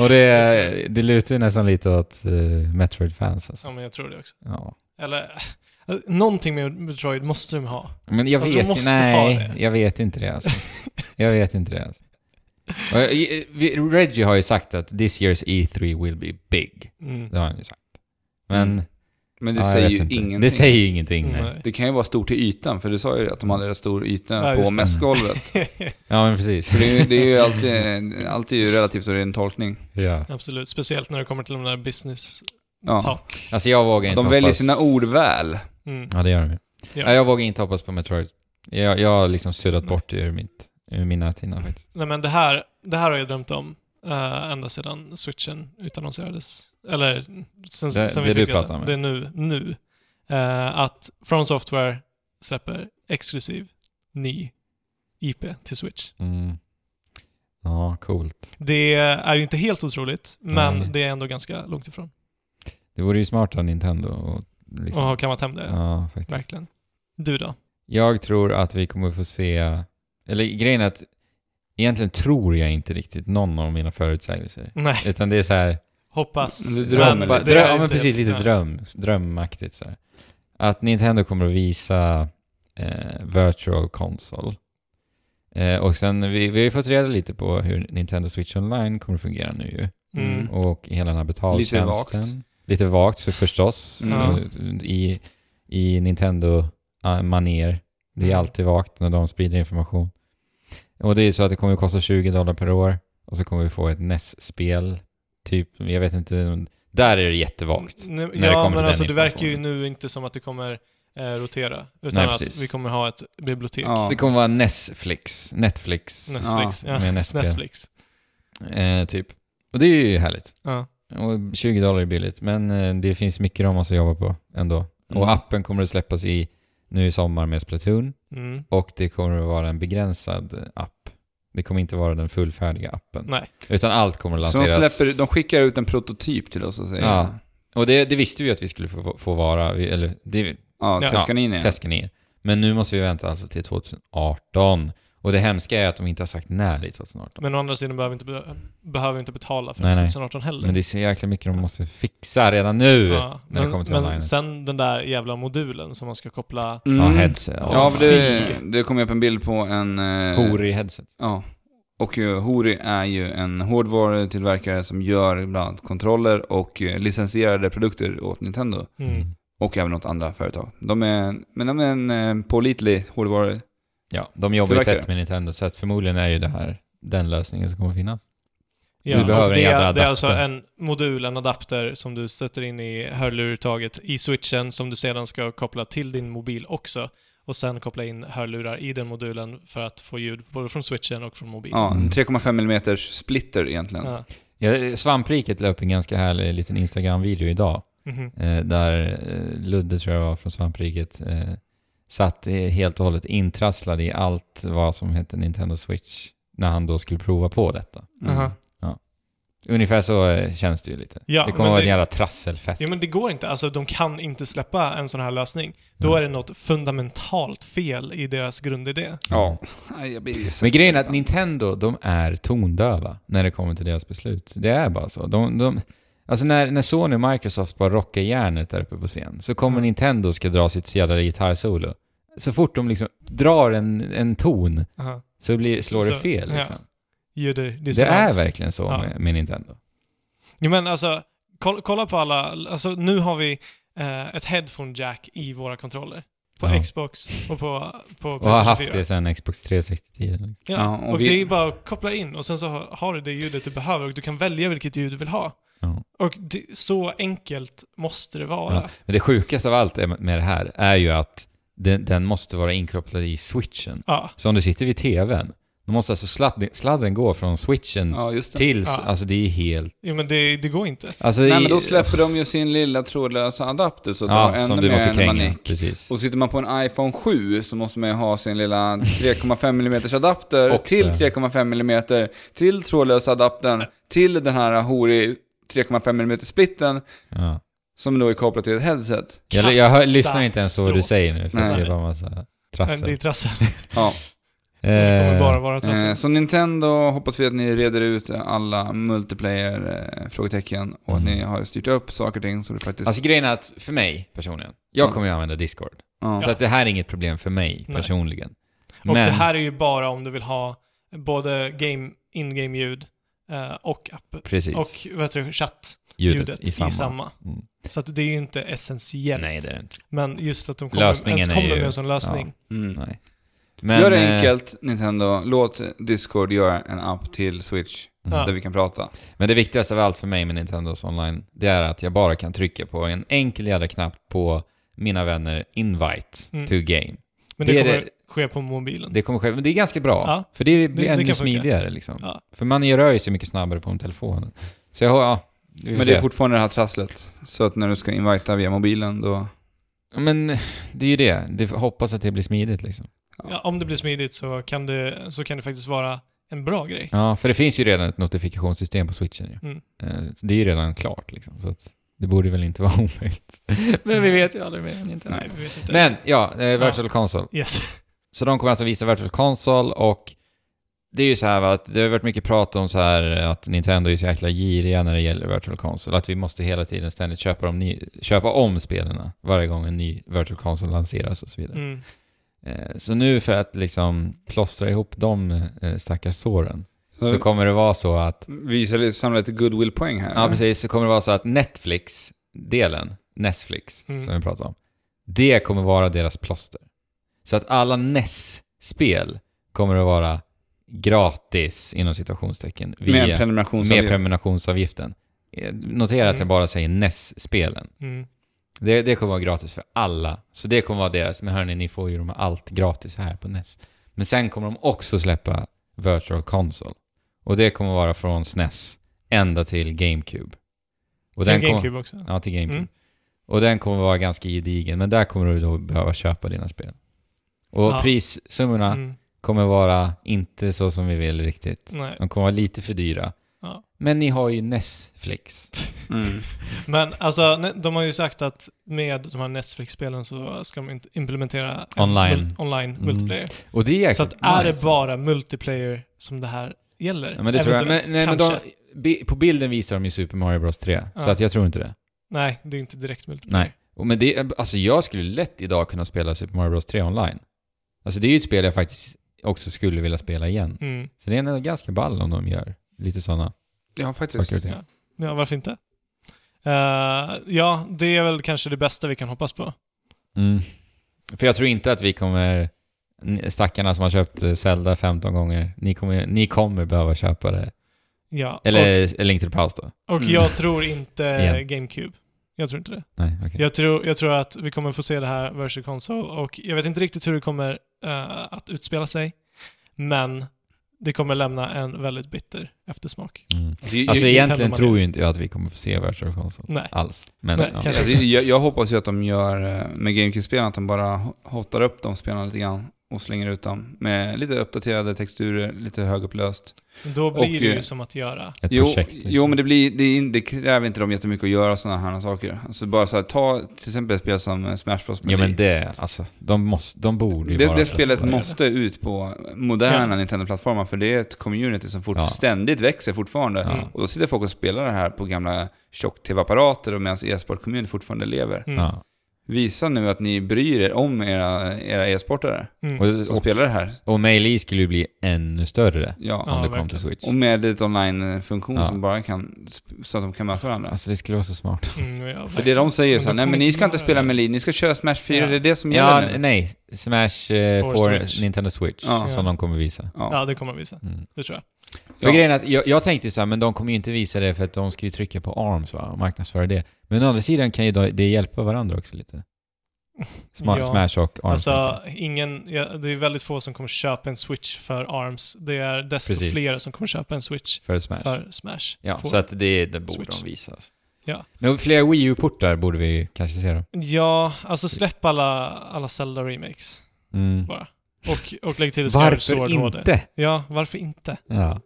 S3: Och det, det lutar ju nästan lite åt eh, Metroid fans alltså.
S1: ja, men jag tror det också.
S3: Ja.
S1: Eller, eh, någonting med Metroid måste de ha.
S3: Men jag
S1: Alltså,
S3: vet
S1: måste
S3: ju, nej,
S1: ha det.
S3: jag vet inte det alltså. Jag vet inte det alltså. Och, jag- vi- Reggie har ju sagt att “This year's E3 will be big”.
S1: Mm.
S3: Det har han ju sagt. Men...
S2: Mm. Men det
S3: ja, jag
S2: säger
S3: vet
S2: ju
S3: inte.
S2: ingenting.
S3: Det säger Mm. ju ingenting, nej.
S1: Nej.
S2: Det kan ju vara stort till ytan, för du sa ju att de hade stor yta
S1: Ja,
S2: på
S1: just det.
S2: mässgolvet.
S3: Ja, men precis.
S2: För det är, ju- det är ju alltid, alltid ju relativt och det är en tolkning.
S3: Ja.
S1: Absolut, speciellt när det kommer till de där business
S2: Ja.
S1: talk.
S3: Alltså jag vågar inte
S2: De väljer
S3: hoppas-
S2: sina ord väl.
S1: Mm.
S3: Ja, det gör de ju.
S1: Ja.
S3: Nej, jag vågar inte hoppas på Metroid. Jag, jag har liksom suddat bort ur, mitt, ur mina tinnar faktiskt.
S1: Nej men det här, det här har jag drömt om eh, ända sedan switchen utannonserades. Eller sen,
S3: Det-
S1: sen
S3: det
S1: vi
S3: du
S1: fick veta.
S3: pratar om, ja.
S1: Det är nu. nu Eh, att From Software släpper exklusiv ny IP till Switch.
S3: Mm. Ja, coolt.
S1: Det är ju inte helt otroligt, men
S3: Nej.
S1: det är ändå ganska långt ifrån.
S3: Det vore ju smart av Nintendo och
S1: Och
S3: liksom...
S1: har kammat hem det.
S3: Ja, faktiskt.
S1: Verkligen. Du då?
S3: Jag tror att vi kommer få se... Eller grejen är att egentligen tror jag inte riktigt någon av mina förutsägelser.
S1: Nej,
S3: Utan det är så här...
S1: hoppas.
S2: Du drömmer
S1: men
S2: lite.
S3: Bara,
S1: det är
S3: dröm, ja, men
S1: inte
S3: precis. Lite
S1: helt-
S3: dröm, drömmaktigt så här. Att Nintendo kommer att visa eh, Virtual Console. Eh, och sen, vi, vi har ju fått reda lite på hur Nintendo Switch Online kommer att fungera nu ju.
S1: Mm.
S3: Och hela den här betaltjänsten.
S2: Lite vagt.
S3: Lite vagt så förstås.
S2: Mm.
S3: Så, I, I Nintendo-manér. Det är
S1: Mm.
S3: alltid vagt när de sprider information. Och det är så att det kommer att kosta 20 dollar per år och så kommer vi få ett NES-spel, typ, jag vet inte, där är det jättevagt.
S1: N-
S3: det kommer
S1: Ja,
S3: till
S1: men
S3: den
S1: alltså det verkar ju
S3: informationen.
S1: nu inte som att det kommer eh, rotera. Utan
S3: Nej,
S1: att
S3: precis.
S1: vi kommer ha ett bibliotek.
S2: Ja.
S3: Det kommer vara NES-flix, Netflix,
S1: Netflix.
S3: Ja,
S1: Ja.
S3: med Netflix.
S1: Netflix.
S3: eh, typ. Och det är ju härligt.
S1: Ja.
S3: Och 20 dollar är billigt, men eh, det finns mycket de måste jobba på ändå.
S2: Mm.
S3: Och appen kommer att släppas i nu i sommar med Splatoon
S1: Mm.
S3: och det kommer att vara en begränsad app. Det kommer inte vara den fullfärdiga appen.
S1: Nej.
S3: Utan allt kommer att
S2: Så de,
S3: lanseras.
S2: släpper, de skickar ut en prototyp till oss och säger...
S3: Ja. Och det, det visste vi att vi skulle få, få vara, vi, eller det
S2: Ja,
S1: Ja.
S2: testar ni in igen?
S3: testar ni. Men nu måste vi vänta alltså till 2018. Och det hemska är att de inte har sagt när det är 2018.
S1: Men å andra sidan behöver vi inte, be- behöver vi inte betala för
S3: Nej, nej.
S1: 2018 heller.
S3: Men det är så jäkla mycket de måste fixa redan nu.
S1: ja.
S3: när det kommer
S1: Men,
S3: till online.
S1: men sen den där jävla modulen som man ska koppla...
S2: Mm.
S3: Ja, headset.
S2: Ja, men det,
S1: Fy.
S2: det kom ju upp en bild på en... eh,
S3: Hor i headset.
S2: Ja. Och eh, Hori är ju en hårdvarutillverkare som gör bland annat kontroller och eh, licensierade produkter åt Nintendo.
S1: Mm.
S2: Och även åt andra företag. De är, men de är en eh, pålitlig hårdvaru.
S3: Ja, de jobbar ju
S2: Tillverkare.
S3: tätt med Nintendo, så att förmodligen är ju det här den lösningen som kommer finnas.
S1: Ja,
S3: Du behöver
S1: och det,
S3: en jävla
S1: är, det är alltså
S3: adapter.
S1: en modul, en adapter, som du sätter in i hörlurtaget i switchen som du sedan ska koppla till din mobil också. Och sen koppla in hörlurar i den modulen för att få ljud både från switchen och från mobilen.
S2: Ja,
S3: Mm.
S2: 3,5 mm splitter egentligen.
S1: Ja.
S3: Ja, Svampriket la upp en ganska härlig liten Instagram-video idag,
S1: Mhm.
S3: eh, där eh, Ludde, tror jag var, från Svampriket, eh, satt eh, helt och hållet intrasslad i allt vad som hette Nintendo Switch när han då skulle prova på detta.
S2: Mm.
S1: Aha.
S3: Ungefär så eh, känns det ju lite.
S1: Ja,
S3: det kommer
S1: men
S3: vara
S1: det-
S3: en jävla trasselfest.
S1: Ja, men det går inte. Alltså, de kan inte släppa en sån här lösning. Då
S3: Mm.
S1: är det något fundamentalt fel i deras grundidé.
S2: Ja. Aj, jag blir så-
S3: Men grejen är att Nintendo, de är tondöva när det kommer till deras beslut. Det är bara så. De, de, alltså när, när Sony och Microsoft bara rockar järnet där uppe på scen, så kommer
S1: Mm.
S3: Nintendo och ska dra sitt jävla gitarrsolo. Så fort de liksom drar en, en ton
S1: Aha.
S3: så blir, slår
S1: Så-
S3: det fel.
S1: ja,
S3: Liksom.
S1: Ljuddissonans.
S3: det är verkligen så
S1: Ja.
S3: med, med Nintendo.
S1: Ja, men alltså, kolla, kolla på alla... Alltså, nu har vi eh, ett headphone jack i våra kontroller. På
S3: Ja.
S1: Xbox och på, på
S3: Och har haft
S1: 4.
S3: det sedan Xbox liksom. 360-tiden.
S1: Ja,
S2: Ja,
S1: och,
S2: och vi-
S1: det är bara att koppla in och sen så har- har du det ljudet du behöver och du kan välja vilket ljud du vill ha.
S3: Ja.
S1: Och det, så enkelt måste det vara.
S3: Ja. Men det sjukaste av allt är med- med det här är ju att den, den måste vara inkopplad i switchen.
S1: Ja.
S3: Så om du sitter vid tvn, då måste alltså sladden, sladden gå från switchen
S2: Ja, just det.
S3: tills,
S1: Ja.
S3: alltså det är helt...
S1: Jo, men det, det går inte.
S3: Alltså
S2: Nej,
S3: i-
S2: men då släpper de ju sin lilla trådlösa adapter så att de har
S3: Ja, som
S2: ännu
S3: du
S2: mer
S3: måste
S2: en
S3: kränga.
S2: manik.
S3: Precis.
S2: Och sitter man på en iPhone 7 så måste man ju ha sin lilla 3,5 mm adapter
S3: Också.
S2: till 3,5 mm, till trådlösa adaptern, till den här Hori 3,5 mm splitten
S3: Ja.
S2: som då är kopplad till ett headset.
S3: Jag, jag hör, lyssnar inte ens på vad du
S1: Katastrof.
S3: säger nu, för
S2: Nej.
S3: det är bara massa
S1: Men
S3: trassel.
S1: det är trassel.
S2: Ja.
S1: Det kommer
S3: Eh,
S1: bara vara trassel.
S2: Eh, så Nintendo hoppas vi att ni reder ut alla multiplayer-frågetecken och att
S3: Mm.
S2: ni har styrt upp saker och ting så det faktiskt...
S3: Alltså grejen är att, för mig personligen, jag
S2: Ja.
S3: kommer ju använda Discord. Så
S2: ja.
S3: Alltså att det här är inget problem för mig
S1: Nej.
S3: personligen.
S1: Och det här är ju bara om du vill ha både game, in-game-ljud eh, och app
S3: precis,
S1: och vad heter det, chatt
S3: ljudet,
S1: ljudet
S3: i samma. Mm.
S1: Så att det är ju inte essentiellt.
S3: Nej, det är det inte.
S1: Men just att de kommer,
S3: Lösningen
S1: ens
S3: är
S1: kommer
S3: ju-
S1: med en sån lösning.
S2: Mm.
S3: Nej. Men,
S2: Gör det
S3: eh,
S2: enkelt, Nintendo. Låt Discord göra en app till Switch
S3: Mm.
S1: Ja.
S2: där vi kan prata.
S3: Men det viktigaste av allt för mig med Nintendos online, det är att jag bara kan trycka på en enkel jävla knapp på mina vänner invite
S1: Mm.
S3: to game.
S1: Men det,
S3: Det är
S1: kommer
S3: det-
S1: ske på mobilen.
S3: Det kommer ske, men det är ganska bra.
S1: Ja.
S3: För det
S1: Det-
S3: blir
S1: det
S3: ännu
S1: kan funka.
S3: smidigare liksom.
S1: Ja.
S3: För man rör ju sig mycket snabbare på en telefon. Så jag har, ja, vi får
S2: Men det är
S3: se.
S2: fortfarande det här trasslet. Så att när du ska invita via mobilen då...
S3: men det är ju det. det. Hoppas att det blir smidigt liksom.
S1: Ja, om det blir smidigt så kan det, så kan det faktiskt vara en bra grej.
S3: Ja, för det finns ju redan ett notifikationssystem på switchen ju.
S1: Mm.
S3: Eh, så Det är ju redan klart liksom. Så att det borde väl inte vara omöjligt. men vi vet ju aldrig med Nintendo.
S1: Nej, vi vet inte.
S3: Men ja, eh, Virtual Console.
S1: Yes.
S3: Så de kommer alltså visa Virtual Console och det är ju så här va, att det har varit mycket prat om så här att Nintendo är så jäkla giriga när det gäller Virtual Console. Att vi måste hela tiden ständigt köpa, dem ny, köpa om spelen varje gång en ny Virtual Console lanseras och så vidare.
S1: Mm.
S3: Eh, Så nu för att liksom plåstra ihop de eh, stackars såren så
S2: Så
S3: kommer det vara så att,
S2: vi säljer- samlar lite goodwill-poäng här.
S3: ja precis, så kommer det vara så att Netflix-delen, Netflix
S1: Mm.
S3: som vi pratade om, det kommer vara deras plåster. Så att alla NES-spel kommer att vara gratis, inom citationstecken, via,
S2: Med
S3: med,
S2: prenumerationsavgift.
S3: prenumerationsavgiften. Eh, Notera att
S1: Mm.
S3: jag bara säger NES-spelen.
S1: Mm.
S3: Det, det kommer vara gratis för alla. Så det kommer vara deras, men hörni, ni får ju de här allt gratis här på NES. Men sen kommer de också släppa Virtual Console. Och det kommer vara från SNES ända till GameCube. Och
S1: Till
S3: kommer-
S1: GameCube också.
S3: Ja, till GameCube.
S1: Mm.
S3: Och den kommer vara ganska gedigen, men där kommer du då behöva köpa dina spel. Och
S1: Ja.
S3: prissummorna
S1: Mm.
S3: kommer vara inte så som vi vill riktigt.
S1: Nej.
S3: De kommer vara lite för dyra.
S1: Ja.
S3: Men ni har ju E Netflix.
S2: Mm.
S1: Men alltså, ne- de har ju sagt att med de här Netflix-spelen så ska de inte implementera en
S3: Online.
S1: mul- online
S3: Mm.
S1: multiplayer.
S3: Och det är jäkligt
S1: Så att är det
S3: nice.
S1: bara multiplayer som det här gäller?
S3: Ja, men det tror jag. Men,
S1: Eventuellt,
S3: nej, men de,
S1: kanske.
S3: bi- på bilden visar de ju Super Mario Bros 3, så
S1: Ja.
S3: att jag tror inte det.
S1: Nej, det är inte direkt multiplayer.
S3: Nej. Och men det, alltså jag skulle lätt idag kunna spela Super Mario Bros 3 online. Alltså det är ju ett spel jag faktiskt också skulle vilja spela igen.
S1: Mm.
S3: Så det är ändå ganska ball om de gör lite sådana
S2: Ja, faktiskt.
S3: saker och ting.
S1: Ja. Ja, varför inte? Eh, ja, det är väl kanske det bästa vi kan hoppas på.
S3: Mm. För jag tror inte att vi kommer, ni- stackarna som har köpt eh, Zelda 15 gånger, ni kommer, ni kommer behöva köpa det.
S1: Ja.
S3: Eller A Link to the Past då?
S1: och och
S2: Mm.
S1: jag tror inte
S3: Igen.
S1: GameCube. Jag tror inte det.
S3: Nej, okej.
S1: Jag tror, jag tror att vi kommer få se det här Virtual Console och jag vet inte riktigt hur det kommer eh, att utspela sig. Men det kommer lämna en väldigt bitter eftersmak.
S3: Mm.
S2: Alltså,
S3: Alltså
S1: Nintendo
S3: egentligen
S1: Mario.
S3: tror ju inte jag att vi kommer få se Virtual Console
S1: Nej.
S3: alls. Men,
S1: Nej,
S3: ja.
S1: kanske.
S2: Alltså, jag, jag hoppas ju att de gör eh, med GameCube-spelen, att de bara ho- hotar upp de spelarna lite grann och slänger ut dem med lite uppdaterade texturer, lite högupplöst.
S1: Då blir
S2: Och,
S1: det ju
S2: eh,
S1: som att göra.
S3: Ett
S2: Jo,
S3: projekt. liksom.
S2: jo, men det, blir, det, är in- det kräver inte dem jättemycket att göra sådana här saker. Alltså bara så här, ta till exempel ett spel som eh, Smash Bros.
S3: Ja men det, alltså, de, måste, de borde ju
S2: det,
S3: bara
S2: det
S3: släppa
S2: spelet
S1: det.
S2: måste ut på moderna
S1: Ja.
S2: Nintendo-plattformar för det är ett community som fort,
S3: Ja.
S2: ständigt växer fortfarande.
S3: Ja.
S2: Och då sitter folk och spelar det här på gamla tjock-tv-apparater och medan e-sport-community fortfarande lever.
S1: Mm.
S3: Ja.
S2: Visa nu att ni bryr er om era, era e-sportare
S1: Mm.
S2: som
S3: Och, och,
S2: spelar det här.
S3: och Melee skulle ju bli ännu större
S2: Ja.
S1: Ja,
S3: om det kom
S1: verkligen.
S3: till Switch.
S2: Och med ett online-funktion
S3: Ja.
S2: som bara kan, så att de kan möta varandra.
S3: Alltså det skulle vara så smart.
S1: Mm, ja,
S2: För det de säger
S1: Men
S2: så här,
S1: då
S2: nej
S1: får
S2: men
S1: ni
S2: ni
S1: inte
S2: ska inte
S1: göra
S2: spela
S1: det."
S2: Melee, ni ska köra Smash 4,
S1: Ja.
S2: det är det som
S3: Ja,
S2: gäller nu.
S3: nej. Smash eh,
S1: For
S3: for
S1: Switch.
S3: Nintendo Switch,
S2: Ja.
S3: som de kommer visa.
S2: Ja.
S1: ja, det kommer de visa.
S3: Mm.
S1: Det tror jag.
S3: För
S2: Ja.
S3: grejen är att jag, jag tänkte ju så här, men de kommer ju inte visa det för att de ska ju trycka på ARMS va, och marknadsföra det. Men å andra sidan kan ju då- det hjälpa varandra också lite. Sma,
S1: Ja.
S3: Smash och ARMS.
S1: Alltså, ingen, ja, det är väldigt få som kommer köpa en Switch för ARMS. Det är desto
S3: Precis.
S1: fler som kommer köpa en Switch
S3: för Smash.
S1: för Smash.
S3: ja,
S1: Får-
S3: så att det, det borde
S1: Switch.
S3: de visa. Alltså.
S1: Ja.
S3: Men fler Wii U-portar borde vi kanske se då.
S1: ja, alltså släpp alla, alla Zelda-remakes
S3: Mm.
S1: bara. Och, och lägg till Skyward
S3: Varför
S1: Sword HD.
S3: inte?
S1: Ja, varför inte?
S3: Ja.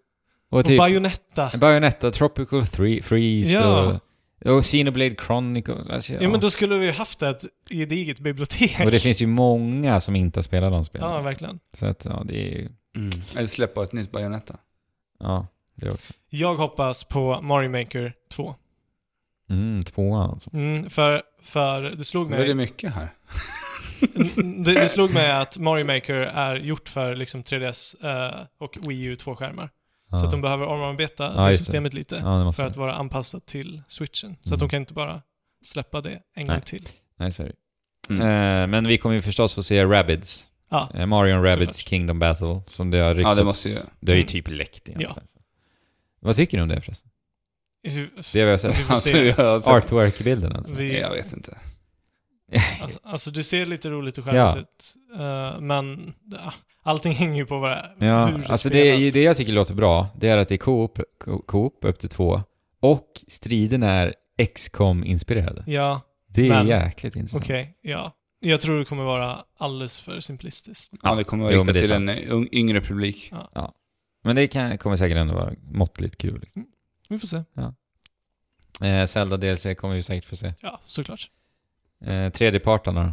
S1: Och,
S3: Och typ
S1: Bayonetta.
S3: Bayonetta, Tropical Three, Freeze
S1: Ja.
S3: och, och Xenoblade Chronicles. Alltså,
S1: Ja, men då skulle vi ju haft ett gediget bibliotek.
S3: Och det finns ju många som inte har spelat de spelen.
S1: Ja, verkligen.
S3: så att, ja, det är ju...
S2: Mm. Eller släppa ett nytt Bayonetta.
S3: Ja, det också.
S1: Jag hoppas på Mario Maker 2.
S3: Mm, tvåan alltså.
S1: Mm, för, för det slog
S2: Det är
S1: mig...
S2: väldigt mycket här.
S1: Mm, det, det slog mig att Mario Maker är gjort för liksom 3DS eh, och Wii U 2-skärmar.
S3: Ja.
S1: Så att de behöver omarbeta
S3: Ja,
S1: det
S3: just det.
S1: systemet lite
S3: Ja, det måste
S1: för att vara anpassat till switchen. Så att
S3: Mm.
S1: de kan inte bara släppa det en gång
S3: Nej.
S1: till.
S3: Nej, sorry.
S2: Mm.
S3: Eh, men vi kommer ju förstås få se Rabbids.
S1: Ja.
S3: Eh, Mario and Rabbids
S1: Såklart.
S3: Kingdom Battle, som det har ryktats...
S2: det måste ju-
S3: Det har ju
S1: Mm.
S3: typ läckt egentligen. Vad tycker du om det förresten? Det alltså,
S1: Vi
S3: har vi har sett.
S1: Vi får se.
S2: jag har sett-
S3: Artwork i bilden alltså.
S2: Jag vet inte.
S1: Alltså, alltså det ser lite roligt och charmigt ut. eh, men ja, allting hänger ju på vad,
S3: Ja,
S1: hur det
S3: alltså det,
S1: spelas.
S3: är ju det jag tycker låter bra, det är att det är Coop, Co- Coop upp till två, och striden är xcom inspirerade
S1: Ja,
S3: Det är
S1: Men-
S3: jäkligt intressant.
S1: okej. ja. Jag tror det kommer vara alldeles för simplistiskt.
S2: Ja, det kommer att
S3: jo,
S2: rikta
S3: men det är
S2: till
S3: sant.
S2: en ung- yngre publik.
S3: Men det kan, kommer säkert ändå vara måttligt kul. Liksom.
S1: Vi får se.
S3: Eh, Zelda DLC kommer vi säkert få se.
S1: Ja, såklart.
S3: Eh, tredjepartarna då?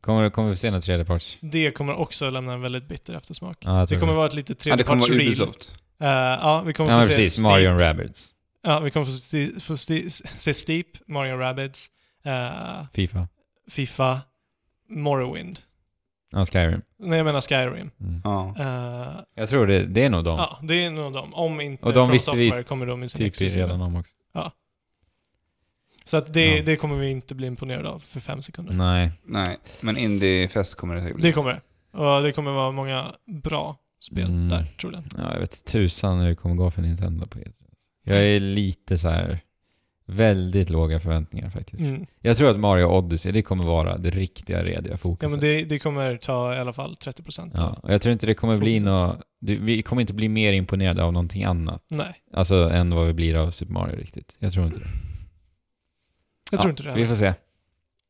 S3: Kommer, kommer vi få se några tredjeparts?
S1: Det kommer också lämna en väldigt bitter eftersmak.
S3: Ja, jag tror
S1: Det kommer
S3: det.
S1: vara ett litet
S2: Ja, det kommer vara
S1: tredjepartsreel.
S2: Ubisoft.
S1: Eh, ja, vi kommer
S3: Ja,
S1: få
S3: men
S1: se
S3: precis.
S1: Steep.
S3: Mario and Rabbids.
S1: Ja, vi kommer få, sti- få sti- se Steep, Mario Rabbids, eh,
S3: Fifa.
S1: Fifa, Morrowind.
S3: Ja, Skyrim.
S1: Nej, jag menar Skyrim.
S3: Mm.
S2: Ja.
S1: Eh,
S3: Jag tror det, det är nog de.
S1: Ja, det är nog de. Om inte
S3: Och de
S1: From
S3: visste vi
S1: Software kommer de i sin
S3: typ vi
S1: exklusiva.
S3: redan om också.
S1: Så att det,
S3: Ja.
S1: det kommer vi inte bli imponerade av för fem sekunder.
S3: Nej. Mm.
S2: Nej, men Indiefest kommer det säkert bli.
S1: Det kommer det. Och det kommer vara många bra spel
S3: Mm.
S1: där, tror jag.
S3: Ja, jag vet tusan hur det kommer gå för Nintendo på E3. Jag är lite så här väldigt låga förväntningar faktiskt.
S1: Mm.
S3: Jag tror att Mario Odyssey, det kommer vara det riktiga rediga
S1: Ja,
S3: fokuset.
S1: men det, det kommer ta i alla fall 30%
S3: Ja,
S1: av.
S3: och jag tror inte det kommer bli
S1: Fokuset.
S3: nå det- vi kommer inte bli mer imponerade av någonting annat.
S1: Nej,
S3: Alltså än vad vi blir av Super Mario riktigt. Jag tror inte det.
S1: jag
S3: Ja,
S1: tror inte det
S3: Vi
S1: heller.
S3: får se.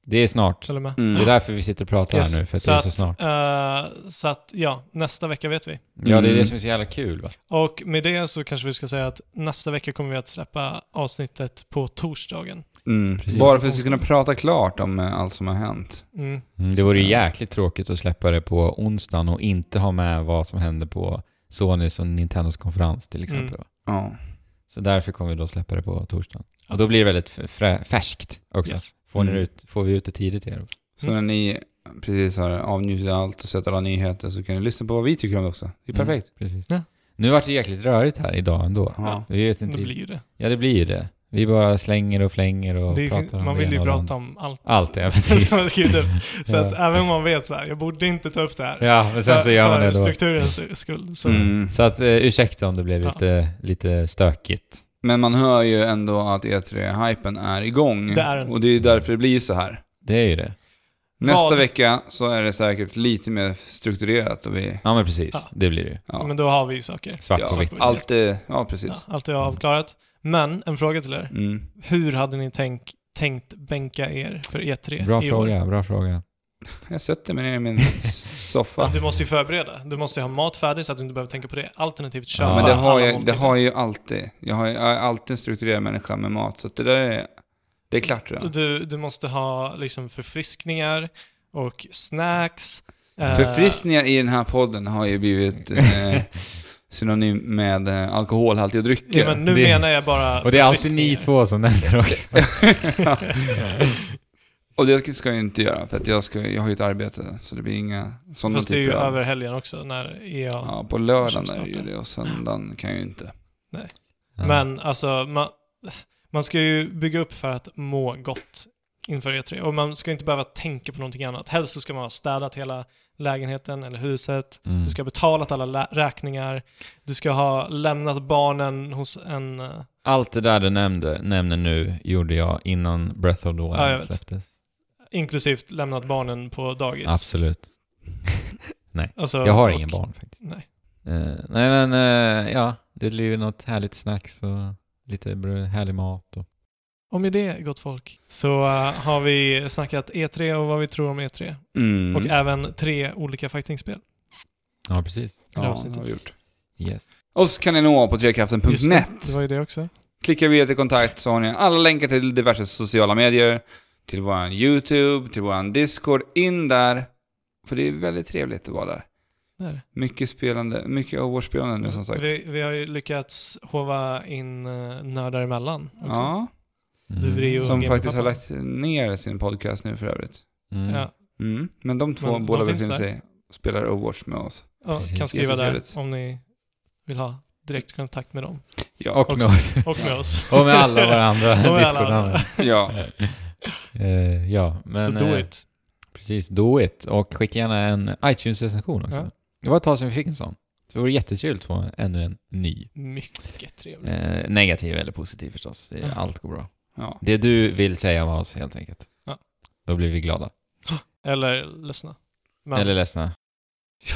S3: Det är snart.
S1: Håller med.
S2: Mm.
S3: Det är därför vi sitter och pratar
S1: Yes.
S3: här nu, för att
S1: Så
S3: det är så
S1: att-
S3: snart.
S1: Eh, så att, ja, nästa vecka vet vi.
S3: Ja, det är
S2: Mm.
S3: det som är så jävla kul va?
S1: Och med det så kanske vi ska säga att nästa vecka kommer vi att släppa avsnittet på torsdagen.
S2: Mm.
S3: Precis.
S2: Bara för att vi ska kunna prata klart om eh, allt som har hänt.
S1: Mm.
S3: Mm, det vore ju jäkligt tråkigt att släppa det på onsdagen och inte ha med vad som hände på Sonys och Nintendos konferens till exempel.
S1: Mm.
S3: va?
S2: Ja.
S3: Så därför kommer vi då släppa det på torsdagen. Och då blir det väldigt f- frä- färskt också.
S1: Yes.
S3: Får, ni det
S2: Mm.
S3: ut, får vi ut det tidigt till er?
S2: Så
S1: Mm.
S2: när ni precis har avnjutit allt och sett alla nyheter så kan ni lyssna på vad vi tycker om det också. Det är
S3: Mm.
S2: perfekt.
S3: Precis.
S1: Ja.
S3: Nu vart det jäkligt rörigt här idag ändå.
S2: Ja.
S3: Vi vet
S1: Det
S3: inte
S1: blir
S3: riktigt.
S1: ju det.
S3: Ja, det blir ju det. Vi bara slänger och flänger och
S1: det är,
S3: pratar
S1: ju-
S3: om
S1: man
S3: det
S1: vill ju
S3: ena och det
S1: prata
S3: andra.
S1: om allt.
S3: Allt, ja
S1: Som man
S3: precis.
S1: skrivit upp. Så
S3: Ja.
S1: att även om man vet så här, jag borde inte ta upp det här.
S3: ja, men sen så
S1: för-
S3: gör man det
S1: För
S3: då.
S1: strukturens skull. Så,
S2: Mm.
S3: Så att, eh, ursäkta om det blev
S1: Ja.
S3: lite, lite stökigt.
S2: Men man hör ju ändå att E3-hypen är igång.
S1: Det är den.
S2: Och det är ju därför det blir så här.
S3: Det är ju det.
S2: Nästa
S1: Vad-
S2: vecka så är det säkert lite mer strukturerat och vi...
S3: Ja, men precis.
S1: Ja.
S3: Det blir det ju.
S2: Ja,
S1: Men då har vi ju saker.
S3: Svart
S2: ja,
S3: på vitt.
S2: allt är, Ja,
S1: Ja,
S2: precis.
S1: allt är avklarat. Men en fråga till er.
S2: Mm.
S1: Hur hade ni tänkt, tänkt bänka er för E3
S3: Bra
S1: i år?
S3: fråga, bra fråga.
S2: Jag sätter mig ner i min
S1: Ja,
S2: soffa.
S1: Du måste ju förbereda. Du måste ju ha mat färdig så att du inte behöver tänka på det. Alternativt köpa
S3: Ja,
S2: Men det har,
S1: alla
S2: jag, det
S1: måltider.
S2: har jag ju alltid. Jag, har, ju- jag är alltid en strukturerad människa med mat, så att det där är... Det är klart redan.
S1: Du, du måste ha liksom förfriskningar och snacks. eh,
S2: Förfriskningar i den här podden har ju blivit eh, synonym med eh, alkoholhaltiga drycker.
S1: Ja, men nu
S3: Det-
S1: menar jag bara
S3: Och det är alltid ni
S1: förfriskningar.
S3: två som nämner också.
S2: Och det ska jag ju inte göra, för att jag, ska, jag har ju ett arbete, så det blir inga sådana
S1: Fast det är ju
S2: typer av-
S1: över helgen också när E EA...
S2: Ja, på lördagen
S1: Som
S2: är det ju
S1: startar.
S2: det och söndagen kan jag ju inte.
S1: Men alltså, man, man ska ju bygga upp för att må gott inför E3. Och man ska inte behöva tänka på någonting annat. Helst så ska man ha städat hela lägenheten eller huset.
S3: Mm.
S1: Du ska ha betalat alla lä- räkningar. Du ska ha lämnat barnen hos en... eh,
S3: Allt det där du nämnde, nämner nu gjorde jag innan Breath of the Wild
S1: Ja, jag vet.
S3: släpptes.
S1: Inklusivt lämnat barnen på dagis.
S3: Absolut.
S1: Alltså,
S3: Jag har
S1: och-
S3: ingen barn faktiskt.
S1: Nej.
S3: Eh, nej men, eh, ja. Det blir ju något härligt snacks och lite br- härlig mat och...
S1: Och med det, gott folk, så eh, har vi snackat E3 och vad vi tror om E3.
S2: Mm.
S1: Och även tre olika fightingspel.
S3: Ja, precis.
S1: det
S2: ja, det
S1: avsnittet.
S2: har vi gjort.
S3: Yes.
S2: Oss kan ni nå på
S1: Just det,
S2: trekraften.net.
S1: Det var ju det också.
S2: Klickar vi till kontakt så har ni alla länkar till diverse sociala medier, till våran YouTube, till våran Discord. In där, för det är väldigt trevligt att vara där.
S1: Där.
S2: Mycket spelande, mycket overspelande nu som sagt.
S1: Vi, vi har ju lyckats hova in eh, nördar emellan också.
S2: Ja,
S3: Mm.
S1: Du vrider ju-
S2: som
S1: Gamepappa.
S2: faktiskt har lagt ner sin podcast nu för övrigt.
S3: Mm.
S1: Ja,
S2: Mm. Men de två
S1: Men de
S2: båda
S1: finns där.
S2: befinner sig och spelar Overwatch med oss.
S1: ja,
S3: Precis.
S1: kan skriva där
S2: Jättetrevligt.
S1: om ni vill ha direktkontakt med dem.
S2: Ja.
S3: Och med
S1: Också.
S3: oss.
S1: Och med oss.
S3: Och med alla våra andra
S1: Och med alla
S3: Discord-namn.
S1: andra.
S2: ja.
S3: Eh, ja, men...
S1: Så do
S3: eh,
S1: it.
S3: Precis, do it. Och skicka gärna en iTunes-recension också.
S1: Ja.
S3: Det var ett tag sedan vi fick en sån. Så det vore jättekul att få ännu en ny.
S1: Mycket trevligt.
S3: Eh, negativ eller positiv förstås. Det,
S1: Ja.
S3: Allt går bra.
S2: ja.
S3: Det du vill säga om oss helt enkelt.
S1: Ja.
S3: Då blir vi glada.
S1: Eller ledsna. Men,
S3: Eller ledsna.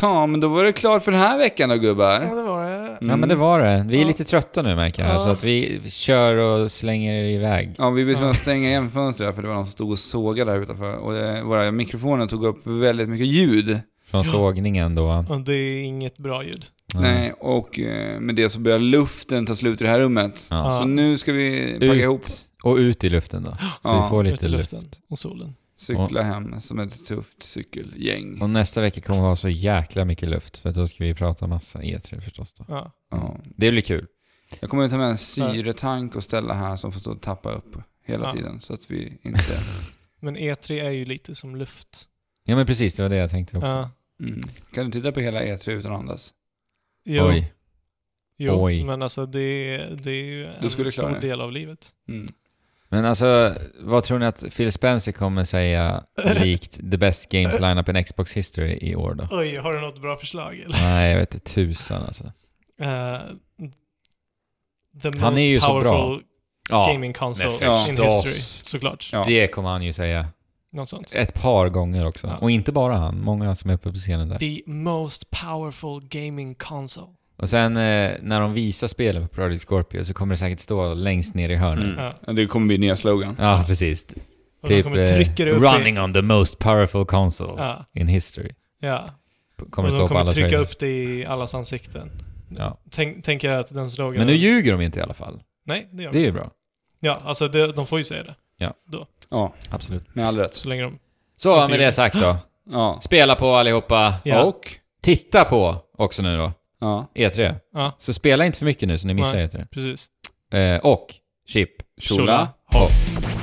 S2: Ja, men då var det klart för den här veckan då gubbar. Mm.
S1: Ja, det var det.
S3: Ja men det var det. Vi är
S1: Mm. Ja.
S3: lite trötta nu märker jag.
S1: Ja.
S3: Så att vi kör och slänger iväg.
S2: Ja, vi blev tvungna
S1: Ja.
S2: att stänga igen fönstret här, för det var någon som stod och sågade där utanför. Och det, våra mikrofoner tog upp väldigt mycket ljud.
S3: Från
S1: Ja.
S3: sågningen då.
S1: Och det är inget bra ljud.
S2: Nej, och eh, med det så börjar luften ta slut i det här rummet.
S3: Ja.
S2: Så nu ska vi packa ihop,
S3: Ut och ut i luften då. Så
S2: Ja.
S3: vi får
S1: Ut i
S3: lite luft.
S1: luften och solen.
S2: cykla hem som ett tufft cykelgäng.
S3: Och nästa vecka kommer vi ha så jäkla mycket luft. För att då ska vi prata massa E3 förstås då.
S1: Ja.
S2: Ja.
S3: Det blir kul.
S2: Jag kommer att ta med en syretank och ställa här som får stå och tappa upp hela
S1: Ja.
S2: tiden. Så att vi inte...
S1: Men E3 är ju lite som luft.
S3: Ja men precis, det var det jag tänkte också.
S1: Ja.
S2: Mm. Kan du titta på hela E3 utan att andas?
S1: Jo,
S3: Oj.
S1: jo
S3: Oj.
S1: men alltså det, det är ju
S2: skulle
S1: en
S2: klara
S1: stor
S2: det.
S1: del av livet.
S2: Mm.
S3: Men alltså, vad tror ni att Phil Spencer kommer säga likt the best games lineup in Xbox history i år då?
S1: Oj, har du något bra förslag eller?
S3: Nej, jag vet inte tusan alltså.
S1: Eh, the most
S3: Han är ju så
S1: powerful
S3: bra. Ja,
S1: gaming console
S2: förstås.
S1: in history, såklart.
S2: Ja.
S3: det kommer han ju säga.
S1: Något sånt.
S3: Ett par gånger också.
S1: Ja.
S3: Och inte bara han, många som är uppe på scenen där.
S1: The most powerful gaming console.
S3: Och sen eh, när de visar spelen på Project Scorpio så kommer det säkert stå längst ner i hörnet.
S2: Mm.
S1: Ja.
S2: Det kommer bli nya slogan.
S3: Ja, precis.
S1: Och de
S3: Typ
S1: kommer
S3: eh,
S1: trycka det upp
S3: running
S1: i...
S3: on the most powerful console
S1: Ja,
S3: in history.
S1: ja.
S3: Kommer
S1: och de
S3: stå på
S1: kommer
S3: alla
S1: trycka
S3: trailers.
S1: upp det i allas ansikten.
S3: Ja.
S1: Tänk, tänker jag att den slogan...
S3: Men nu ljuger de inte i alla fall.
S1: Nej, det gör
S3: Det
S1: de
S3: är ju
S1: inte.
S3: bra.
S1: Ja, alltså det, de får ju säga det.
S2: Ja,
S3: Absolut.
S2: med all rätt.
S1: Så länge de...
S3: Så,
S1: Inte
S3: med
S1: ljuger.
S3: det sagt då.
S2: Ja.
S3: Spela på allihopa.
S1: Ja.
S2: Och?
S3: Titta på också nu då.
S2: Ja.
S3: E3.
S1: Ja.
S3: Så spela inte för mycket nu så ni missar
S1: Nej.
S3: E3.
S1: Precis.
S3: Eh, och, chip.
S1: Tjola.
S2: Kjola.
S1: Hopp.
S3: Hopp.